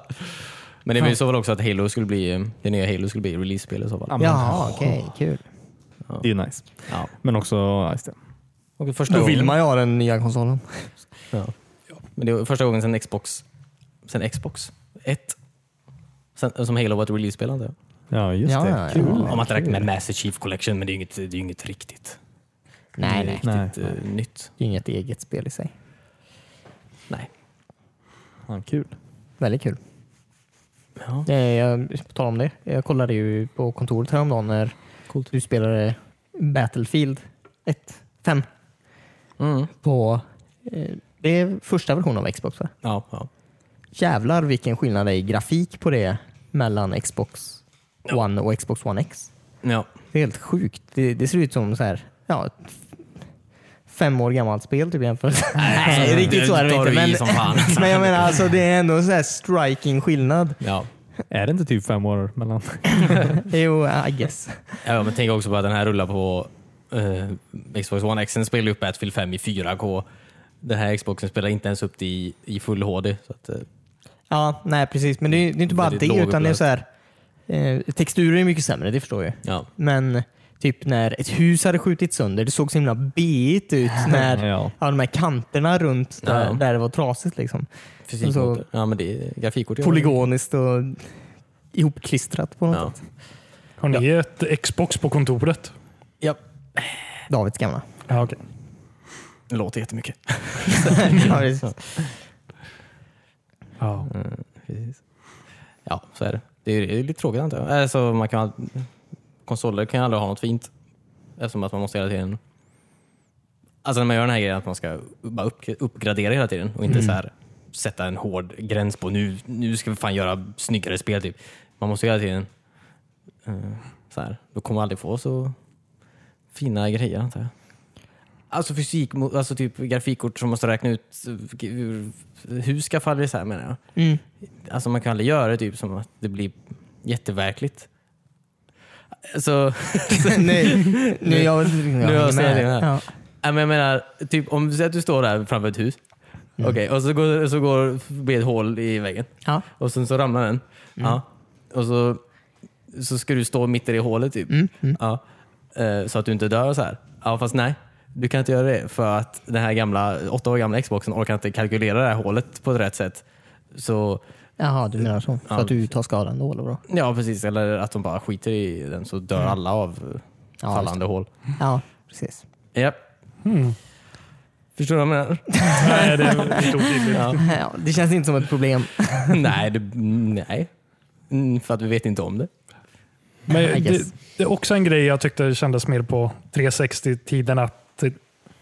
[SPEAKER 1] Men det var ju så väl också att Halo skulle bli, det nya Halo skulle bli release-spel i så fall.
[SPEAKER 4] Ja, men-
[SPEAKER 2] Jaha, okej, kul.
[SPEAKER 4] Det är ju nice.
[SPEAKER 1] Ja.
[SPEAKER 4] Men också, ja, just det.
[SPEAKER 1] Och första
[SPEAKER 2] Då vill
[SPEAKER 1] gången-
[SPEAKER 2] man ju ha den nya konsolen.
[SPEAKER 1] Ja. Men det var första gången sen Xbox, sen Xbox 1, sen, som Halo var ett release-spel antar jag.
[SPEAKER 4] Ja, just
[SPEAKER 2] Ja,
[SPEAKER 4] det.
[SPEAKER 2] ja, ja.
[SPEAKER 4] Kul.
[SPEAKER 1] Om man inte räknar med Master Chief Collection, men det är ju inget, det är ju inget riktigt,
[SPEAKER 2] Nej, nej.
[SPEAKER 4] Nej.
[SPEAKER 1] riktigt eh, nytt.
[SPEAKER 2] Det är inget eget spel i sig.
[SPEAKER 1] Nej.
[SPEAKER 4] Ja, kul.
[SPEAKER 2] Väldigt kul.
[SPEAKER 1] Ja.
[SPEAKER 2] Eh, Jag, på tal om det, jag kollade ju på kontoret häromdagen när du spelade Battlefield 1, 5
[SPEAKER 1] Mm.
[SPEAKER 2] på eh, det är första versionen av Xbox va?
[SPEAKER 1] Ja, ja.
[SPEAKER 2] Jävlar vilken skillnad det är i grafik på det mellan Xbox One och Xbox One X.
[SPEAKER 1] ja.
[SPEAKER 2] Det är helt sjukt. Det, det ser ut som så här, ja, ett f- fem år gammalt spel typ jämfört.
[SPEAKER 1] alltså, det tar du i som fan.
[SPEAKER 2] men jag menar alltså det är ändå en så här striking skillnad.
[SPEAKER 1] Ja.
[SPEAKER 4] Är det inte typ fem år mellan?
[SPEAKER 2] Jo, I guess.
[SPEAKER 1] ja, men tänk också på att den här rullar på eh, Xbox One X. Den spelar ju upp Battlefield 5 i 4K. Den här Xboxen spelar inte ens upp det i, i full HD. Så att, eh,
[SPEAKER 2] Ja, nej precis. Men det är, det är inte bara
[SPEAKER 1] Väldigt
[SPEAKER 2] det utan det är
[SPEAKER 1] lågupplöst.
[SPEAKER 2] så här, eh, texturer är mycket sämre, det förstår jag.
[SPEAKER 1] ja.
[SPEAKER 2] Men typ när ett hus hade skjutits sönder, det såg så himla beigt ut när
[SPEAKER 4] Ja.
[SPEAKER 2] ja, de här kanterna runt där,
[SPEAKER 1] Ja.
[SPEAKER 2] där det var trasigt. Liksom.
[SPEAKER 1] Fysikmotor. ja, men det är grafikkort. gör det.
[SPEAKER 2] Polygoniskt och ihopklistrat på något
[SPEAKER 1] Ja.
[SPEAKER 2] sätt.
[SPEAKER 3] Har ni ett Xbox på kontoret?
[SPEAKER 1] Ja.
[SPEAKER 2] Davids gamla.
[SPEAKER 3] Ja, okej.
[SPEAKER 1] Det låter jättemycket.
[SPEAKER 2] ja, precis.
[SPEAKER 3] ja.
[SPEAKER 2] Mm.
[SPEAKER 1] Precis. Ja, så är det. Det är, det är lite tråkigt antar jag. Alltså, man kan, all- konsoler kan ju aldrig ha något fint. Eftersom att man måste hela tiden... Alltså när man gör den här grejen att man ska bara upp, uppgradera hela tiden och inte så här sätta en hård gräns på nu, nu ska vi fan göra snyggare spel. Typ. Man måste hela tiden... eh, så här, då kommer man aldrig få så fina grejer antar jag. Alltså fysik, alltså typ grafikkort som måste räkna ut eh, hur hus ska falla isär menar jag.
[SPEAKER 2] Mm.
[SPEAKER 1] Alltså man kan aldrig göra det typ som att det blir jätteverkligt. Alltså, Så,
[SPEAKER 2] nu, nu, jag, jag,
[SPEAKER 1] nu har jag
[SPEAKER 2] hänger
[SPEAKER 1] säger det här.
[SPEAKER 2] Ja.
[SPEAKER 1] Ja, men jag menar, typ om du säger att du står där framför ett hus. Okej, och så går, så går, blir ett hål i väggen
[SPEAKER 2] Ja.
[SPEAKER 1] och sen så ramlar den. Ja. Och så, så ska du stå mitt i det hålet typ. Ja. Eh, Så att du inte dör och så här. Ja, fast nej. Du kan inte göra det för att den här gamla, åtta år gamla Xboxen orkar inte kalkylera det här hålet på rätt sätt. Så
[SPEAKER 2] Jaha, du menar så. Så
[SPEAKER 1] Ja.
[SPEAKER 2] att du tar skadan då eller bra?
[SPEAKER 1] Ja, precis. Eller att de bara skiter i den så dör alla av eh,
[SPEAKER 2] Ja,
[SPEAKER 1] fallande hål.
[SPEAKER 2] Ja, precis.
[SPEAKER 1] Japp. Förstår du vad jag menar?
[SPEAKER 3] Nej, det är lite otydligt.
[SPEAKER 2] Ja, det känns inte som ett problem.
[SPEAKER 1] nej, det, nej. Mm, För att vi vet inte om det.
[SPEAKER 3] Men
[SPEAKER 2] I
[SPEAKER 3] det,
[SPEAKER 2] guess.
[SPEAKER 3] det är också en grej jag tyckte kändes mer på 360-tiden att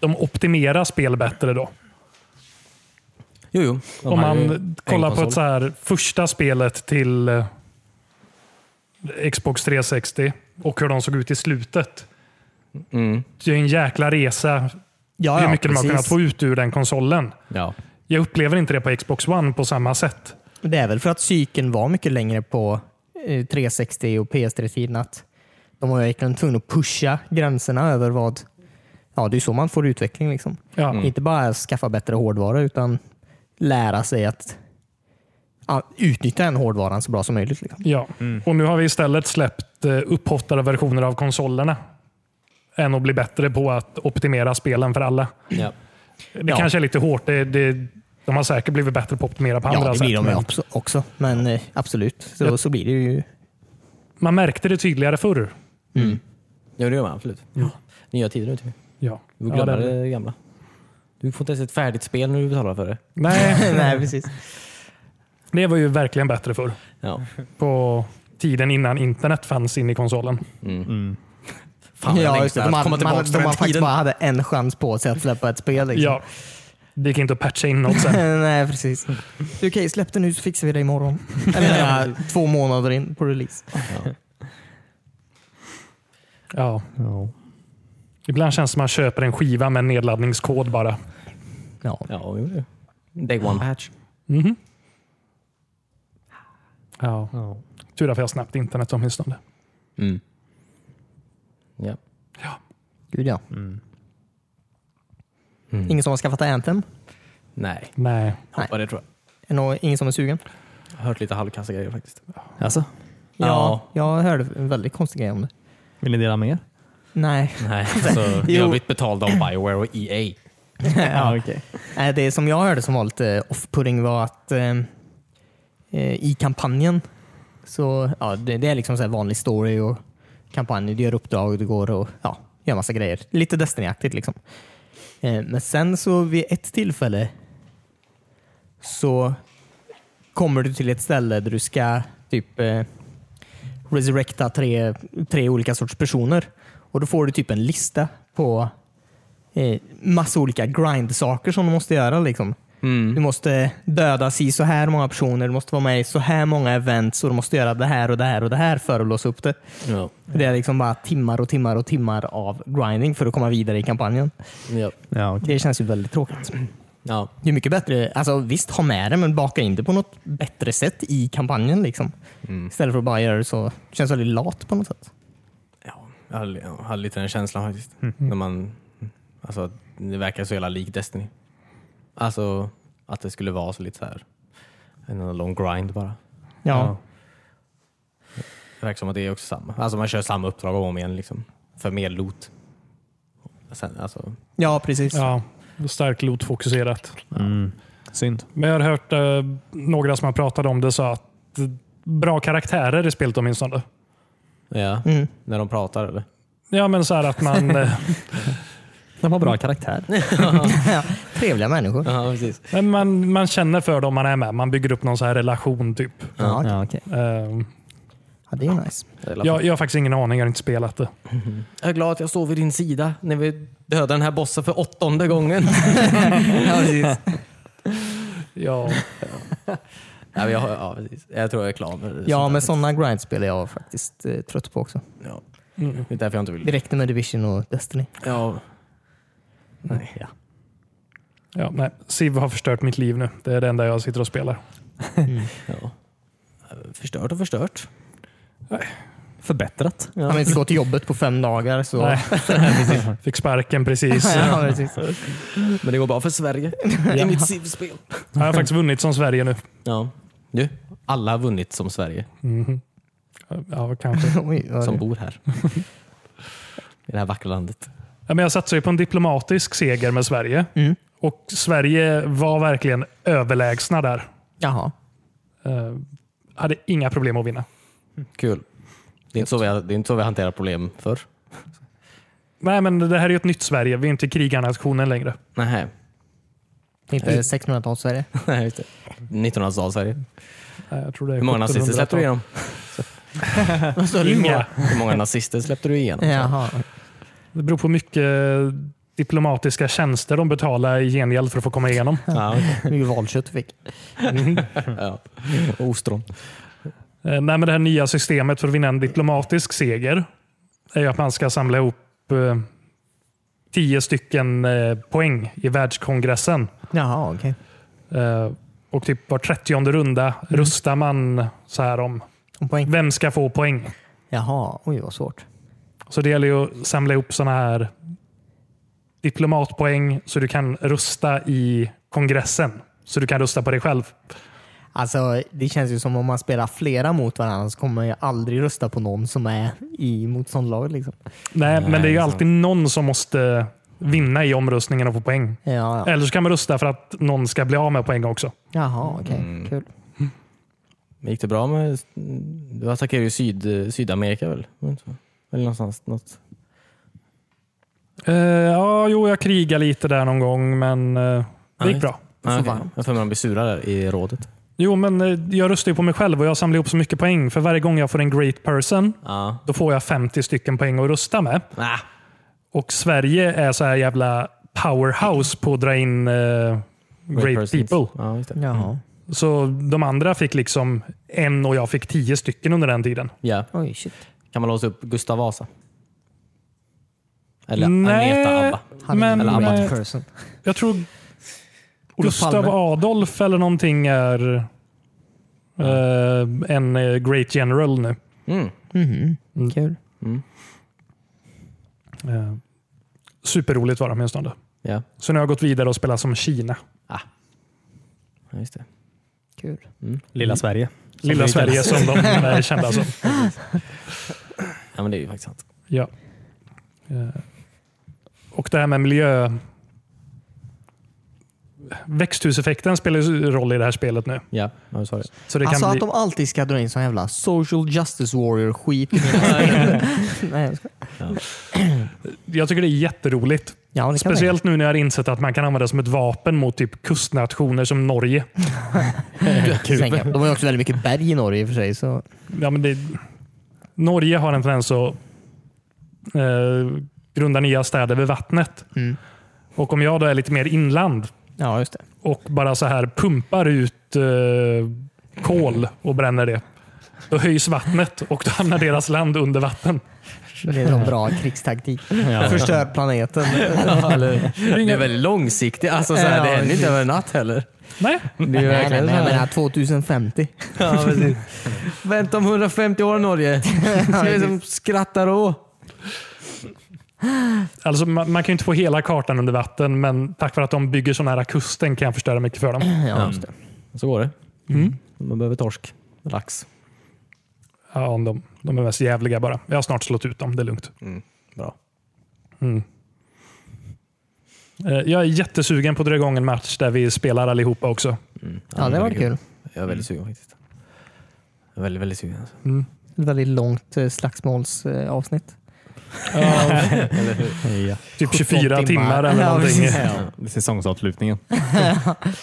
[SPEAKER 3] de optimerar spel bättre då.
[SPEAKER 1] Jo, jo. De
[SPEAKER 3] Om
[SPEAKER 1] har ju
[SPEAKER 3] man kollar på
[SPEAKER 1] konsol.
[SPEAKER 3] ett så här första spelet till eh, Xbox 360 och hur de såg ut i slutet.
[SPEAKER 1] Mm.
[SPEAKER 3] Det är en jäkla resa
[SPEAKER 2] Ah, Ja,
[SPEAKER 3] hur mycket de har kunnat få ut ur den konsolen.
[SPEAKER 1] Ja.
[SPEAKER 3] Jag upplever inte det på Xbox One på samma sätt.
[SPEAKER 2] Det är väl för att cykeln var mycket längre på eh, 360 och PS3-tiden. att De var ju verkligen tvungna att pusha gränserna över vad... Ja, det är så man får utveckling. Liksom.
[SPEAKER 3] Ja.
[SPEAKER 1] Mm.
[SPEAKER 2] Inte bara skaffa bättre hårdvara utan lära sig att ja, utnyttja den hårdvaran så bra som möjligt. Liksom.
[SPEAKER 3] Ja. Och nu har vi istället släppt eh, upphottade versioner av konsolerna. Än att bli bättre på att optimera spelen för alla.
[SPEAKER 1] Ja.
[SPEAKER 3] Det
[SPEAKER 2] Ja.
[SPEAKER 3] kanske är lite hårt. Det, det, de har säkert blivit bättre på att optimera på
[SPEAKER 2] Ja,
[SPEAKER 3] andra
[SPEAKER 2] det
[SPEAKER 3] sätt.
[SPEAKER 2] blir de ju
[SPEAKER 3] men
[SPEAKER 2] också, också. Men eh, absolut, så, så blir det ju.
[SPEAKER 3] Man märkte det tydligare förr.
[SPEAKER 1] Jo, det gör man absolut. Nya tider nu. Typ.
[SPEAKER 3] Ja.
[SPEAKER 1] Du får glömma
[SPEAKER 3] Ja, det-
[SPEAKER 1] det gamla. Du får inte ens ett färdigt spel när du betalar för det.
[SPEAKER 3] Nej,
[SPEAKER 2] Nej, precis.
[SPEAKER 3] det var ju verkligen bättre förr.
[SPEAKER 1] Ja.
[SPEAKER 3] På tiden innan internet fanns in i konsolen.
[SPEAKER 1] Fan vad jag
[SPEAKER 2] ja, just det.
[SPEAKER 1] längtar
[SPEAKER 2] De,
[SPEAKER 1] att komma
[SPEAKER 2] hade, man, de,
[SPEAKER 1] tillbaka till
[SPEAKER 2] de
[SPEAKER 1] den
[SPEAKER 2] har faktiskt
[SPEAKER 1] tiden.
[SPEAKER 2] bara hade en chans på sig att släppa ett spel. Liksom.
[SPEAKER 3] Ja. Det gick inte att patcha in något sen.
[SPEAKER 2] Nej, precis. Du, Okej, släpp det nu så fixar vi det imorgon. Eller jag menar, två månader in på release.
[SPEAKER 3] Ja.
[SPEAKER 4] Ja.
[SPEAKER 3] Ibland känns det som att man köper en skiva med en nedladdningskod bara.
[SPEAKER 2] Ja.
[SPEAKER 1] Ja, jo, jo. Day one patch.
[SPEAKER 3] Mhm. Ja.
[SPEAKER 4] Ja.
[SPEAKER 3] Tur att vi har snabbt internet åtminstone.
[SPEAKER 1] Mm. Ja.
[SPEAKER 2] Gud ja.
[SPEAKER 1] Mm.
[SPEAKER 2] Ingen som har skaffat Anthem?
[SPEAKER 1] Nej,
[SPEAKER 3] Nej.
[SPEAKER 1] hoppar det tror jag.
[SPEAKER 2] Är nå- Ingen som är sugen?
[SPEAKER 1] Jag har hört lite halvkassa grejer faktiskt.
[SPEAKER 4] Alltså,
[SPEAKER 1] Ja.
[SPEAKER 2] Jag hörde en väldigt konstig grej om det.
[SPEAKER 4] vill ni dela med er?
[SPEAKER 2] Nej.
[SPEAKER 1] Nej, alltså, vi
[SPEAKER 2] Jo.
[SPEAKER 1] har blivit betalda av Bioware och EA.
[SPEAKER 4] Ja, okej.
[SPEAKER 2] Nej, Det som jag hörde som var lite off-putting var att eh, eh, i kampanjen, så, ja, det, det är liksom så här vanlig story och kampanj. Du gör uppdrag, du går och ja, gör massa grejer. Lite Destiny-aktigt. Liksom. Eh, men sen så vid ett tillfälle så kommer du till ett ställe där du ska typ eh, resurrecta tre, tre olika sorts personer. Och Då får du typ en lista på eh, massa olika grind-saker som du måste göra. Liksom. Du måste döda si så här många personer, du måste vara med i så här många events och du måste göra det här och det här och det här för att låsa upp det.
[SPEAKER 1] Ja.
[SPEAKER 2] Det är liksom bara timmar och timmar och timmar av grinding för att komma vidare i kampanjen.
[SPEAKER 1] Ja.
[SPEAKER 4] Ja, okej.
[SPEAKER 2] Det känns ju väldigt tråkigt.
[SPEAKER 1] Ja.
[SPEAKER 2] Det är mycket bättre, alltså visst ha med det men baka in det på något bättre sätt i kampanjen. Liksom. Istället för att bara göra det så, det känns väldigt lat på något sätt.
[SPEAKER 1] Ja, jag hade, jag hade lite den känslan faktiskt.
[SPEAKER 2] Mhm.
[SPEAKER 1] När man, alltså, att det verkar så jävla lik Destiny. Alltså att det skulle vara så lite så här en enda lång grind bara.
[SPEAKER 2] Ja,
[SPEAKER 1] Det verkar som att det är också samma. Alltså man kör samma uppdrag om igen liksom. För mer loot. Sen, alltså,
[SPEAKER 2] ja precis.
[SPEAKER 3] Ja. Starkt lotfokuserat.
[SPEAKER 4] Mm. Synd.
[SPEAKER 3] Men jag har hört eh, några som har pratat om det sa att eh, bra karaktärer i spelet åtminstone.
[SPEAKER 1] ja,
[SPEAKER 2] Mm.
[SPEAKER 1] när de pratar eller?
[SPEAKER 3] Ja, men så här att man... eh,
[SPEAKER 4] Den var bra karaktär.
[SPEAKER 2] Trevliga människor.
[SPEAKER 1] Ja, precis.
[SPEAKER 3] men man, man känner för dem man är med. Man bygger upp någon så här relation typ.
[SPEAKER 2] Ja, okej.
[SPEAKER 4] Ja, okej.
[SPEAKER 3] Eh,
[SPEAKER 2] ja, det är nice.
[SPEAKER 3] jag, jag har faktiskt ingen aning. Jag har inte spelat det.
[SPEAKER 1] Jag är glad att jag står vid din sida när vi dödar den här bossen för åttonde gången.
[SPEAKER 2] Ja, precis.
[SPEAKER 3] Ja.
[SPEAKER 1] ja, men jag, har- ja, precis. jag tror jag är klar med det.
[SPEAKER 2] Ja, men sådana grindspel är jag faktiskt eh, trött på också.
[SPEAKER 1] Ja.
[SPEAKER 3] Mm.
[SPEAKER 1] Det är därför jag inte vill.
[SPEAKER 2] Det räckte med Division och Destiny.
[SPEAKER 1] Ja. Nej, ja.
[SPEAKER 3] Ja, nej. Civ har förstört mitt liv nu. Det är det enda jag sitter och spelar.
[SPEAKER 1] Ja. Förstört och förstört.
[SPEAKER 4] Förbättrat.
[SPEAKER 2] Han har inte gått till jobbet på fem dagar. Så...
[SPEAKER 3] Nej. Fick sparken precis.
[SPEAKER 2] ja, precis.
[SPEAKER 1] Men det går bra för Sverige. I mitt SIV-spel.
[SPEAKER 3] Jag har faktiskt vunnit som Sverige nu.
[SPEAKER 1] Ja. Du, alla har vunnit som Sverige,
[SPEAKER 3] Ja, kanske.
[SPEAKER 2] Oj, vad är
[SPEAKER 1] som
[SPEAKER 2] det?
[SPEAKER 1] bor här. I det här vackra landet.
[SPEAKER 3] Ja, men jag satsade ju på en diplomatisk seger med Sverige. Och Sverige var verkligen överlägsna där.
[SPEAKER 2] Jaha.
[SPEAKER 3] Eh, hade inga problem att vinna.
[SPEAKER 1] Kul. Det är inte så vi, det är inte så vi hanterar problem förr.
[SPEAKER 3] Nej, men det här är ju ett nytt Sverige. Vi är inte krigarnationen längre.
[SPEAKER 1] Nej.
[SPEAKER 2] Inte 1600-tals-Sverige.
[SPEAKER 1] Nej, just det. 1900-tals-Sverige.
[SPEAKER 3] Nej, Eh, jag tror det är
[SPEAKER 1] Hur många nazister släppte du
[SPEAKER 3] 1700-tal.
[SPEAKER 1] igenom?
[SPEAKER 3] Inga.
[SPEAKER 1] Hur många nazister släppte du igenom?
[SPEAKER 2] Jaha.
[SPEAKER 3] Det beror på hur mycket diplomatiska tjänster de betalar i gengäld för att få komma igenom.
[SPEAKER 1] Ja, okej.
[SPEAKER 2] Hur mycket valkött du fick.
[SPEAKER 1] ja. Ostron.
[SPEAKER 3] Eh, Nej, men det här nya systemet för att vinna en diplomatisk seger är ju att man ska samla ihop eh, tio stycken eh, poäng i världskongressen.
[SPEAKER 2] Jaha, okej.
[SPEAKER 3] Eh, och typ var 30 runda rustar man så här om
[SPEAKER 2] Om poäng.
[SPEAKER 3] vem ska få poäng.
[SPEAKER 2] Jaha, oj vad svårt.
[SPEAKER 3] Så det gäller ju att samla ihop sådana här diplomatpoäng så du kan rusta i kongressen. Så du kan rusta på dig själv.
[SPEAKER 2] Alltså, det känns ju som om man spelar flera mot varandra så kommer man ju aldrig rösta på någon som är i motståndarlaget. Liksom.
[SPEAKER 3] Nej, men det är ju
[SPEAKER 1] så.
[SPEAKER 3] alltid någon som måste vinna i omröstningen och få poäng.
[SPEAKER 2] Ja, ja.
[SPEAKER 3] Eller så kan man rusta för att någon ska bli av med poäng också.
[SPEAKER 2] Jaha, okej.
[SPEAKER 3] Mm.
[SPEAKER 2] Kul.
[SPEAKER 1] Men Gick det bra med... Du attackerade ju Syd, Sydamerika väl? Var det inte så? Eller någonstans. Något.
[SPEAKER 3] Eh, ja, jo, jag krigade lite där någon gång, men eh, det
[SPEAKER 1] Ja,
[SPEAKER 3] gick
[SPEAKER 1] just.
[SPEAKER 3] bra.
[SPEAKER 1] Ah,
[SPEAKER 2] Så
[SPEAKER 1] okay.
[SPEAKER 2] varmt.
[SPEAKER 1] Jag har för mig att de blir sura där i rådet.
[SPEAKER 3] Jo, men eh, jag röstar ju på mig själv och jag samlar ihop så mycket poäng. För varje gång jag får en great person,
[SPEAKER 1] Ja.
[SPEAKER 3] då får jag 50 stycken poäng att rösta med.
[SPEAKER 1] Ah,
[SPEAKER 3] Och Sverige är så här jävla powerhouse på att dra in eh, great,
[SPEAKER 1] persons.
[SPEAKER 3] people.
[SPEAKER 1] Ja, just det.
[SPEAKER 3] Mm.
[SPEAKER 2] Jaha.
[SPEAKER 3] Så de andra fick liksom en och jag fick tio stycken under den tiden.
[SPEAKER 1] Ja.
[SPEAKER 2] Oj, shit.
[SPEAKER 1] Kan man låsa upp Gustav Vasa? Eller
[SPEAKER 3] Nej,
[SPEAKER 1] Agneta Abba?
[SPEAKER 2] Han är
[SPEAKER 3] Men,
[SPEAKER 2] en
[SPEAKER 1] Eller
[SPEAKER 2] great
[SPEAKER 3] eh,
[SPEAKER 2] person.
[SPEAKER 3] Jag tror Gustav
[SPEAKER 2] Palme.
[SPEAKER 3] Adolf eller någonting är eh, en eh, great general nu.
[SPEAKER 1] Mm.
[SPEAKER 3] Mm.
[SPEAKER 2] Mhm. Kul.
[SPEAKER 3] Eh, superroligt var det åtminstone.
[SPEAKER 1] Ja.
[SPEAKER 3] Så nu har jag gått vidare och spelat som Kina.
[SPEAKER 1] ja, just det. Mm.
[SPEAKER 2] Kul.
[SPEAKER 4] Lilla Sverige.
[SPEAKER 3] Lilla
[SPEAKER 1] det
[SPEAKER 3] Sverige som de eh, alltså. är kända som.
[SPEAKER 1] Ja, men det är ju faktiskt sant.
[SPEAKER 3] Ja. Eh, Och det här med miljö... Växthuseffekten spelar ju roll i det här spelet nu.
[SPEAKER 1] Ja, jag sa det.
[SPEAKER 3] Så det
[SPEAKER 2] Alltså
[SPEAKER 3] kan
[SPEAKER 2] att
[SPEAKER 3] bli...
[SPEAKER 2] de alltid ska dra in sån jävla social justice warrior-skit. i mina- Nej, jag skojar.
[SPEAKER 3] Jag tycker det är jätteroligt.
[SPEAKER 2] ja, det kan jag.
[SPEAKER 3] Speciellt nu när jag har insett att man kan använda det som ett vapen mot typ kustnationer som Norge.
[SPEAKER 2] Slänga. De har ju också väldigt mycket berg i Norge i och för sig. Så.
[SPEAKER 3] Ja, men det... Norge har en tendens att eh, grunda nya städer vid vattnet.
[SPEAKER 2] Mm.
[SPEAKER 3] Och om jag då är lite mer inland
[SPEAKER 2] Ja, just det.
[SPEAKER 3] och bara så här pumpar ut eh, kol och bränner det. Då höjs vattnet och då hamnar deras land under vatten.
[SPEAKER 2] Det är en bra krigstaktik. Förstör planeten.
[SPEAKER 1] Det är väldigt långsiktigt. Alltså, så här,
[SPEAKER 2] Ja,
[SPEAKER 1] det händer
[SPEAKER 2] precis.
[SPEAKER 1] inte över en natt heller.
[SPEAKER 3] Nej,
[SPEAKER 1] Det är ju
[SPEAKER 2] Nej, nej,
[SPEAKER 1] verkligen
[SPEAKER 2] men jag
[SPEAKER 1] så här.
[SPEAKER 2] menar 2050.
[SPEAKER 1] Ja, precis. Vänta om 150 år Norge. Ska vi liksom skratta då?
[SPEAKER 3] alltså man, man kan ju inte få hela kartan under vatten, men tack vare att de bygger så nära kusten kan jag förstöra mycket för dem.
[SPEAKER 2] Ja, just det.
[SPEAKER 1] Så går det.
[SPEAKER 3] Mm.
[SPEAKER 1] Man behöver torsk. Lax.
[SPEAKER 3] Ja, om de, de är mest jävliga bara. Jag har snart slått ut dem, det är lugnt.
[SPEAKER 1] Bra.
[SPEAKER 3] Mm. Eh, Jag är jättesugen på att dra igång en match där vi spelar allihopa också.
[SPEAKER 2] Ja, det var
[SPEAKER 1] väldigt
[SPEAKER 2] kul.
[SPEAKER 1] Jag är väldigt sugen faktiskt. Jag är väldigt, väldigt sugen. Alltså.
[SPEAKER 2] Ett väldigt långt eh, slagsmålsavsnitt.
[SPEAKER 4] Ja.
[SPEAKER 2] 17
[SPEAKER 3] Typ 24 timmar,
[SPEAKER 2] timmar
[SPEAKER 3] eller
[SPEAKER 2] Ja,
[SPEAKER 3] någonting.
[SPEAKER 2] precis.
[SPEAKER 4] Det är Säsongsavslutningen.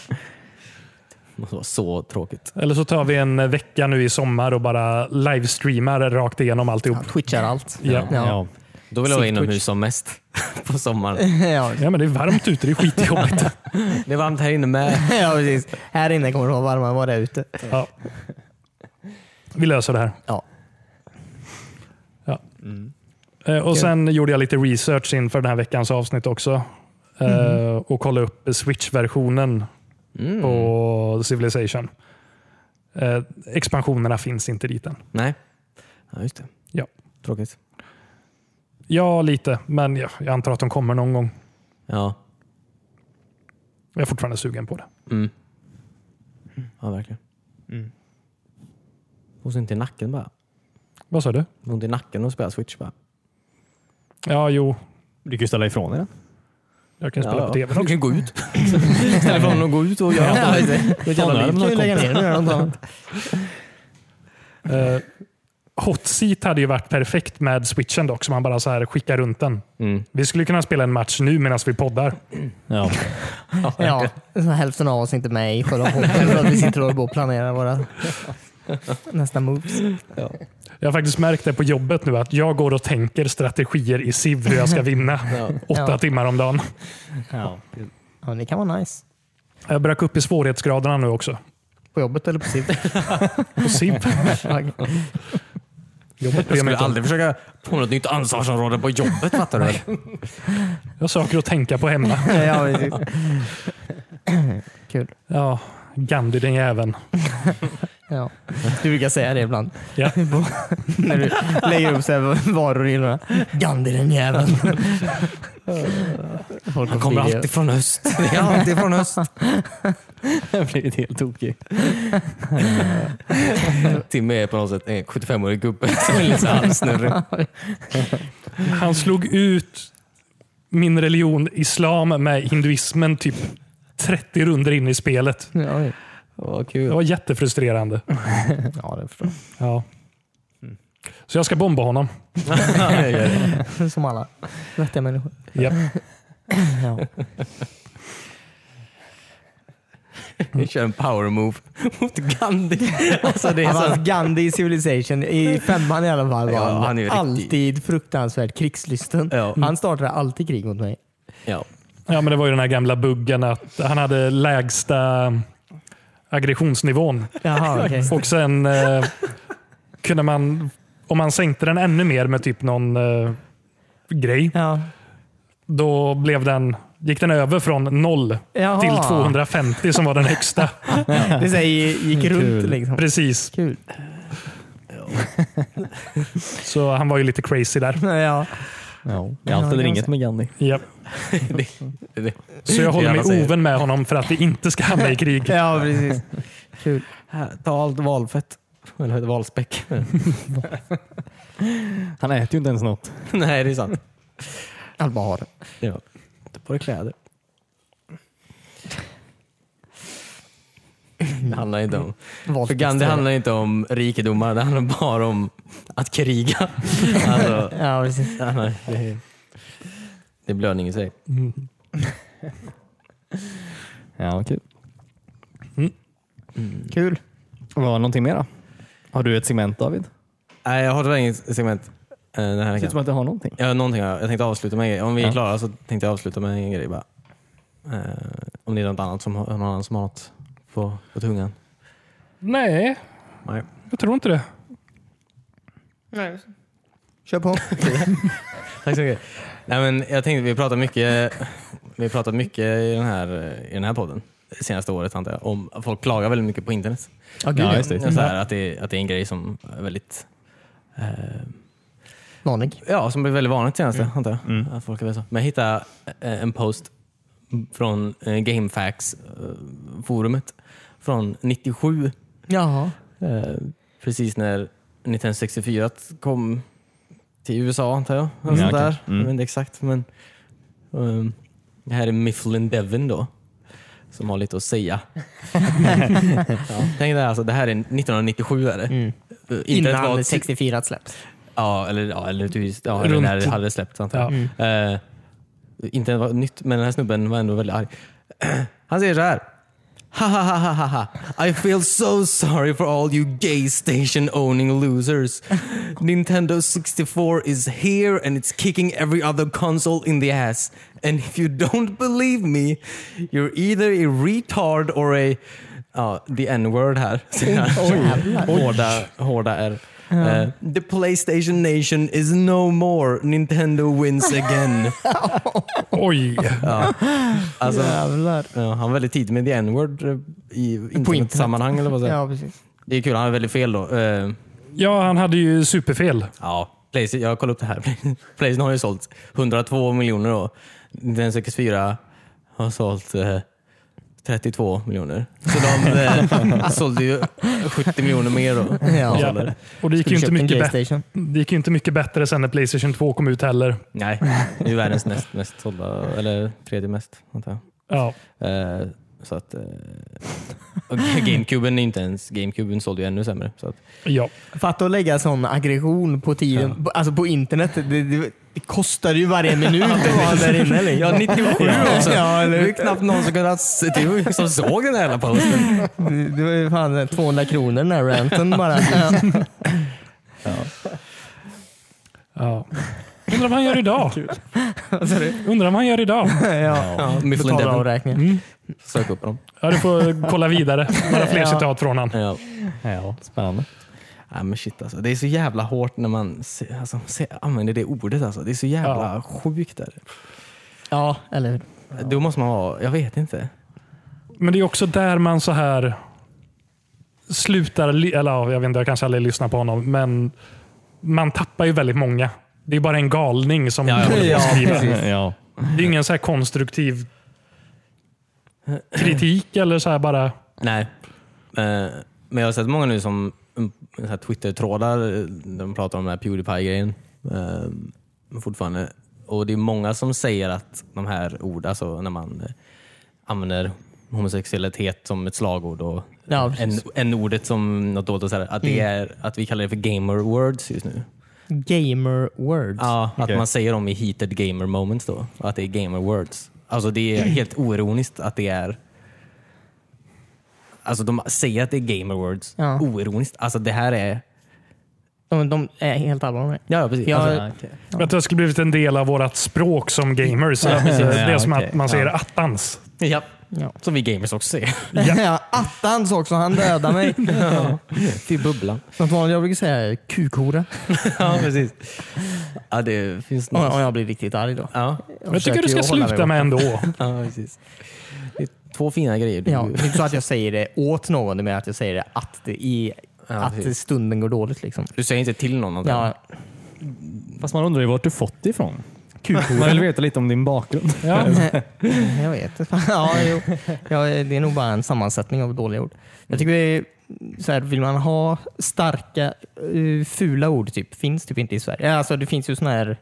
[SPEAKER 1] Det måste vara så tråkigt.
[SPEAKER 3] Eller så tar vi en vecka nu i sommar och bara livestreamar rakt igenom alltihop.
[SPEAKER 2] Ja, Twitchar allt.
[SPEAKER 3] Ja.
[SPEAKER 2] Ja.
[SPEAKER 4] Ja.
[SPEAKER 1] Då vill jag vara
[SPEAKER 2] Sitt
[SPEAKER 1] inomhus
[SPEAKER 2] Twitch.
[SPEAKER 1] som mest på sommaren.
[SPEAKER 2] Ja.
[SPEAKER 3] Ja, men det är varmt ute. Det är skitjobbigt.
[SPEAKER 1] Det är varmt här inne med.
[SPEAKER 2] ja, precis. Här inne kommer det vara varmare än vad det är ute.
[SPEAKER 3] Ja. Vi löser det här.
[SPEAKER 2] Ja.
[SPEAKER 3] Ja. Eh, Och Sen gjorde jag lite research inför den här veckans avsnitt också. Eh, Och kollade upp Switch-versionen på Civilization. Eh, Expansionerna finns inte dit än.
[SPEAKER 1] Nej. Ja, just det.
[SPEAKER 3] Ja.
[SPEAKER 1] Tråkigt.
[SPEAKER 3] Ja, lite. Men ja, jag antar att de kommer någon gång.
[SPEAKER 1] Ja,
[SPEAKER 3] Jag är fortfarande sugen på det.
[SPEAKER 1] ja verkligen. Och så inte i nacken bara.
[SPEAKER 3] Vad sa du?
[SPEAKER 1] Ont i nacken och spela Switch bara.
[SPEAKER 3] Ja, jo.
[SPEAKER 4] Du kan ju ställa ifrån er den.
[SPEAKER 3] Jag kan spela på
[SPEAKER 1] ja, ja.
[SPEAKER 3] tv.
[SPEAKER 1] Du kan gå ut. Ställ ifrån och gå ut och göra
[SPEAKER 2] Ja, just det. Fan,
[SPEAKER 1] något.
[SPEAKER 2] vi kan ju lägga ner den och göra något annat.
[SPEAKER 3] Eh, hot seat hade ju varit perfekt med switchen dock, så man bara så här skickar runt den.
[SPEAKER 1] Mm.
[SPEAKER 3] Vi skulle kunna spela en match nu medan vi poddar.
[SPEAKER 4] Ja.
[SPEAKER 2] Ja, så hälften av oss är inte med i själva podden för att vi sitter och håller på och planerar våra nästa moves.
[SPEAKER 3] Jag har faktiskt märkt det på jobbet nu, att jag går och tänker strategier i SIV hur jag ska vinna åtta
[SPEAKER 2] Ja.
[SPEAKER 3] timmar om dagen.
[SPEAKER 4] Ja.
[SPEAKER 2] Ja, det kan vara nice.
[SPEAKER 3] Jag bröt upp i svårighetsgraderna nu också.
[SPEAKER 2] På jobbet eller på sitt.
[SPEAKER 3] På SIV. jobbet bryr
[SPEAKER 1] Jag
[SPEAKER 3] mig
[SPEAKER 1] skulle
[SPEAKER 3] inte om.
[SPEAKER 1] aldrig försöka på något nytt ansvarsområde på jobbet fattar du väl?
[SPEAKER 3] Jag har saker att tänka på hemma.
[SPEAKER 2] ja, precis. Kul.
[SPEAKER 3] Ja, Gandhi den jäveln.
[SPEAKER 2] Ja. Du brukar säga det ibland.
[SPEAKER 3] Ja.
[SPEAKER 2] När du lägger upp så här varor i hyllorna. Gandhi den jäveln. Folk
[SPEAKER 1] Han kommer
[SPEAKER 2] flyger.
[SPEAKER 1] alltid från öst. Det är alltid från öst.
[SPEAKER 4] Jag har blivit helt tokig.
[SPEAKER 1] Timmy är på något sätt en 75-årig gubbe som är lite så här halvsnurrig.
[SPEAKER 3] Han slog ut min religion, islam, med hinduismen typ 30 runder in i spelet.
[SPEAKER 2] Ja, ja.
[SPEAKER 1] Vad
[SPEAKER 3] Det
[SPEAKER 1] kul.
[SPEAKER 3] var jättefrustrerande.
[SPEAKER 2] ja, det förstår
[SPEAKER 3] Ja.
[SPEAKER 1] Mm.
[SPEAKER 3] Så jag ska bomba honom.
[SPEAKER 2] jag. Som alla vettiga människor.
[SPEAKER 3] Japp.
[SPEAKER 2] Ja.
[SPEAKER 1] Vi kör en power move mot Gandhi. Alltså det är
[SPEAKER 2] Han var
[SPEAKER 1] så...
[SPEAKER 2] Gandhi i Civilization, i femman i alla fall, var
[SPEAKER 1] Ja,
[SPEAKER 2] han,
[SPEAKER 1] han är ju riktig-
[SPEAKER 2] alltid fruktansvärt krigslysten.
[SPEAKER 1] Ja.
[SPEAKER 2] Han startade alltid krig mot mig.
[SPEAKER 1] Ja.
[SPEAKER 3] Ja, men det var ju den här gamla buggen att han hade lägsta aggressionsnivån.
[SPEAKER 2] Jaha, okej.
[SPEAKER 3] Och sen eh, kunde man, om man sänkte den ännu mer med typ någon eh, grej,
[SPEAKER 2] Ja.
[SPEAKER 3] då blev den, gick den över från 0
[SPEAKER 2] Jaha.
[SPEAKER 3] till 250 som var den högsta.
[SPEAKER 2] Det så här, gick
[SPEAKER 4] Kul.
[SPEAKER 2] runt liksom.
[SPEAKER 3] Precis,
[SPEAKER 2] Kul.
[SPEAKER 3] så han var ju lite crazy där.
[SPEAKER 2] Ja.
[SPEAKER 4] Ja, jag har alltid
[SPEAKER 2] Ja,
[SPEAKER 4] ringet med Gandhi.
[SPEAKER 3] Japp.
[SPEAKER 1] Det, det.
[SPEAKER 3] Så jag håller
[SPEAKER 1] Gärna
[SPEAKER 3] mig
[SPEAKER 1] säger.
[SPEAKER 3] oven med honom för att vi inte ska hamna i krig.
[SPEAKER 2] ja, precis. Kul.
[SPEAKER 1] Här, ta allt valfett. Eller valspäck.
[SPEAKER 4] Han äter ju inte ens något.
[SPEAKER 1] Nej, det är sant.
[SPEAKER 2] Allt bara har det.
[SPEAKER 1] Ja. Ta på dig kläder. Det handlar inte om... För Gandhi handlar inte om rikedomar, det handlar bara om att kriga. Alltså,
[SPEAKER 2] Ja, precis.
[SPEAKER 1] han har- det är- det är blödning i sig.
[SPEAKER 4] Ja, kul.
[SPEAKER 2] Kul.
[SPEAKER 4] Vad var någonting mer då? Har du ett segment David?
[SPEAKER 1] Nej, jag har tyvärr inget segment eh, den här
[SPEAKER 4] Det ser ut
[SPEAKER 1] veckan.
[SPEAKER 4] som att du har någonting.
[SPEAKER 1] Ja, någonting har jag. jag tänkte avsluta med en grej. Om vi är
[SPEAKER 4] Ja.
[SPEAKER 1] klara så tänkte jag avsluta med en grej bara. Eh, om det är något annat som har, någon annan som har något på, på tungan.
[SPEAKER 3] Nej,
[SPEAKER 1] Nej.
[SPEAKER 3] jag tror inte det.
[SPEAKER 2] Kör på.
[SPEAKER 1] Tack så mycket. Nej, men jag tänkte, vi pratar mycket, vi har pratat mycket i den här, i den här podden det senaste året antar jag, om att folk klagar väldigt mycket på internet.
[SPEAKER 4] gud, Ja, ja. just det. Mm.
[SPEAKER 1] Så här, att, det att det är en grej som är väldigt eh,
[SPEAKER 2] Manig.
[SPEAKER 1] ja, som blev väldigt vanligt senaste,
[SPEAKER 4] Mm.
[SPEAKER 1] antar jag. Att folk är väldigt så. Men jag hittade eh, en post från eh, Gamefax-forumet från 97
[SPEAKER 2] Jaha.
[SPEAKER 1] Eh, precis när 1964 kom till USA antar jag. Eller
[SPEAKER 4] Ja,
[SPEAKER 1] sånt
[SPEAKER 4] okej.
[SPEAKER 1] där.
[SPEAKER 4] Mm.
[SPEAKER 1] Jag vet inte exakt. Men, ehm, det här är Mifflin Devon då. Som har lite att säga. ja, tänk dig alltså, det här är 1997 är det.
[SPEAKER 2] Mm.
[SPEAKER 1] Eh, internet var
[SPEAKER 2] Innan
[SPEAKER 1] ett-
[SPEAKER 2] 64 släpps.
[SPEAKER 1] Ja, eller, ja, eller, typ- ja, eller när det
[SPEAKER 3] Runt-
[SPEAKER 1] hade släppts antar
[SPEAKER 3] Ja.
[SPEAKER 1] jag. Eh, inte var nytt, men den här snubben var ändå väldigt arg. Han säger så här. Ha ha ha ha ha ha. I feel so sorry for all you gay station owning losers. Nintendo 64 is here and it's kicking every other console in the ass. And if you don't believe me, you're either a retard or a... Ja, the N-word här. hårda, hårda R. Eh, the Playstation Nation is no more. Nintendo wins again.
[SPEAKER 3] Oj,
[SPEAKER 1] Alltså,
[SPEAKER 2] Jävlar.
[SPEAKER 1] Ja, han var väldigt tidig med the n-word eh, i
[SPEAKER 2] internet.
[SPEAKER 1] internetsammanhang. Eller vad ja.
[SPEAKER 2] Ja, precis.
[SPEAKER 1] Det är kul, han är väldigt fel då. Eh,
[SPEAKER 3] ja han hade ju superfel.
[SPEAKER 1] ja, Playstation, jag kollade upp det här. Playstation har ju sålt 102 miljoner då. Den 64 har sålt eh, 32 miljoner. Så de eh, sålde ju 70 miljoner mer då.
[SPEAKER 2] Ja.
[SPEAKER 1] konsoler.
[SPEAKER 3] Och det gick, ju inte mycket bättre.
[SPEAKER 2] Playstation.
[SPEAKER 3] det gick ju inte mycket bättre sen när Playstation 2 kom ut heller.
[SPEAKER 1] Nej, det är världens näst mest sålda, eller tredje mest antar jag.
[SPEAKER 3] Ja.
[SPEAKER 1] Eh, så att, eh, och Gamecuben är inte ens, Gamecuben sålde ju ännu sämre. Så att,
[SPEAKER 3] ja.
[SPEAKER 2] Fatta att lägga sån aggression på tiden, på- alltså på internet. Det, det, det kostar ju varje minut att vara där inne. Liksom.
[SPEAKER 1] Ja, 97 också.
[SPEAKER 2] Ja, eller
[SPEAKER 1] det är
[SPEAKER 2] hur?
[SPEAKER 1] ju knappt någon som, kunnat, se- det var ju som såg den här jävla posten.
[SPEAKER 2] Det, det var ju fan 200 kronor den här ranten bara. Ja.
[SPEAKER 3] ja. Undrar vad han gör idag? Undrar vad han gör idag?
[SPEAKER 2] Ja.
[SPEAKER 1] Mifflin
[SPEAKER 2] Betala
[SPEAKER 1] Devon.
[SPEAKER 2] avräkningen.
[SPEAKER 3] Mm.
[SPEAKER 1] Sök upp dem.
[SPEAKER 3] Ja, du får kolla vidare. Några fler
[SPEAKER 2] Ja.
[SPEAKER 3] citat från han.
[SPEAKER 1] Ja.
[SPEAKER 4] Ja, spännande.
[SPEAKER 1] Nej, men shit alltså. Det är så jävla hårt när man se, alltså, se, använder det ordet. Alltså. Det är så jävla sjukt. Där.
[SPEAKER 2] Ja, eller hur?
[SPEAKER 1] Då måste man vara, jag vet inte.
[SPEAKER 3] Men det är också där man så här slutar, ly- eller ja, jag vet inte, jag kanske aldrig lyssnar på honom, men man tappar ju väldigt många. Det är bara en galning som
[SPEAKER 1] Ja, ja.
[SPEAKER 3] håller på och skriver.
[SPEAKER 4] Ja.
[SPEAKER 3] Det är ingen så här konstruktiv kritik eller så här bara...
[SPEAKER 1] Nej. Eh, Men jag har sett många nu som mm, så här Twitter-trådar, eh, de pratar om den här Pewdiepie-grejen eh, fortfarande. Och det är många som säger att de här ord, alltså när man eh, använder homosexualitet som ett slagord och
[SPEAKER 2] Ja,
[SPEAKER 1] en,
[SPEAKER 2] precis. Mm.
[SPEAKER 1] en ordet som något dolt, och så här, att, det är, att vi kallar det för gamer words just nu.
[SPEAKER 2] Gamer words.
[SPEAKER 1] Ja, att
[SPEAKER 4] Okej.
[SPEAKER 1] man säger dem i heated gamer moments då, Mm. och att det är gamer words. Alltså det är helt oironiskt att det är Alltså de säger att det är gamer words.
[SPEAKER 2] Ja.
[SPEAKER 1] Oironiskt. Alltså det här är...
[SPEAKER 2] De, de är helt allvarliga med det.
[SPEAKER 1] Ja, precis.
[SPEAKER 2] Ja.
[SPEAKER 1] Alltså, okej.
[SPEAKER 3] Att det skulle blivit en del av vårt språk som gamers. Att, eh, det är
[SPEAKER 4] Ja,
[SPEAKER 3] som
[SPEAKER 4] okej.
[SPEAKER 3] att man säger attans.
[SPEAKER 1] ja.
[SPEAKER 2] Ja.
[SPEAKER 1] Som vi gamers också säger.
[SPEAKER 2] Ja. Attans också, han dödade mig.
[SPEAKER 1] Till bubblan.
[SPEAKER 2] Något vanligt jag brukar säga är kukhora.
[SPEAKER 1] ja, precis. Ja, det finns
[SPEAKER 2] Om
[SPEAKER 1] något.
[SPEAKER 2] om jag blir riktigt arg då.
[SPEAKER 1] Ja,
[SPEAKER 2] Jag
[SPEAKER 3] Jag tycker
[SPEAKER 2] försöker
[SPEAKER 3] du ska
[SPEAKER 2] ju hålla mig
[SPEAKER 3] sluta
[SPEAKER 2] borta.
[SPEAKER 3] med ändå.
[SPEAKER 1] ja, precis. Det är två fina grejer. Du,
[SPEAKER 2] Ja, det är inte så att jag säger det åt någon, men att jag säger det att, det i, att
[SPEAKER 1] precis.
[SPEAKER 2] stunden går dåligt. Liksom.
[SPEAKER 1] du säger inte till någon någonting.
[SPEAKER 2] Ja,
[SPEAKER 4] Fast man undrar ju vart du fått det ifrån. Man vill veta lite om din bakgrund.
[SPEAKER 3] Ja.
[SPEAKER 2] jag vet. Ja, jo. Ja, det är nog bara en sammansättning av dåliga ord. Jag tycker det är, så här, vill man ha starka, eh, fula ord typ, finns typ inte i Sverige. Alltså, det finns ju såna här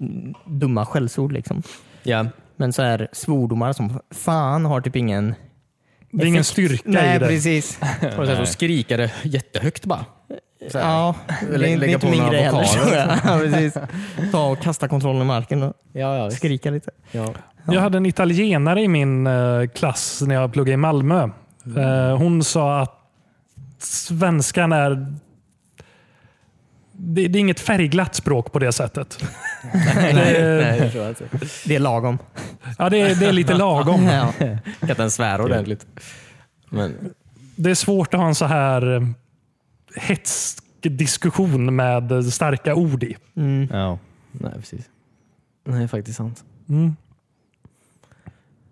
[SPEAKER 2] mm, dumma skällsord. Liksom.
[SPEAKER 1] Ja.
[SPEAKER 2] Men så här, svordomar som fan har typ ingen...
[SPEAKER 3] Det är ingen
[SPEAKER 2] effekt.
[SPEAKER 3] styrka
[SPEAKER 2] Nej,
[SPEAKER 3] i det.
[SPEAKER 2] precis.
[SPEAKER 1] Och så här, så skrika det jättehögt bara. Så här.
[SPEAKER 2] Ja, det är, det är
[SPEAKER 1] lägga
[SPEAKER 2] inte
[SPEAKER 1] på
[SPEAKER 2] min
[SPEAKER 1] några
[SPEAKER 2] grej heller.
[SPEAKER 1] vokaler.
[SPEAKER 2] tror jag. Ja, precis. Ta och kasta kontrollen i marken och
[SPEAKER 1] Ja, ja, visst.
[SPEAKER 2] skrika lite.
[SPEAKER 1] ja.
[SPEAKER 3] Jag hade en italienare i min eh, klass när jag pluggade i Malmö. Eh, hon sa att svenskan är... Det, det är inget färgglatt språk på det sättet. det, är-
[SPEAKER 1] Nej, jag tror inte.
[SPEAKER 2] Det är lagom.
[SPEAKER 3] ja, det, är- det är lite lagom.
[SPEAKER 2] Ja.
[SPEAKER 1] Kan inte ens svära ordentligt. Men,
[SPEAKER 3] Det är svårt att ha en så här eh, hetsk diskussion med eh, starka ord i.
[SPEAKER 2] Mm.
[SPEAKER 4] Ja.
[SPEAKER 1] nej, precis. Nej, det är faktiskt sant.
[SPEAKER 3] Mm.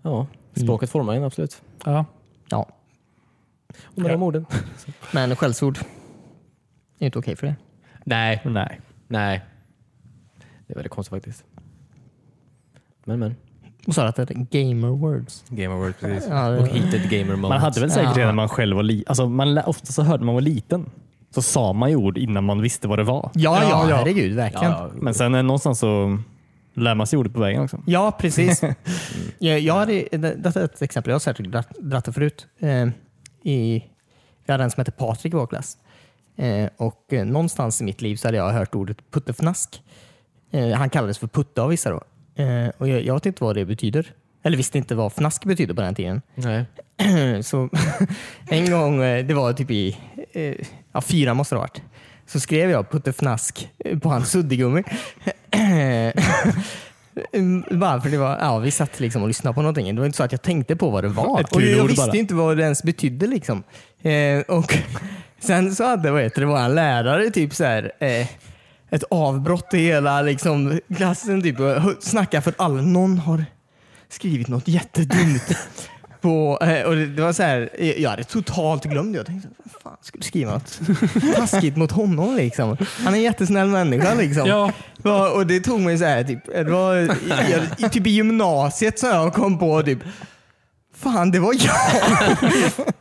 [SPEAKER 1] Ja, språket formar en absolut.
[SPEAKER 3] Ja.
[SPEAKER 2] ja.
[SPEAKER 1] Och med de orden.
[SPEAKER 2] Men skällsord är inte okej för det.
[SPEAKER 1] Nej,
[SPEAKER 4] Nej.
[SPEAKER 1] nej. Det är väldigt konstigt faktiskt. Men, men.
[SPEAKER 2] Och sa att det är gamer words.
[SPEAKER 1] Gamer word, precis.
[SPEAKER 2] Ja, det-
[SPEAKER 1] Och heated gamer
[SPEAKER 4] Man
[SPEAKER 1] moment.
[SPEAKER 4] hade väl säkert
[SPEAKER 2] Ja.
[SPEAKER 4] redan när man själv var liten. Alltså, man lä- ofta så hörde man var liten. Så sa man ju ord innan man visste vad det var.
[SPEAKER 2] Ja, ja,
[SPEAKER 3] Ja, ja.
[SPEAKER 2] herregud. Verkligen. Ja,
[SPEAKER 1] Ja, ja.
[SPEAKER 4] Men sen eh, någonstans så lär man sig ordet på vägen också.
[SPEAKER 2] precis. jag, jag hade, det- detta är ett exempel. Jag har säkert dratt- dratt det förut. Eh, i, vi hade en som hette Patrik i vår klass. Eh, och, eh, någonstans i mitt liv så hade jag hört ordet puttefnask. Eh, han kallades för putte av vissa. Då. Eh, och jag, jag vet inte vad det betyder. Eller visste inte vad fnask betyder på den tiden.
[SPEAKER 1] Nej.
[SPEAKER 2] så en gång, eh, det var typ i eh, ja, fyra måste det ha varit, så skrev jag puttefnask eh, på hans suddgummi. Mm, Bara för det var, ja, vi satt liksom och lyssnade på någonting. Det var inte så att jag tänkte på vad det var.
[SPEAKER 4] Ett
[SPEAKER 2] Och jag
[SPEAKER 4] kulord
[SPEAKER 2] visste
[SPEAKER 4] bara.
[SPEAKER 2] inte vad det ens betydde. Liksom. Eh, och sen så hade vad heter det, vår lärare typ så här, eh, ett avbrott i hela liksom, klassen. Typ, och hu- snacka för alla. Någon har skrivit något jättedumt. På, eh, och det, det var så här, eh, jag hade totalt glömt det. Jag tänkte, vad fan skulle jag skriva något taskigt mot honom liksom? Han är en jättesnäll människa liksom.
[SPEAKER 3] Ja.
[SPEAKER 2] Ja, och det tog mig så här, typ, det var i, i, typ i gymnasiet som jag kom på typ, fan det var jag.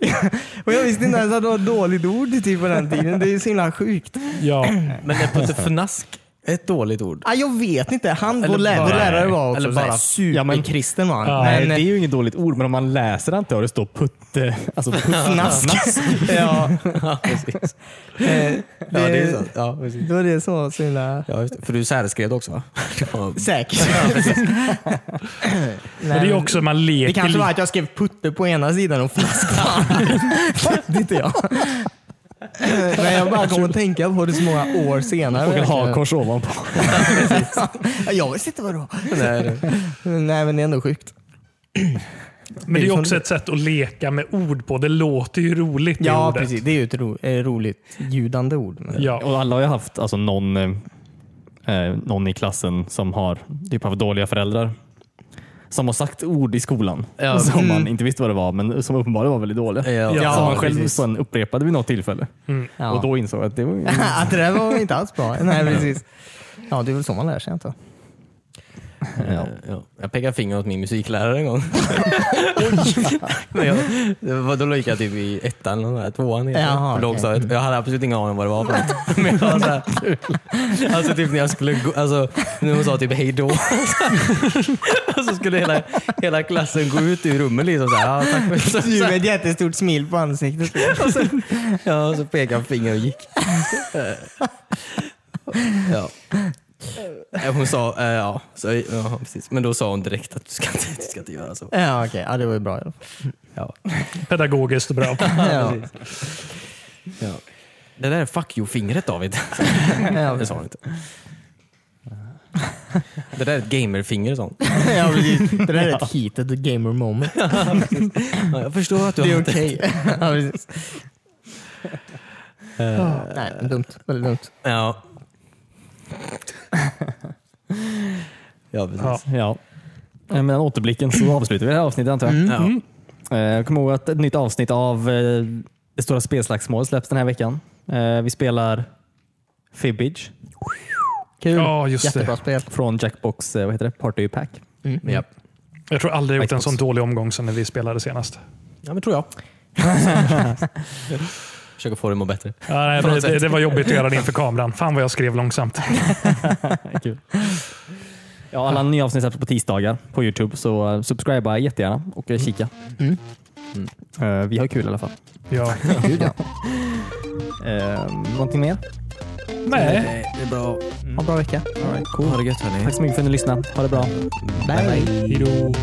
[SPEAKER 2] och jag visste inte ens att det var ett dåligt ord typ, på den tiden. Det är så himla sjukt.
[SPEAKER 3] Ja.
[SPEAKER 1] Men är puttefnask ett dåligt ord?
[SPEAKER 2] Ah, jag vet inte, han, vår,
[SPEAKER 1] Eller
[SPEAKER 2] lä- vår
[SPEAKER 1] bara-
[SPEAKER 2] lärare var också
[SPEAKER 1] eller
[SPEAKER 2] så här
[SPEAKER 1] bara-
[SPEAKER 4] Ja, men-
[SPEAKER 2] superkristen. var han.
[SPEAKER 3] Ja,
[SPEAKER 4] Nej,
[SPEAKER 2] Men- eh,
[SPEAKER 4] det är ju inget dåligt ord, men om man läser det inte och det står putte, alltså puttnask.
[SPEAKER 2] ja,
[SPEAKER 1] ja, precis.
[SPEAKER 2] eh,
[SPEAKER 1] Ja, det är sant. Ja, precis.
[SPEAKER 2] Det var det som var så himla...
[SPEAKER 1] Ja, just det. För du särskrev det också va? Det var-
[SPEAKER 2] Säkert.
[SPEAKER 3] Men det är ju också man leker
[SPEAKER 2] Det kanske var
[SPEAKER 3] lite.
[SPEAKER 2] att jag skrev putte på ena sidan och flaska på andra. Det är inte jag. Men jag bara kom att tänka på det så många år senare.
[SPEAKER 4] Och en hakkors ovanpå.
[SPEAKER 2] Jag visste inte vad det var.
[SPEAKER 1] Nej, det-
[SPEAKER 2] Nej men det är ändå sjukt.
[SPEAKER 3] Men det är ju
[SPEAKER 2] som
[SPEAKER 3] också
[SPEAKER 2] det-
[SPEAKER 3] ett sätt att leka med ord på. Det låter ju roligt i
[SPEAKER 2] Ja
[SPEAKER 3] ordet.
[SPEAKER 2] precis, det är ju ett ro, eh, roligt ljudande ord. Men...
[SPEAKER 3] Ja.
[SPEAKER 4] Och alla har ju haft alltså, någon, eh, eh, någon i klassen som har typ haft dåliga föräldrar. Som har sagt ord i skolan
[SPEAKER 1] Ja.
[SPEAKER 4] som man inte visste vad det var, men som uppenbarligen var väldigt dåliga.
[SPEAKER 1] Mm. Ja,
[SPEAKER 4] Som
[SPEAKER 3] Ja,
[SPEAKER 4] man själv
[SPEAKER 1] precis.
[SPEAKER 4] sen upprepade vid något tillfälle.
[SPEAKER 2] Ja.
[SPEAKER 4] Och då insåg jag att det var ju...
[SPEAKER 2] att det där var inte alls bra. Nej precis. Ja det är väl så man lär sig antar jag.
[SPEAKER 4] ja.
[SPEAKER 1] Eh, Ja, jag pekade finger åt min musiklärare en gång. Men jag, det var- då gick jag typ i ettan, eller nåt där, tvåan i
[SPEAKER 2] Jaha,
[SPEAKER 1] lågstadiet. Jag hade absolut ingen aning om vad det var för något. Men jag var så här, alltså typ när jag skulle gå, alltså, när hon sa typ hej då. Och så skulle hela, hela klassen gå ut ur rummet liksom. Så här, ja, tack för, så,
[SPEAKER 2] Du
[SPEAKER 1] så,
[SPEAKER 2] med ett jättestort smil på ansiktet.
[SPEAKER 1] ja, och så pekade jag finger och gick. Ja. Eh, Hon sa, eh, ja, så, ja precis. men då sa hon direkt att du ska inte, du ska inte göra så.
[SPEAKER 2] Ja okej, ja, det var ju bra i alla fall.
[SPEAKER 1] Ja.
[SPEAKER 3] Pedagogiskt bra.
[SPEAKER 2] Ja,
[SPEAKER 1] Ja. Det där är fuck you-fingret David.
[SPEAKER 2] ja,
[SPEAKER 1] Det sa han inte. Det där är ett gamerfinger och sånt.
[SPEAKER 2] ja, precis. det där är ett heated gamer moment.
[SPEAKER 1] Ja, Jag förstår att du
[SPEAKER 2] Det är
[SPEAKER 1] inte-
[SPEAKER 2] okej. ja, precis. Nej, men dumt. Väldigt dumt.
[SPEAKER 1] Ja. ja, precis.
[SPEAKER 3] Ja.
[SPEAKER 4] Ja. Eh, Med den återblicken så avslutar vi det här avsnittet antar jag.
[SPEAKER 1] Ja.
[SPEAKER 4] Eh, Jag kommer ihåg att ett nytt avsnitt av eh, Det stora spelslagsmålet släpps den här veckan. Eh, Vi spelar Fibbage
[SPEAKER 2] Kul.
[SPEAKER 3] Ja, just
[SPEAKER 2] Jättebra
[SPEAKER 3] det.
[SPEAKER 2] spel. Mm.
[SPEAKER 4] från Jackbox eh, vad heter det? Party Pack.
[SPEAKER 1] Ja.
[SPEAKER 3] Jag tror aldrig jag gjort en
[SPEAKER 4] Xbox.
[SPEAKER 3] sån dålig omgång som när vi spelade senast.
[SPEAKER 1] ja, men tror jag. Försöker få det att må bättre.
[SPEAKER 3] Ja, nej,
[SPEAKER 1] På något
[SPEAKER 3] det, det,
[SPEAKER 1] sätt.
[SPEAKER 3] det var jobbigt att göra det inför kameran. Fan vad jag skrev långsamt.
[SPEAKER 4] Kul. Ja, alla nya avsnitt släpps på tisdagar på Youtube så eh, subscriba jättegärna och eh, kika.
[SPEAKER 2] Mm.
[SPEAKER 4] Eh, Vi har kul i alla fall.
[SPEAKER 3] Ja.
[SPEAKER 4] Eh, Någonting mer?
[SPEAKER 3] Nej.
[SPEAKER 1] det är bra.
[SPEAKER 2] Ha en bra vecka.
[SPEAKER 4] All right,
[SPEAKER 1] Ha
[SPEAKER 4] cool.
[SPEAKER 1] det gött hörni.
[SPEAKER 4] Tack så mycket för att ni lyssnade. Ha det bra.
[SPEAKER 2] Bye.
[SPEAKER 4] Hej då.